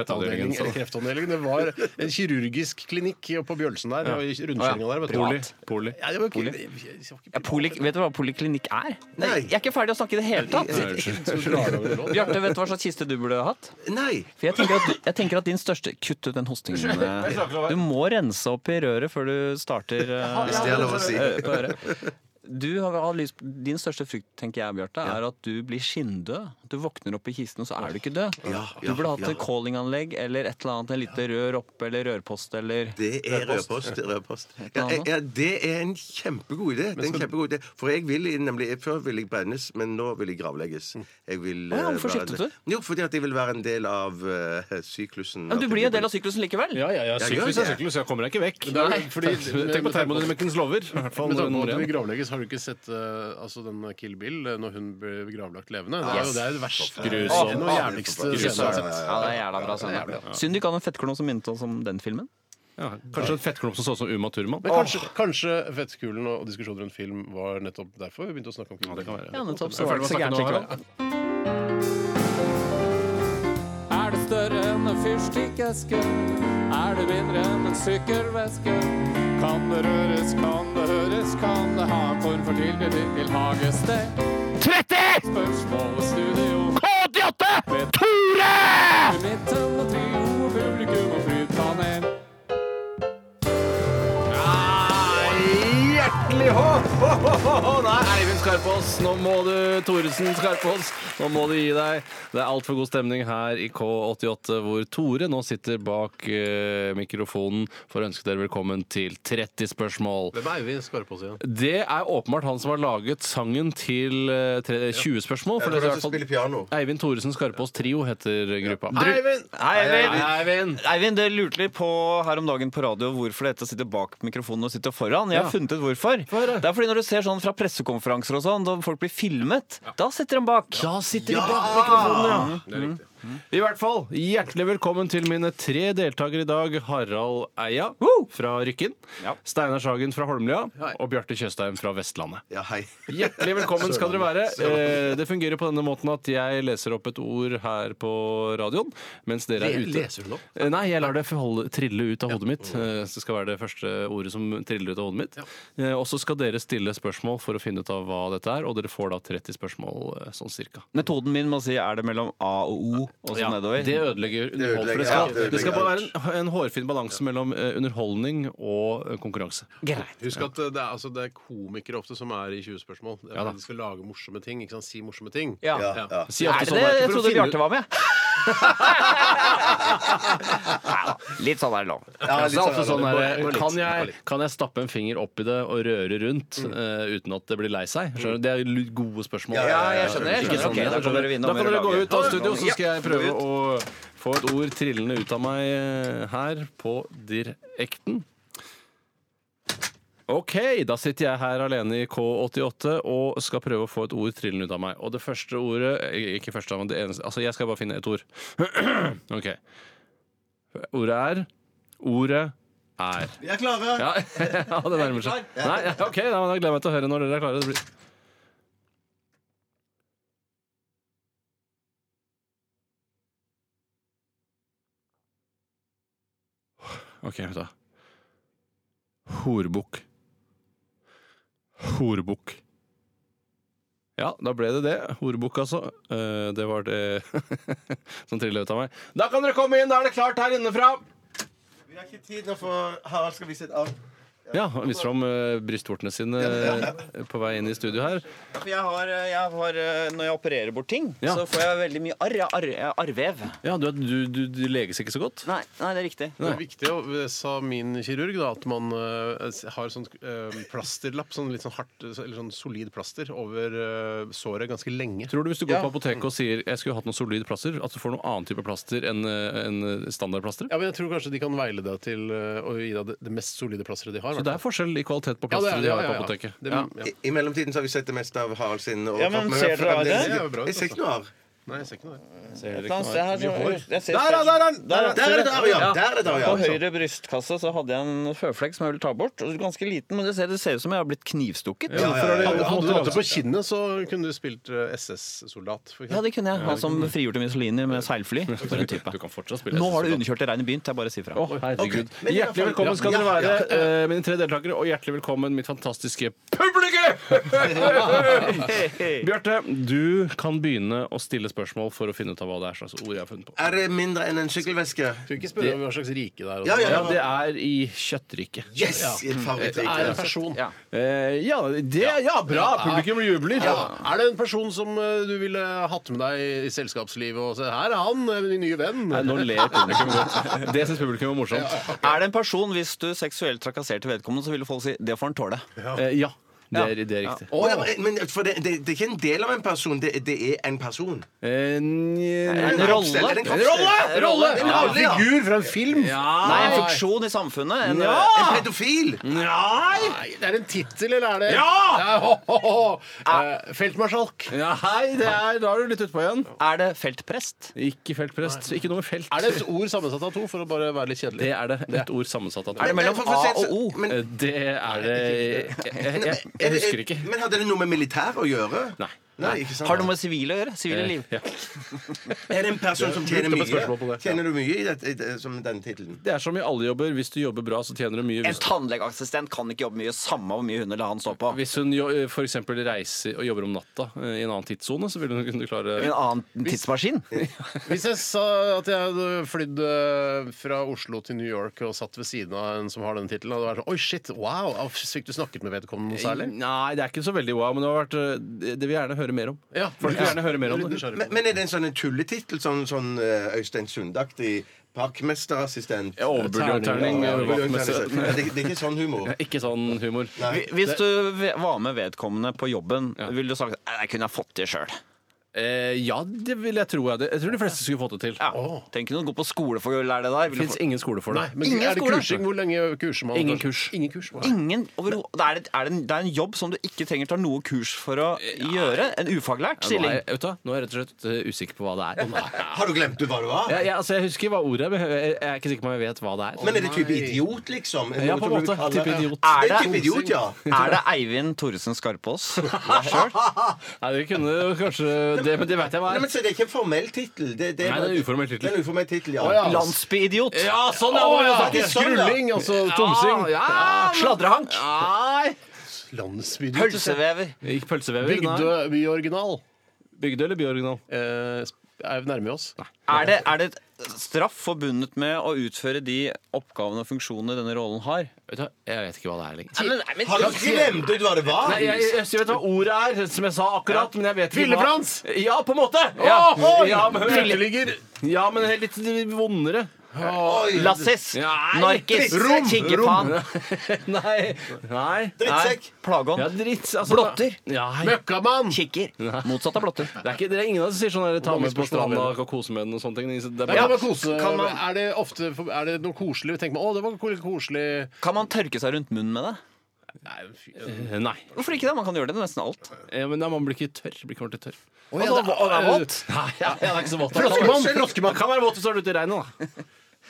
Speaker 8: fettavdelingen,
Speaker 13: fettavdeling eller kreftavdeling. Det var en kirurgisk klinikk på Bjølsen der.
Speaker 8: Ja.
Speaker 13: Og i rundkjøringa der. vet du.
Speaker 8: Poli. Poli.
Speaker 13: Ja, det var ikke,
Speaker 6: Poli.
Speaker 13: det- jeg skal ikke-
Speaker 6: Ja, poli, vet du hva poliklinikk er? Nei. Jeg er ikke ferdig å snakke i det hele tatt.
Speaker 13: Nei, unnskyld.
Speaker 6: Bjarte, vet du hva slags kiste du burde hatt?
Speaker 7: Nei.
Speaker 6: For jeg tenker at, jeg tenker at din største Kutt ut den hostingen. eh.
Speaker 7: Unnskyld, jeg snakker over.
Speaker 6: Du må rense opp i røret før du starter. eh,
Speaker 7: Hvis det er lov å si.
Speaker 6: eh, på øret. Du har, har lyst, din største frykt tenker jeg, Bjarte, er at du blir skinndød. Du våkner opp i kisten, og så er du ikke død.
Speaker 7: Ja,
Speaker 6: du burde hatt
Speaker 7: ja, ja.
Speaker 6: et callinganlegg eller et eller annet, en lite rør oppe eller rørpost eller
Speaker 7: Det er rødpost. rødpost. Ja, jeg- ja, det er en kjempegod idé. Det er en kjempegod idé. For jeg vil nemlig Før ville jeg brennes, men nå vil jeg gravlegges. Jeg vil,
Speaker 6: Å ja,
Speaker 7: eh,
Speaker 6: hvorfor
Speaker 7: være
Speaker 6: skiftet
Speaker 7: en-
Speaker 6: du?
Speaker 7: Jo, fordi at jeg vil være en del av eh, syklusen.
Speaker 6: Men du blir en del av syklusen likevel.
Speaker 8: Ja, ja, ja. Syklus er syklus, jeg kommer deg ikke vekk.
Speaker 13: Men det er jo
Speaker 8: Nei.
Speaker 13: fordi-
Speaker 8: Tenk på termodynamikkens lover. i hvert fall
Speaker 13: Med tanke på
Speaker 8: nummer
Speaker 13: at
Speaker 8: én.
Speaker 13: vi gravlegges, har du ikke sett eh, altså den Kill Bill eh, når hun ble gravlagt levende? Det er jo det, er jo det verste.
Speaker 6: Grusom.
Speaker 13: Det er noe jævligste
Speaker 6: Grusom.
Speaker 13: scenen jeg har sett.
Speaker 6: Ja, det er jævla bra scene. Synd du ikke hadde en fettklump som minnet oss om den filmen.
Speaker 8: Ja, kanskje en fettklump som så ut som Uma Thurman.
Speaker 13: Men kanskje, kanskje Fettkulen og diskusjonen rundt film var nettopp derfor vi begynte å snakke om Kill Bill.
Speaker 6: Ja, nettopp, så
Speaker 13: Er
Speaker 6: var det
Speaker 13: vi
Speaker 6: ikke så
Speaker 13: ferdig med
Speaker 6: gærent
Speaker 13: å snakke
Speaker 6: likevel.
Speaker 13: nå, eller?
Speaker 14: Er det større enn en fyrstikkeske? Er det mindre enn en sykkelveske? Kan det røres, kan det høres, kan det ha en form for tilknytning til hagested? 30! Spørsmål og studio. K88! Med Tore! Midten og trio, publikum og flytpanel.
Speaker 8: Hjertelig hå! hå, hå, hå, hå. Nei, Eivind Skarpaas, nå må du Thoresen Skarpaas, nå må du gi deg. Det er altfor god stemning her i K88, hvor Tore nå sitter bak eh, mikrofonen for å ønske dere velkommen til 30 spørsmål.
Speaker 13: Hvem er Eivind Skarpaas igjen?
Speaker 8: Det er åpenbart han som har laget sangen til eh, tre- 20 spørsmål.
Speaker 7: Ja, det er
Speaker 8: det er
Speaker 7: han som
Speaker 8: i hvert fall-
Speaker 7: spiller piano.
Speaker 8: Eivind Thoresen Skarpaas Trio heter gruppa.
Speaker 6: Dere- Hei, Eivind!
Speaker 8: Hei, Eivind!
Speaker 6: Eivind, dere lurte litt på her om dagen på radio hvorfor dette sitter bak mikrofonen og sitter foran. Jeg har
Speaker 8: Ja.
Speaker 6: funnet ut hvorfor. Det er fordi når du ser sånn fra pressekonferanser og sånn, da folk blir filmet, da sitter de bak.
Speaker 8: Da sitter de bak mikrofonen, ja. Mm. I hvert fall, hjertelig velkommen til mine tre deltakere i dag. Harald Eia fra Rykken. Steinar Sagen fra Holmlia. Og Bjarte Tjøstheim fra Vestlandet.
Speaker 7: Ja, hei.
Speaker 8: Hjertelig velkommen skal dere være.
Speaker 7: Sørlandet.
Speaker 8: Eh, Det fungerer på denne måten at jeg leser opp et ord her på radioen, mens dere er
Speaker 13: Le-
Speaker 8: ute.
Speaker 13: leser Mm. du det opp?
Speaker 8: Eh, Nei, jeg lar det forholde, trille ut av hodet mitt. Eh, Så det skal være det første ordet som triller ut av hodet mitt. Eh, Og så skal dere stille spørsmål for å finne ut av hva dette er, og dere får da 30 spørsmål eh, sånn cirka.
Speaker 6: Metoden min med å si er det mellom A og O og så
Speaker 8: Ja,
Speaker 6: nedover.
Speaker 8: Det ødelegger underhold. for det,
Speaker 6: ja,
Speaker 8: skal,
Speaker 6: det ødelegger
Speaker 8: det skal bare være en, en hårfin balanse mellom eh, underholdning og eh, konkurranse.
Speaker 13: Husk at eh, det er, altså, det er komikere ofte som er i 20 spørsmål. Det er
Speaker 8: Ja da.
Speaker 13: fordi de skal lage morsomme ting. Ikke sant? Si morsomme ting.
Speaker 8: Ja.
Speaker 13: Ja.
Speaker 8: Ja. Si
Speaker 6: Er det det? sånn, Jeg trodde Bjarte var med. Litt sånn er det lov.
Speaker 8: Ja,
Speaker 6: litt
Speaker 8: det er ofte
Speaker 6: sånn
Speaker 8: sånn
Speaker 6: er det.
Speaker 8: der,
Speaker 6: Bare litt.
Speaker 8: kan, jeg, kan jeg stappe en finger opp i det og røre rundt
Speaker 6: Mm.
Speaker 8: eh, uten at det blir lei seg? Skjønner du? Det er lu- gode spørsmål.
Speaker 6: Ja, ja, jeg skjønner, jeg
Speaker 8: Ikke
Speaker 6: skjønner.
Speaker 8: sånn,
Speaker 6: Ok, da kan dere vinne
Speaker 8: Da
Speaker 6: om
Speaker 8: kan
Speaker 6: dere
Speaker 8: dere gå
Speaker 6: lager.
Speaker 8: ut av studio, så
Speaker 6: Ja,
Speaker 8: skal jeg
Speaker 6: gå ut.
Speaker 8: prøve å få et ord trillende ut av meg eh, her på direkten. Ok, da sitter jeg her alene i K88 og skal prøve å få et ord trillende ut av meg. Og det første ordet eh, Ikke første, men det eneste Altså, jeg skal bare finne et ord. ok. Ordet er Ordet er
Speaker 12: Vi er klare.
Speaker 8: Ja, ja det nærmer seg.
Speaker 12: Er dere klare?
Speaker 8: Nei, ja, ok, da, men da gleder jeg meg til å høre når dere er klare. Det blir... OK, vent da. Horbukk. Horbukk. Ja, da ble det det. Horbukk, altså. Eh, det var det som trilla Sånn ut av meg. Da kan dere komme inn! Da er det klart her innenfra.
Speaker 7: Vi har ikke tid nå, for Harald skal vise et av.
Speaker 8: Ja, han viser fram eh, brystvortene sine eh, på vei inn i studio her.
Speaker 6: For jeg har, eh, jeg har, når jeg opererer bort ting,
Speaker 8: Ja.
Speaker 6: så får jeg veldig mye arr. Jeg har arr- jeg har arrvev.
Speaker 8: Ja, du, du, du, du leges ikke så godt?
Speaker 6: Nei, nei, det er riktig.
Speaker 13: Det er viktig, og det sa min kirurg, da, at man eh, har sånn eh, plasterlapp, sånn litt sånn hardt, eller sånn solid plaster, over eh, såret ganske lenge.
Speaker 8: Tror du hvis du går på apoteket og sier jeg skulle hatt noe solid plaster, at du får noen annen type plaster enn eh, enn standardplaster?
Speaker 13: Ja, men jeg tror kanskje de kan veile deg til eh, å gi deg det, det mest solide plasteret de har.
Speaker 8: Så det er forskjell i kvalitet på
Speaker 13: Ja, det
Speaker 8: plasteret
Speaker 13: er det,
Speaker 8: de har
Speaker 13: ja,
Speaker 8: på
Speaker 13: ja, ja.
Speaker 8: apoteket.
Speaker 13: Det-
Speaker 8: Ja.
Speaker 13: ja.
Speaker 7: I, I mellomtiden så har vi sett det meste av Harald sin
Speaker 6: Ja, men
Speaker 7: overkropp,
Speaker 6: ser dere av det?
Speaker 7: fremdeles-
Speaker 6: Det er jo bra ut,
Speaker 7: Jeg ser ikke noe arr.
Speaker 13: Nei, jeg ser ikke noe der.
Speaker 6: Et eller annet sted her, så- jeg ser-
Speaker 7: Der er han, der er han! Der er- der er det arr, ja. Der er det arr, ja.
Speaker 6: På høyre brystkasse så hadde jeg en føflekk som jeg ville ta bort. Og Ganske liten, men det ser, det ser ut som jeg har blitt knivstukket.
Speaker 13: Hadde, hadde du hatt det på kinnet, så kunne du spilt eh, SS-soldat. for
Speaker 6: Ja, det kunne jeg. Han som frigjorde mussoliner med seilfly. For en type.
Speaker 8: Du kan fortsatt spille
Speaker 6: Nå har det underkjørte regnet begynt. Jeg bare sier fra.
Speaker 8: Å, herregud.
Speaker 6: Ok, men i hvert
Speaker 8: Hjertelig
Speaker 6: fall-
Speaker 8: velkommen skal
Speaker 6: Ja,
Speaker 8: dere
Speaker 6: ja,
Speaker 8: være,
Speaker 6: ja.
Speaker 8: eh, mine tre deltakere, og hjertelig velkommen mitt fantastiske Bjarte, du kan begynne å stille spørsmål for å finne ut av hva det er slags ord jeg har funnet på.
Speaker 7: Er det mindre enn en sykkelveske?
Speaker 13: Du ikke
Speaker 8: spørre om
Speaker 13: hva slags rike det er. sånn.
Speaker 8: Ja, det er i kjøttriket.
Speaker 7: Yes!
Speaker 8: Ja.
Speaker 7: Et
Speaker 13: Det
Speaker 7: favorittrike.
Speaker 13: er en person.
Speaker 8: Eh, ja, det, ja, bra! Publikum jubler.
Speaker 13: Ja. Er det en person som eh, du ville hatt med deg i selskapslivet og se, her er han, eh, min nye venn?
Speaker 8: Nei, nå ler publikum godt. Det syns publikum var morsomt.
Speaker 6: Er det en person, hvis du seksuelt trakasserte vedkommende, så ville folk si 'det får han tåle'?
Speaker 8: Eh, ja. Det er, det er riktig.
Speaker 7: Å, ja, men- men for det, det, det er ikke en del av en person, det, det er en person. Er
Speaker 8: Eh,
Speaker 7: det en rolle? Er det en kroppsdel?
Speaker 8: Rolle! Rolle!
Speaker 7: En rolle, ja.
Speaker 13: Figur fra en film?
Speaker 6: Nei, en fiksjon i samfunnet. En,
Speaker 13: Ja!
Speaker 7: En pedofil?
Speaker 8: Nei!
Speaker 13: Nei, Det er en tittel, eller er det
Speaker 6: Ja!
Speaker 13: ho, ho, ho. Eh, Feltmarsjalk.
Speaker 8: Ja, hei, det er, da er du litt utpå igjen.
Speaker 6: Er det feltprest?
Speaker 8: Ikke feltprest. Ikke noe med felt.
Speaker 13: Er det et ord sammensatt av to, for å bare være litt
Speaker 8: Det
Speaker 13: kjedelig?
Speaker 8: er det. Et ord sammensatt av to.
Speaker 7: Er det mellom Men- men- A og O? men-
Speaker 8: Eh, Det er det jeg, jeg, jeg,
Speaker 7: Er
Speaker 8: jeg
Speaker 7: det-
Speaker 8: husker ikke.
Speaker 7: Men hadde det noe med militær å gjøre?
Speaker 8: Nei.
Speaker 7: Nei, ikke sant?
Speaker 6: Har det noe med sivile å gjøre? Sivile
Speaker 8: Eh,
Speaker 6: liv.
Speaker 8: ja.
Speaker 7: Er det en person som tjener
Speaker 8: Lurte på et spørsmål på
Speaker 7: mye?
Speaker 8: det.
Speaker 7: Tjener du mye i, det, i, det- som denne tittelen?
Speaker 8: Det er som i alle jobber. Hvis du jobber bra, så tjener du mye.
Speaker 6: En
Speaker 8: Hvis,
Speaker 6: tannlegeassistent kan ikke jobbe mye, samme hvor mye hun eller han står på.
Speaker 8: hvis hun f.eks. reiser og jobber om natta eh, i en annen tidssone, så vil hun kunne klare
Speaker 6: En annen tidsmaskin?
Speaker 13: Hvis jeg sa at jeg hadde flydd eh, fra Oslo til New York og satt ved siden av en som har den tittelen, hadde det vært sånn Oi, shit! Wow! ah, Fikk du snakket med vedkommende noe særlig?
Speaker 8: Nei, det er ikke så veldig wow, men det, har vært, eh, det vil jeg gjerne høre mer om.
Speaker 13: Ja.
Speaker 8: Folk vil gjerne høre mer om det.
Speaker 7: Men, men er det en sånn en tulletittel? Sånn, sånn eh, Øystein Sundaktig parkmesterassistent?
Speaker 8: Ja, overbuljonterning,
Speaker 7: Terning, ja,
Speaker 8: overbuljonterning.
Speaker 7: overbuljonterning. Ja, det, det er ikke sånn humor.
Speaker 8: Ikke sånn humor.
Speaker 7: Nei.
Speaker 6: Hvis du ve- var med vedkommende på jobben, ville du sagt «Nei, det kunne jeg fått til sjøl.
Speaker 8: Eh, ja, det vil jeg tro. Jeg, hadde- jeg tror de fleste skulle fått det til.
Speaker 6: Ja. Tenk å gå på skole for å lære det der.
Speaker 8: Det
Speaker 6: Ville
Speaker 8: fins
Speaker 6: fått-
Speaker 8: ingen skole for det.
Speaker 13: Nei, men
Speaker 6: Ingen
Speaker 13: er det
Speaker 6: skole.
Speaker 13: kursing? Hvor lenge kurser man?
Speaker 8: Ingen kurs.
Speaker 13: Ingen kurs. Wow.
Speaker 6: Ingen overho- det, er, et- er det, en, det er en jobb som du ikke trenger ta noe kurs for å gjøre. En ufaglært
Speaker 8: Ja, nå, er,
Speaker 6: stilling.
Speaker 8: jeg- vet du, hva? nå er jeg rett og slett eh, usikker på hva det er.
Speaker 7: Har du glemt ut hva det var?
Speaker 8: Jeg, jeg, altså, jeg husker hva ordet er, men jeg, jeg er ikke sikker på om jeg vet hva det er.
Speaker 7: Men er det type idiot, liksom? Er det
Speaker 8: Ja,
Speaker 7: noe
Speaker 8: på
Speaker 7: som
Speaker 8: en
Speaker 7: du
Speaker 8: måte.
Speaker 7: kaller-
Speaker 8: Type idiot.
Speaker 7: Er det
Speaker 6: Er
Speaker 7: en type idiot, ja?
Speaker 6: Er det Eivind Thoresen Skarpaas? Sjøl?
Speaker 8: Nei, det kunne jo kanskje Eh, det, Men det vet jeg hva
Speaker 7: Nei,
Speaker 8: er.
Speaker 7: men så Det er ikke en formell tittel. Det, det,
Speaker 8: Nei, det er en uformell tittel.
Speaker 7: Det er en uformell tittel, ja.
Speaker 13: ja.
Speaker 6: Landsbyidiot.
Speaker 8: Ja, sånn er
Speaker 13: Å, ja.
Speaker 7: Det er sånn, ja.
Speaker 13: Skrulling, altså
Speaker 8: Ja,
Speaker 13: tomsing.
Speaker 8: ja, men-
Speaker 6: Sladrehank.
Speaker 8: Nei!
Speaker 13: Landsbydel.
Speaker 6: Pølsevever.
Speaker 8: Ikke pølsevever. Nei.
Speaker 13: Bygdø byoriginal.
Speaker 8: Bygdø eller byoriginal?
Speaker 13: Eh, er vi nærme oss?
Speaker 6: Er det, er det straff forbundet med å utføre de oppgavene og funksjonene denne rollen har?
Speaker 8: Vet du, hva? jeg vet ikke hva det er lenger.
Speaker 7: Har du glemt ut hva det var?
Speaker 8: Nei, jeg, jeg, jeg vet hva ordet er, som jeg sa akkurat. Men jeg vet ikke
Speaker 13: Villefrans!
Speaker 8: hva- Ja, på en måte! Ja,
Speaker 13: Å, oi!
Speaker 8: ja, men,
Speaker 13: Filleligger.
Speaker 8: ja, men helt litt vondere.
Speaker 6: Lassis.
Speaker 8: Nei.
Speaker 6: Narkis.
Speaker 8: Rom.
Speaker 6: Tiggerfaen.
Speaker 8: Nei. Nei.
Speaker 7: Drittsekk.
Speaker 8: Ja,
Speaker 6: Plageånd.
Speaker 8: dritt. Altså,
Speaker 6: Blotter.
Speaker 8: Ja, hei.
Speaker 13: Møkkamann!
Speaker 6: Kikker. Motsatt av blotter.
Speaker 8: Det er, ikke, det er ingen av oss som sier sånn der, ta
Speaker 13: Mange
Speaker 8: med på
Speaker 13: spørsmål,
Speaker 8: stranda
Speaker 13: eller?
Speaker 8: og kose med den og sånne ting. Det er
Speaker 13: Ja,
Speaker 8: bare,
Speaker 13: men kose,
Speaker 6: kan man-
Speaker 13: er, det ofte, er det noe koselig? Tenker man, å, det var ko- koselig
Speaker 6: Kan man tørke seg rundt munnen med det?
Speaker 13: Nei, fy-
Speaker 8: Eh, Nei.
Speaker 6: Hvorfor ikke det? Man kan gjøre det til nesten alt.
Speaker 8: Eh, men da, man blir ikke tørr. Blir ikke ordentlig tørr.
Speaker 13: ja,
Speaker 8: Altså,
Speaker 13: det er- eh,
Speaker 8: å, det er vått? Nei, jeg, jeg er ikke så våt.
Speaker 13: Froskemann,
Speaker 8: Kan være våt hvis du er ute i regnet, da.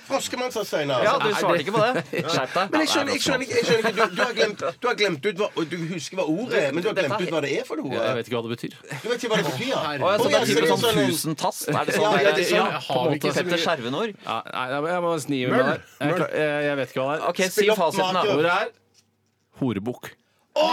Speaker 7: Froskemann, sa Steinar.
Speaker 6: Ja, du svarte ikke på det. Skjerp deg.
Speaker 7: Men jeg skjønner,
Speaker 8: altså,
Speaker 7: jeg skjønner ikke, jeg skjønner ikke. Du, du, har glemt, du har glemt ut hva og Du husker hva ordet er, men du har glemt ut hva det er for noe.
Speaker 8: Jeg vet ikke hva det betyr.
Speaker 7: Du vet ikke hva det betyr? ja.
Speaker 6: Å, ja, så
Speaker 7: Å,
Speaker 6: det
Speaker 7: ja,
Speaker 6: er typisk
Speaker 7: så
Speaker 6: sånn
Speaker 7: det er
Speaker 6: tusen tast? Er det sånn?
Speaker 7: Ja, ja, det-
Speaker 6: ja,
Speaker 7: ja, jeg
Speaker 6: på
Speaker 7: har
Speaker 6: en måte
Speaker 7: ikke så mye-
Speaker 6: Petter Skjervenord?
Speaker 8: Ja, nei, nei, men jeg må snive med
Speaker 6: Møll.
Speaker 8: deg. Jeg, klar- eh, jeg vet ikke hva det er.
Speaker 6: Ok, si fasiten, da.
Speaker 8: Ordet er horebukk.
Speaker 6: Vet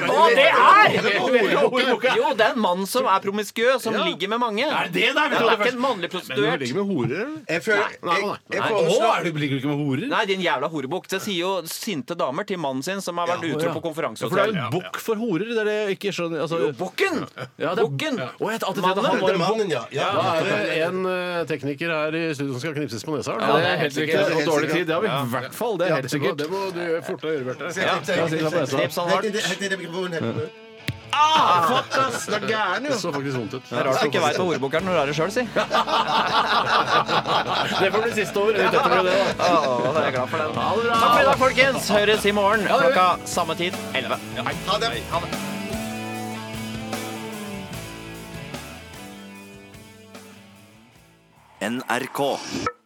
Speaker 6: du hva det er?!
Speaker 8: Horebukk, ja.
Speaker 6: Jo, det er en mann som er promiskuøs, som ligger med mange.
Speaker 8: Er det det der? Vi
Speaker 6: Ja, det
Speaker 8: trodde
Speaker 6: er ikke
Speaker 8: først-
Speaker 6: en mannlig
Speaker 8: Men du
Speaker 6: prostituert.
Speaker 8: ligger med horer, eller?
Speaker 7: Jeg føler
Speaker 6: Nei, nei, nei.
Speaker 8: Nei,
Speaker 6: Jeg
Speaker 8: å,
Speaker 6: foreslår-
Speaker 8: er du, ligger du ikke med horer?
Speaker 6: Nei, din jævla horebukk. Det sier jo sinte damer til mannen sin som har vært
Speaker 8: Ja,
Speaker 6: utro
Speaker 8: ja.
Speaker 6: på
Speaker 8: Ja, for det er
Speaker 6: konferansehotell.
Speaker 8: jo en bukk for horer. Det er det jeg ikke skjønner altså,
Speaker 6: Jo, bukken!
Speaker 8: Ja, det er bukken! Å, jeg alltid trodde
Speaker 6: Mannen.
Speaker 8: han var en bukk.
Speaker 7: Mannen, ja. Ja,
Speaker 13: Da
Speaker 7: ja,
Speaker 13: er
Speaker 7: ja,
Speaker 13: det en eh, tekniker her i studio som skal knipses på nesa.
Speaker 8: Ja, det er helt riktig.
Speaker 13: Det er
Speaker 8: Og
Speaker 13: helt
Speaker 8: dårlig
Speaker 13: sikkert.
Speaker 8: tid. Det har vi
Speaker 13: Ja.
Speaker 8: i hvert fall. Det er
Speaker 13: Ja,
Speaker 8: helt sikkert.
Speaker 13: Det må det må du gjøre fort å gjøre, Bjarte.
Speaker 8: Ja, ja, knipsa på nesa. Knips han hardt.
Speaker 13: Ah, fuck, ass! Du er gæren, jo. Det så faktisk vondt ut.
Speaker 6: Det er rart du ikke veit hva horebukk er når du er det sjøl, si.
Speaker 8: Det får bli siste ord. Litt etter det, da.
Speaker 6: Å, da er jeg glad for den. Takk for i dag, folkens. Høres i morgen klokka samme tid 11. Ha det. Ha det.
Speaker 15: NRK.